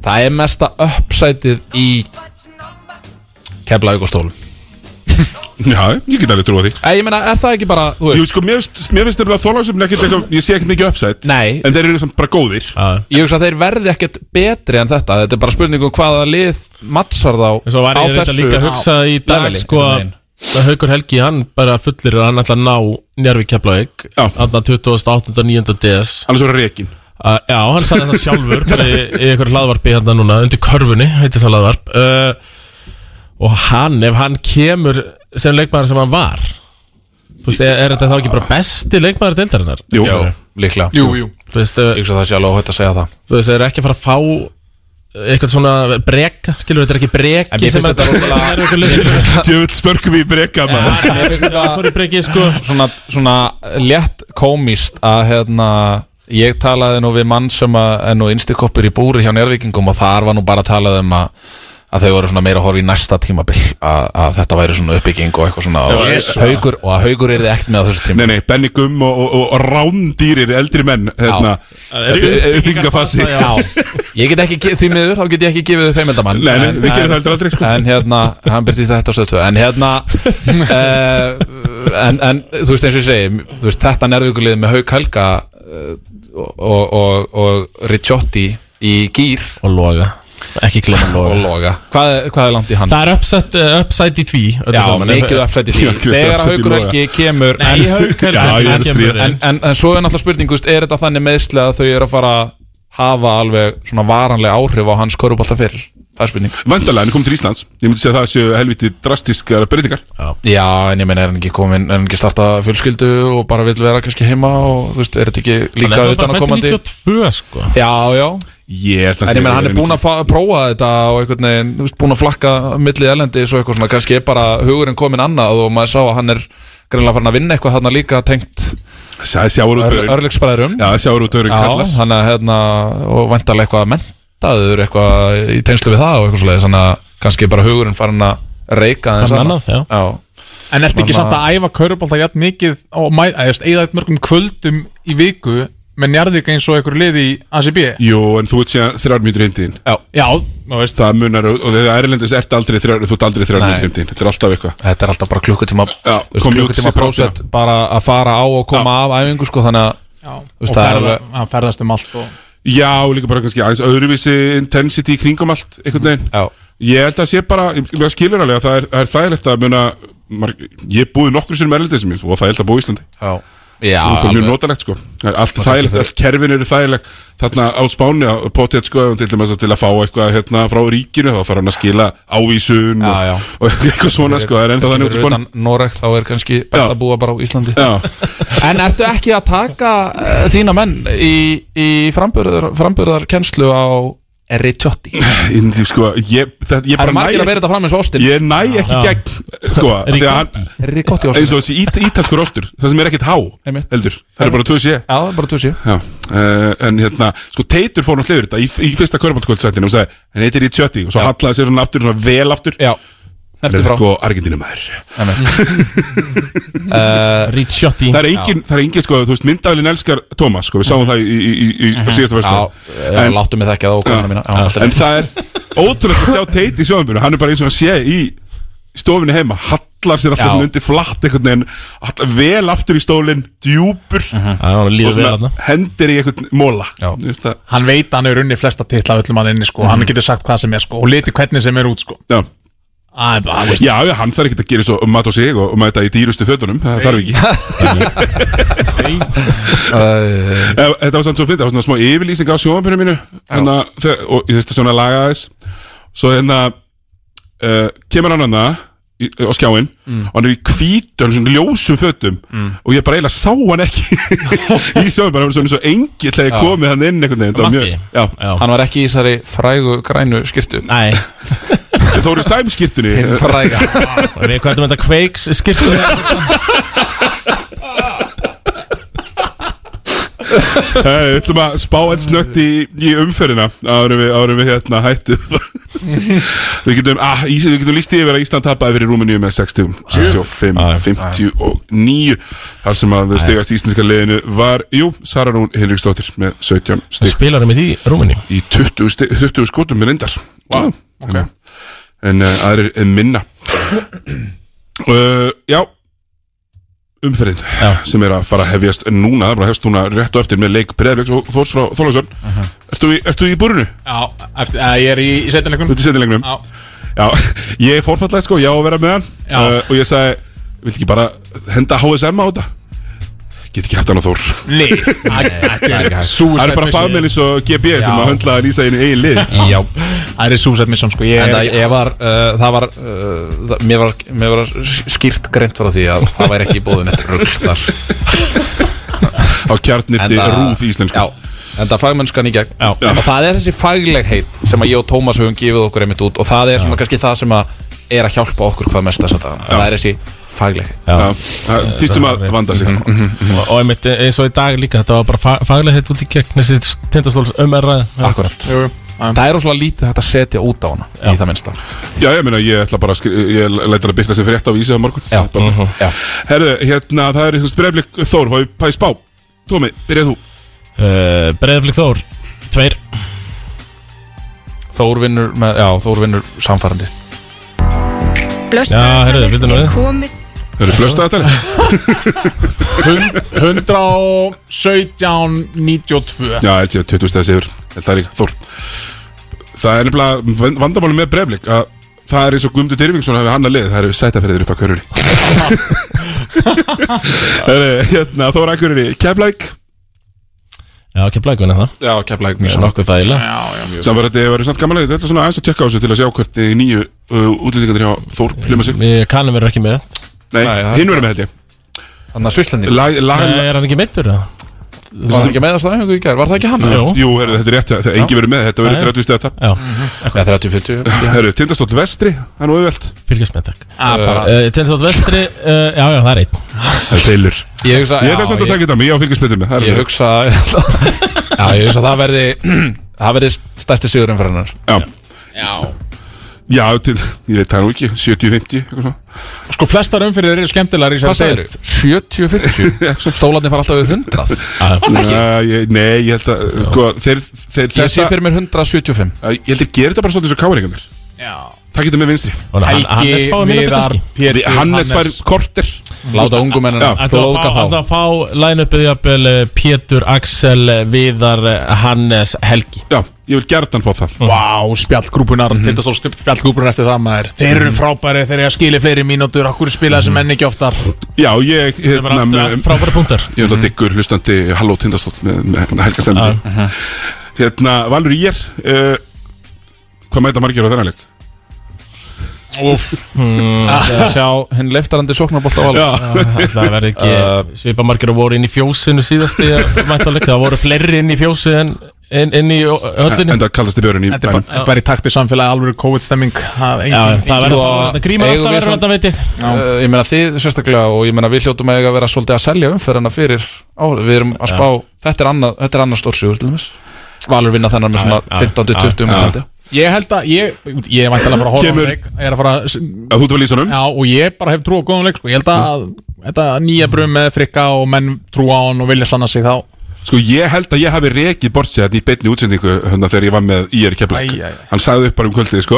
[SPEAKER 12] Það er mesta uppsætið í Keflavík og stólum
[SPEAKER 1] Já, ég get alveg trúa því
[SPEAKER 12] Ég meina, er það ekki bara, þú
[SPEAKER 1] veist Jú, sko, mér finnst mér finnst nefnilega þólagsum ekkert eitthvað Ég sé ekkert mikið uppsætt
[SPEAKER 12] Nei
[SPEAKER 1] En þeir eru svona bara góðir
[SPEAKER 12] Ég hugsa að þeir verði ekkert betri en þetta Þetta er bara spurning um hvaða lið mattsar þá
[SPEAKER 2] En svo var
[SPEAKER 12] á
[SPEAKER 2] ég þetta
[SPEAKER 12] þessu
[SPEAKER 2] líka að hugsa í dag
[SPEAKER 12] leveli,
[SPEAKER 2] sko
[SPEAKER 12] einhvern
[SPEAKER 2] að
[SPEAKER 12] veginn.
[SPEAKER 2] að Haukur Helgi hann bara fullir að hann ætla að ná Njárvík Keflavík aðna 28.9. DS Uh,
[SPEAKER 1] Hann er svo reikin
[SPEAKER 2] Já, hann sagði það sjálfur í, í einhverju hlaðvarpi hérna núna undir körfunni, heitir það hlaðvarp uh, og hann, ef hann kemur sem leikmaður sem hann var þú veist, er, er þetta þá ekki bara besti leikmaður deildarinnar?
[SPEAKER 12] Jú, líklega
[SPEAKER 2] Jú, jú.
[SPEAKER 12] Þú
[SPEAKER 2] veist Ég
[SPEAKER 12] hugsa að það sé alveg óhætt að segja það
[SPEAKER 2] þú veist, þeir eru ekki að fara að fá eitthvað svona breka, skilur þetta er ekki
[SPEAKER 12] En
[SPEAKER 2] breki
[SPEAKER 12] mér finnst þetta
[SPEAKER 2] rosalega
[SPEAKER 1] Djöfull spörkum í breka maður
[SPEAKER 12] Mér finnst þetta
[SPEAKER 2] Sorry breki, sko
[SPEAKER 12] Svona, svona létt komist að hérna Ég talaði nú við mann sem að, er nú innstikoppur í búri hjá njárvíkingum og þar var nú bara talað um að að þau voru svona meira að horfa í næsta tímabil að, að þetta væri svona uppbygging og eitthvað svona og,
[SPEAKER 1] Jesú.
[SPEAKER 12] haugur, og að haugur er þið ekkert með á þessu tíma
[SPEAKER 1] Nei, nei, Benny Gumm og, og, og, og rándýrir eldri menn hérna, uppbyggingafasi
[SPEAKER 12] Ég get ekki, ge- því miður, þá get ég ekki gefið upp heimeldamann
[SPEAKER 1] Nei, nei,
[SPEAKER 12] En-
[SPEAKER 1] við gerum
[SPEAKER 12] en-
[SPEAKER 1] það heldur aldrei, sko.
[SPEAKER 12] En hérna, hann byrtist þetta á stöðtöð En hérna uh, en, en þú veist eins og ég segi þú veist, Þetta nervugulið með Hauk Helga uh, og, og, og Ricciotti í gýr
[SPEAKER 2] Og Loga, ekki glemma Loga
[SPEAKER 12] Og Loga, hvað, er- hvað er langt í hann?
[SPEAKER 2] Það er upsætt upsætt í tví öllu
[SPEAKER 12] Já,
[SPEAKER 2] saman.
[SPEAKER 12] mikið upsætt í því
[SPEAKER 2] Já, mikið
[SPEAKER 12] Þegar
[SPEAKER 2] upside í
[SPEAKER 12] Haukur
[SPEAKER 2] Loga.
[SPEAKER 12] Helgi kemur
[SPEAKER 2] Nei,
[SPEAKER 12] en-
[SPEAKER 2] Haukur Helgi Já, ég er að kemur stríða.
[SPEAKER 12] en, en, en svo er náttúrulega spurning, þú veist, er þetta þannig meðslega að þau eru að fara að hafa alveg svona varanlega áhrif á hans korubólta Það er spurning
[SPEAKER 1] Vandalega, hann er komið til Íslands Ég myndi segja að það séu helviti drastiskar breytingar
[SPEAKER 12] Já, en ég meina er hann ekki komin, er hann ekki starta fjölskyldu og bara vil vera kannski heima og þú veist, er þetta ekki líka
[SPEAKER 2] Hann er samt
[SPEAKER 12] utan
[SPEAKER 2] bara
[SPEAKER 12] að komandi?
[SPEAKER 2] fæddur 92 sko
[SPEAKER 12] Já, já
[SPEAKER 1] Ég er
[SPEAKER 12] En ég meina hann er búin að fa- prófa þetta og einhvern veginn, þú veist, búin að flakka millið erlendis og eitthvað svona, kannski er bara hugurinn komin annað og maður sá að hann er greinlega farin að vinna eitthvað hann líka tengt
[SPEAKER 1] Sjáurútvörun
[SPEAKER 12] Örlegsbræðurum
[SPEAKER 1] Já, sjáurútvörun
[SPEAKER 12] Já,
[SPEAKER 1] kallar
[SPEAKER 12] hann er hérna og vantarlega eitthvað að mentaður eitthvað í tengslu við það og eitthvað svoleiðis, þannig að kannski er bara hugurinn farin að reyka
[SPEAKER 23] Farin
[SPEAKER 12] þess
[SPEAKER 23] annað, já. En ertu ekki samt að æfa kaurubólta jætt mikið og mæðast eða eitt mörgum kvöldum í viku með njarðvík eins og einhver lið í ACB
[SPEAKER 1] Jú, en þú ert síðan þrjár mínútur heimtíðin
[SPEAKER 12] Já,
[SPEAKER 23] já
[SPEAKER 1] Það munar, og og þegar Erlendis ert aldrei þrjár, þú ert aldrei þrjár
[SPEAKER 12] Nei.
[SPEAKER 1] mínútur heimtíðin Þetta er alltaf eitthvað
[SPEAKER 12] Þetta er alltaf bara klukkutíma
[SPEAKER 1] Já,
[SPEAKER 12] þú veist,
[SPEAKER 1] kom í
[SPEAKER 12] klukkutíma
[SPEAKER 1] sig prófina.
[SPEAKER 12] prósett bara að fara á og koma af æfingu sko þannig að þú
[SPEAKER 23] og
[SPEAKER 12] veist, það er
[SPEAKER 23] ferða,
[SPEAKER 12] alveg-
[SPEAKER 23] hann ferðast um allt og
[SPEAKER 1] Já, og líka bara kannski aðeins öðruvísi intensity í kringum allt, einhvern veginn
[SPEAKER 12] Já
[SPEAKER 1] Ég held að sé bara, ég ég skilur alveg að það er, það er þægilegt að muna marg, Ég er búið nokkur sinni með Erlendis mér, og það er held að búið Íslandi
[SPEAKER 12] Já Já,
[SPEAKER 1] Það er mjög
[SPEAKER 12] alveg.
[SPEAKER 1] notalegt sko Það er Allt
[SPEAKER 12] Og
[SPEAKER 1] þægilegt,
[SPEAKER 12] þakka
[SPEAKER 1] öll kerfin eru þægileg Þarna á Spáni á potið sko ef hann til dæmis að til að fá eitthvað hérna frá ríkinu þá þarf hann að skila ávísun og, og eitthvað svona sko Það er ennþá þannig út á Spáni
[SPEAKER 12] Noreg þá er kannski best að búa bara á Íslandi
[SPEAKER 1] Já.
[SPEAKER 12] En ertu ekki eh, að taka uh, þína menn í, í frambyrðar, frambyrðarkennslu á Ricciotti
[SPEAKER 1] Inn því, sko, ég, það, ég
[SPEAKER 12] Það
[SPEAKER 1] bara
[SPEAKER 12] eru margir að bera þetta fram eins og ostin.
[SPEAKER 1] Ég næ ekki
[SPEAKER 12] Já.
[SPEAKER 1] gegn, sko af því að hann-
[SPEAKER 12] Ricotti ostin.
[SPEAKER 1] Eins og þessi ít, ítalskur ostur Það sem er ekkit há,
[SPEAKER 12] Einmitt.
[SPEAKER 1] heldur Það eru bara 2C Já,
[SPEAKER 12] bara 2C
[SPEAKER 1] Já, uh, en hérna, sko Teitur fór náttúrulega yfir þetta í, í fyrsta körbáltkvöldsættinu og sagði, hann heitir Ricciotti og svo hallaði sér svona aftur, svona vel aftur
[SPEAKER 12] Já,
[SPEAKER 1] eftir frá Sko, Argentínumæður
[SPEAKER 2] Eh, Ricciotti
[SPEAKER 1] Það er engin, það er engin, sko, þú veist, myndavlin elskar Thomas, sko, við sáum það í, í, í, í á síðasta versta
[SPEAKER 12] Já, já, láttu mig þekkja það og konuna mína. Já, allt í lagi.
[SPEAKER 1] En það er ótrúlega að sjá Teit í sjóðanbyrnu Hann er bara eins og hann sé í stofinni heima Hallar sér alltaf
[SPEAKER 12] Já.
[SPEAKER 1] svona undir flatt einhvern veginn hallar Vel aftur í stólinn, djúpur
[SPEAKER 2] honum líður
[SPEAKER 1] Og svona
[SPEAKER 2] vel þarna.
[SPEAKER 1] hendir í einhvern móla Já,
[SPEAKER 10] Hann veit að hann er unni flesta titla öllum hann inni sko,
[SPEAKER 2] Mhm.
[SPEAKER 10] hann getur sagt hvað sem er sko og liti hvernig sem er út sko
[SPEAKER 1] Já,
[SPEAKER 10] Æ, bara, hann veist-
[SPEAKER 1] já, já, hann þarf ekki að gera svo um mat á sig og, og mæta í dýrustu fötunum Það þarf ekki Eh, Þetta var samt svo fyndið, það var svona smá yfirlýsing á sjónvarpinu mínu hana, þegar, og ég þurfti svona að laga þess svo hérna uh, kemur hann hana í- á skjáin
[SPEAKER 12] Mm.
[SPEAKER 1] og hann er í hvítum, svona ljósum fötum og ég bara eiginlega sá hann ekki í sjónvarpinu, hann var svona svo engill þegar ég
[SPEAKER 12] Já.
[SPEAKER 1] komið hann inn einhvern veginn það var mjög- já.
[SPEAKER 12] Hann var ekki í þessari frægu grænu skirtu
[SPEAKER 2] Nei
[SPEAKER 1] Þóri Sæm skirtunni
[SPEAKER 12] Hinn fræga
[SPEAKER 2] Við kvæðum þetta kveiks skirtu
[SPEAKER 1] Eh, Við ætlum að spá einn snögt í, í umferðina árum við, árum við hérna hættu Við getum, ah, Ís- við getum líst yfir að Ísland tapaði fyrir Rúmeníu með 60, 65, 59 Þar sem að stigast íslenska liðinu var, jú, Sara Rún Hinriksdóttir með 17 stig
[SPEAKER 2] Spilar hann með því Rúmeníu
[SPEAKER 1] Í 20, stig, 20 skotum með reyndar wow, okay. En uh, aðrir en minna uh, Já umferðin sem er að fara að hefjast núna, það er bara að hefst núna rétt og eftir með leik Breðviks og Þórs frá Þólasörn ertu, í- ertu í búrinu?
[SPEAKER 10] Já, eftir, að ég er í, í setjanleikunum
[SPEAKER 1] Þú ert í setjanleikunum?
[SPEAKER 10] Já,
[SPEAKER 1] Já, ég fórfallaði sko, já að vera með hann uh, og ég sagði, vilt ekki bara henda HSM á þetta? Get ekki haft hann á Þór
[SPEAKER 10] Nei, það er ekki hægt.
[SPEAKER 1] Það er bara fagmenn eins og GB sem
[SPEAKER 10] Já.
[SPEAKER 1] að höndla að lýsa einu eigin lið
[SPEAKER 2] sko.
[SPEAKER 12] Já
[SPEAKER 10] Það er súsætt missan sko
[SPEAKER 12] En
[SPEAKER 10] ég
[SPEAKER 12] það, ég var, uh, það var, uh, það, mér var, mér var skýrt greint frá því að það væri ekki bóðin eitt rugl þar
[SPEAKER 1] Á kjarnirti RÚV íslensku
[SPEAKER 12] Já, en það fagmennskan í gegn já. Og það er þessi faglegheit sem að ég og Tómas höfum gefið okkur einmitt út Og það er svona kannski það sem að er að hjálpa okkur hvað mest þess að það Það er þessi faglegheit
[SPEAKER 1] Já. það- sístum að vanda sig.
[SPEAKER 12] Mhm, mhm, mhm.
[SPEAKER 2] Og og einmitt eh, eins og í dag líka Þetta var bara fa faglega hitt út í gegn Þessi tindastóls um umræða
[SPEAKER 12] Akkurat Það er óslega lítið hægt að setja út á hana Í það minnsta
[SPEAKER 1] Mhm. Já, ég meina, ég ætla bara að skri- ég læta að byrta sem frétt á vísi á morgun Já, bara,
[SPEAKER 12] já.
[SPEAKER 1] Herðu, hérna, það er spreflik Þór, hvað er spá? Tómi, byrjað þú
[SPEAKER 2] uh, Breiðaflik Þór Tveir
[SPEAKER 12] Þór vinnur, með, já, Þór vinnur samfærandi
[SPEAKER 2] Já, herruðu, byrjum við
[SPEAKER 8] komið
[SPEAKER 1] Hörru, blösta þetta
[SPEAKER 10] 117, 92
[SPEAKER 1] Já, held ég að 20 stæðis yfir Held það líka, Þór Það er nefnilega vand- vandamálið með breflik að það er eins og Guðmundur Dyrfingsson hafi hann að lið það eru sætafriðir upp á körunni Herru, hérna, Þór Akureyri, Keflæk
[SPEAKER 2] Já, kemlaug vinna það
[SPEAKER 12] Já, Keflæk
[SPEAKER 2] mjög nokkuð þægilega Já,
[SPEAKER 10] já,
[SPEAKER 1] Samverðandi hefur verið samt gaman að þetta er svona aðeins að tjekka á þessu til að sjá hvernig nýju uh, útlendingarnir hjá Þór pluma sig
[SPEAKER 2] Ég kannum verið ekki með
[SPEAKER 1] Nei, hinn verið með held ég
[SPEAKER 12] Þannig að Svisslendingur
[SPEAKER 1] Lag- lag-
[SPEAKER 2] Nei, Eh, er hann ekki meittur?
[SPEAKER 12] Var það ekki meðast aðeins í gær? Var það ekki hann?
[SPEAKER 1] Jú, Jú herru, þetta er rétt, þetta er engi verið með, þetta verið
[SPEAKER 12] Nei.
[SPEAKER 1] 30 stegið tap
[SPEAKER 2] Já,
[SPEAKER 12] Já, 30-40
[SPEAKER 1] Herru, tindastótt vestri, það er nú auðvelt
[SPEAKER 2] Fylgjast með takk
[SPEAKER 1] Ah, bara.
[SPEAKER 2] uh, Tindastóls vestri uh, Já, já, það er einn
[SPEAKER 1] Það er deilur
[SPEAKER 12] Ég hugsa
[SPEAKER 1] Ég ætla samt að taka þetta mig, ég á fylgisbetinu
[SPEAKER 12] Ég hugsa Já, ég hugsa að það verði Það verði stærsti sigurinn fyrir hennar
[SPEAKER 1] Já Já Já, til, ég veit það nú ekki, 70-50 eitthvað svona.
[SPEAKER 10] Sko flestar umfyrir eru skemmtilegar í
[SPEAKER 1] Hvað
[SPEAKER 10] þessari
[SPEAKER 1] sagðirðu?
[SPEAKER 10] deild.
[SPEAKER 12] 70-40 Stólarnir fara alltaf yfir 100
[SPEAKER 1] Nei, ég- Nei, ég held að sko, þeir, þeir,
[SPEAKER 12] Ég sé fyrir mér 175
[SPEAKER 1] Æ, Ég held að gera þetta bara svolítið svo káringandir Takk þetta með vinstri
[SPEAKER 2] Og hann- Helgi, Hannes fái mínútur Viðar, kannski? Pétur,
[SPEAKER 1] Hannes
[SPEAKER 2] Hannes.
[SPEAKER 1] fær korter
[SPEAKER 12] Láta ungu mennina
[SPEAKER 2] Það að fá line-upið jafnvel eh, Pétur, Axel, eh, Viðar, eh, Hannes, Helgi
[SPEAKER 1] Já, ég vil gertan fá það
[SPEAKER 10] Vá, spjallgrúpunar,
[SPEAKER 12] Mhm.
[SPEAKER 10] mm -hmm. tindastól spjallgrúpunar eftir það maður Þeir eru frábæri, þeir eru að skilja fleiri mínútur Akkur spila þessi menn ekki oftar
[SPEAKER 1] Já, ég hérna,
[SPEAKER 10] var allt- allt frábærir
[SPEAKER 2] punktar
[SPEAKER 1] Ég
[SPEAKER 12] Mhm.
[SPEAKER 1] held að diggur hlustandi Halló Tindastóll með, með hérna Helga Sendi
[SPEAKER 12] Ah,
[SPEAKER 1] Hérna, Valur Ír uh, Hvað mæta margir á þennan leik?
[SPEAKER 10] Úff
[SPEAKER 12] Að sjá hinn leftarandi sóknarbólt á alveg
[SPEAKER 2] Ah, Það verði
[SPEAKER 10] Eh.
[SPEAKER 2] ekki svipa margir að voru inn í fjósinu síðast Það voru fleiri inn í fjósi en inn, inn í höllinni
[SPEAKER 1] En það kallast í björun í
[SPEAKER 12] Þetta er bara, þetta er bara í takti samfélagi alveg COVID-stemming Það
[SPEAKER 2] Já, það verður alltaf- þetta grímar alltaf verður þetta, veit ég
[SPEAKER 21] Eh, Ég meina þið sérstaklega og ég meina við hljótum að eiga að vera svolítið að selja umferðina fyrir árið Við erum að
[SPEAKER 2] Já.
[SPEAKER 21] spá, þetta er annað, þetta er annað stórsigur til þess Valur vinna þennan með svona 15-20
[SPEAKER 1] Ah.
[SPEAKER 21] umferði
[SPEAKER 12] Ég held að ég, ég er væntanlega að fara að horfa á
[SPEAKER 21] Kemur-
[SPEAKER 12] leik Ég er að fara að
[SPEAKER 1] Þú ert vel í sonum
[SPEAKER 12] Já og ég bara hef trú á góðum leik sko. Ég held að þetta nýja brum með frikka og menn trú á hann og vilja sanna sig þá
[SPEAKER 1] Sko ég held að ég hafi rekið bortsið í beinni útsendingu hérna þegar ég var með IR Keflæk
[SPEAKER 12] Æ, æ, æ.
[SPEAKER 1] Hann sagði upp bara um kvöldið sko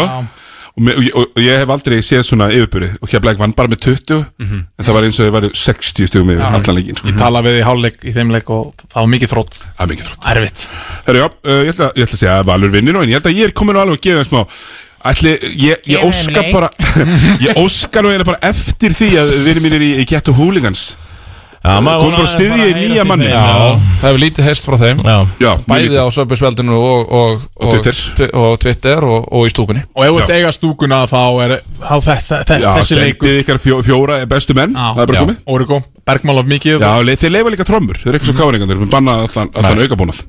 [SPEAKER 1] og, me, og, ég- og ég hef aldrei séð svona yfirbyrði og Keflæk vann bara með 20
[SPEAKER 12] Mhm.
[SPEAKER 1] en það var eins og þau væri 60 stugum yfir
[SPEAKER 12] Já. Mhm.
[SPEAKER 1] allan leikinn sko.
[SPEAKER 12] Ég tala við í hálfleik í þeim leik og það var mikið þrótt
[SPEAKER 1] Það er mikið þrótt
[SPEAKER 12] Erfitt
[SPEAKER 1] Herra, já, uh, ég, ætla, ég ætla að segja að Valur vinnir nú en ég held að ég er komin á alveg að gefa þeim smá Ætli, ég, ég
[SPEAKER 12] Gefa þeim
[SPEAKER 1] óska
[SPEAKER 12] leik.
[SPEAKER 1] bara ég óska nú eiginlega bara eftir því að vinir mínir í, í Ghetto Hooligans
[SPEAKER 2] Já,
[SPEAKER 1] kom
[SPEAKER 2] maður
[SPEAKER 1] bara
[SPEAKER 2] vonar
[SPEAKER 1] að styðja
[SPEAKER 2] bara að
[SPEAKER 1] nýja
[SPEAKER 2] heyra
[SPEAKER 1] manni
[SPEAKER 2] því þeim, já.
[SPEAKER 21] Það hefur lítið heist frá þeim
[SPEAKER 2] Já,
[SPEAKER 1] mjög
[SPEAKER 21] Bæði
[SPEAKER 1] lítið.
[SPEAKER 21] á Söpbjörnsveldinu og, og, og, Twi- og Twitter og, og í stúkunni
[SPEAKER 12] Og ef þú ert eiga stúkuna þá er þá þetta, þetta,
[SPEAKER 1] Já,
[SPEAKER 12] þessi leikur
[SPEAKER 1] sendið ykkar fjó, fjóra bestu menn Það er bara
[SPEAKER 12] já.
[SPEAKER 1] komið
[SPEAKER 12] Origo, Bergmál af mikið
[SPEAKER 1] Já, le- þeir leifa líka trommur Þeir eru ekki svo káringandir Þeir banna allan, allan
[SPEAKER 12] Nei.
[SPEAKER 1] aukabónað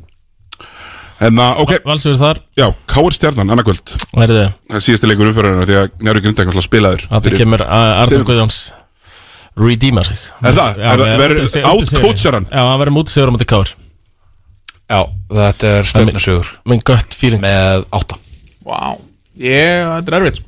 [SPEAKER 1] En það, ok
[SPEAKER 2] Valsur þar
[SPEAKER 1] Já, Káir Stjarnan, annarkvöld
[SPEAKER 2] Verðu
[SPEAKER 1] Það er síðasti leikur umfyririnu Því að Njárvík Grindag er alltaf spilaður
[SPEAKER 2] Þetta kemur Arnur Guðjóns Redeemer sig
[SPEAKER 1] Er það?
[SPEAKER 2] Já,
[SPEAKER 1] Er það-
[SPEAKER 2] með-
[SPEAKER 1] verður
[SPEAKER 2] undir sig- undir sigri.
[SPEAKER 1] outcoachar hann?
[SPEAKER 2] Já, hann verður mútisigur á múti káur
[SPEAKER 21] Já, þetta er stjórnasögur
[SPEAKER 2] Minn gött feeling
[SPEAKER 21] Með átta
[SPEAKER 12] Vá, ég, þetta er erfitt sko.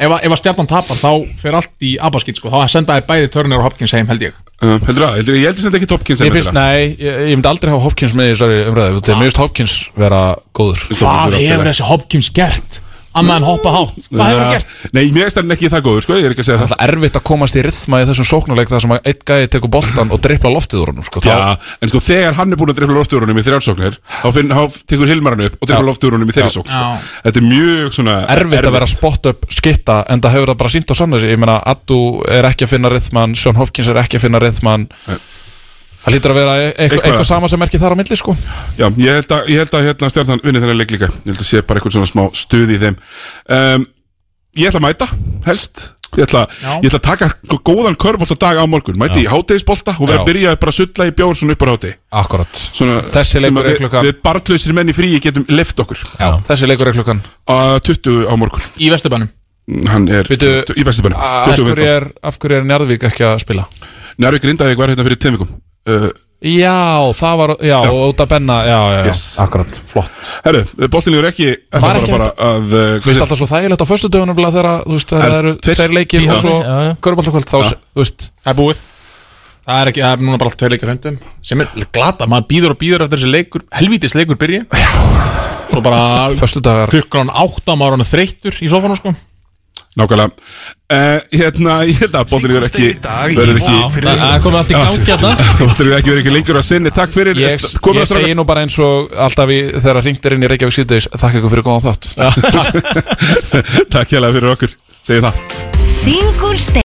[SPEAKER 12] Ef, að- ef að stjarnan tapar þá fer allt í abaskýt sko. Þá sendaði bæði Turner og Hopkins heim held ég
[SPEAKER 1] Um, heldur það, heldur, ég heldur sem þetta ekki Topkins
[SPEAKER 21] Ég finnst, nei, ég, ég myndi aldrei hafa Hopkins með í þessari umræðu Þegar mér finnst Hopkins vera góður
[SPEAKER 12] Hvað hefur þessi Hopkins gert? Annað en hoppa hátt Hvað hefur hann gert?
[SPEAKER 1] Uh, Nei, mér finnst hann ekki það góður, sko Ég er ekki að segja
[SPEAKER 21] það Það er erfitt að komast í rithma í þessum sóknuleik þar sem að einn gæði tekur boltan og drippla loftið úr honum sko.
[SPEAKER 1] Já, en sko þegar hann er búin að dreifla loftúrunum í þrjársóknir þá, finn, þá tekur Hilmar hann upp og dreifla
[SPEAKER 21] Já.
[SPEAKER 1] loftúrunum í
[SPEAKER 21] Já.
[SPEAKER 1] þeirri sókn sko.
[SPEAKER 21] Já.
[SPEAKER 1] Þetta er mjög svona
[SPEAKER 21] erfitt, að vera spot up skitta en það hefur það bara sínt á sann ég meina Addu er ekki að finna rithman Sean Hopkins er ekki að finna rithman það lítur að vera e- eitthvað,
[SPEAKER 1] Eitthvað.
[SPEAKER 21] eitthvað sama sem er ekki þar á milli sko.
[SPEAKER 1] Já, ég held að, ég held að hérna, stjarnan vinni þennan leik líka Ég held að sé bara eitthvað svona smá stuð í þeim um, Ég ætla að mæta, helst Ég ætla, ég ætla að taka gó- góðan körbolt dag á morgun Mæti
[SPEAKER 21] Já.
[SPEAKER 1] í hátegisbolta og vera
[SPEAKER 21] Já.
[SPEAKER 1] að byrja bara að sulla í bjór svona upp á háti
[SPEAKER 21] Akkurat
[SPEAKER 1] svona,
[SPEAKER 21] Þessi
[SPEAKER 1] sem
[SPEAKER 21] leikur
[SPEAKER 1] að
[SPEAKER 21] er
[SPEAKER 1] við-
[SPEAKER 21] klukkan-
[SPEAKER 1] Við barnlausir menn í fríi getum lift okkur
[SPEAKER 21] Já. þessi leikur er klukkan
[SPEAKER 1] uh, 20 á morgun
[SPEAKER 12] Í Vesturbænum
[SPEAKER 1] Hann er
[SPEAKER 21] Bíddu,
[SPEAKER 1] 20 í Vesturbænum
[SPEAKER 21] af
[SPEAKER 1] 20
[SPEAKER 21] hverju
[SPEAKER 1] fimmtán.
[SPEAKER 21] er, af hverju er Njarðvík ekki að spila
[SPEAKER 1] Njárvík Grindavík var hérna fyrir tveim vikum uh,
[SPEAKER 21] já, það var, já, já. út að benna já, já, já,
[SPEAKER 1] Yes.
[SPEAKER 21] akkurat, flott
[SPEAKER 1] Herru, boltinlegur ekki Það
[SPEAKER 21] Var
[SPEAKER 1] bara
[SPEAKER 21] ekki
[SPEAKER 1] bara að uh,
[SPEAKER 21] Þú veist alltaf svo þægilegt á föstu dögunum þegar þú veist, það eru tveir leikir og svo körbáltakvöld þá,
[SPEAKER 12] Já.
[SPEAKER 21] þú veist
[SPEAKER 12] Það er búið Það er, ekki, það er núna bara tveir leikir á fimmtum sem er glata, maður býður og býður eftir þessi leikur helvítis leikur byrji Svo bara
[SPEAKER 21] Föstudagar
[SPEAKER 12] klukkan átta maður hann þreyttur í sofanum sko
[SPEAKER 1] Nákvæmlega uh, Hérna, ég held að boltinlegur ekki
[SPEAKER 12] í
[SPEAKER 1] verður
[SPEAKER 12] Vá,
[SPEAKER 1] ekki
[SPEAKER 12] það- það er komið allt í gang hérna.
[SPEAKER 1] Boltinlegur ekki verður ekki lengur að sinni Takk fyrir
[SPEAKER 21] Ég,
[SPEAKER 1] Komið
[SPEAKER 21] ég
[SPEAKER 1] að
[SPEAKER 21] segi nú bara eins og alltaf í, þegar hringt er inn í Reykjavík síðdeis Þakka ykkur fyrir góðan þátt
[SPEAKER 1] Takk hérlega fyrir okkur Segir það
[SPEAKER 7] Singulsteg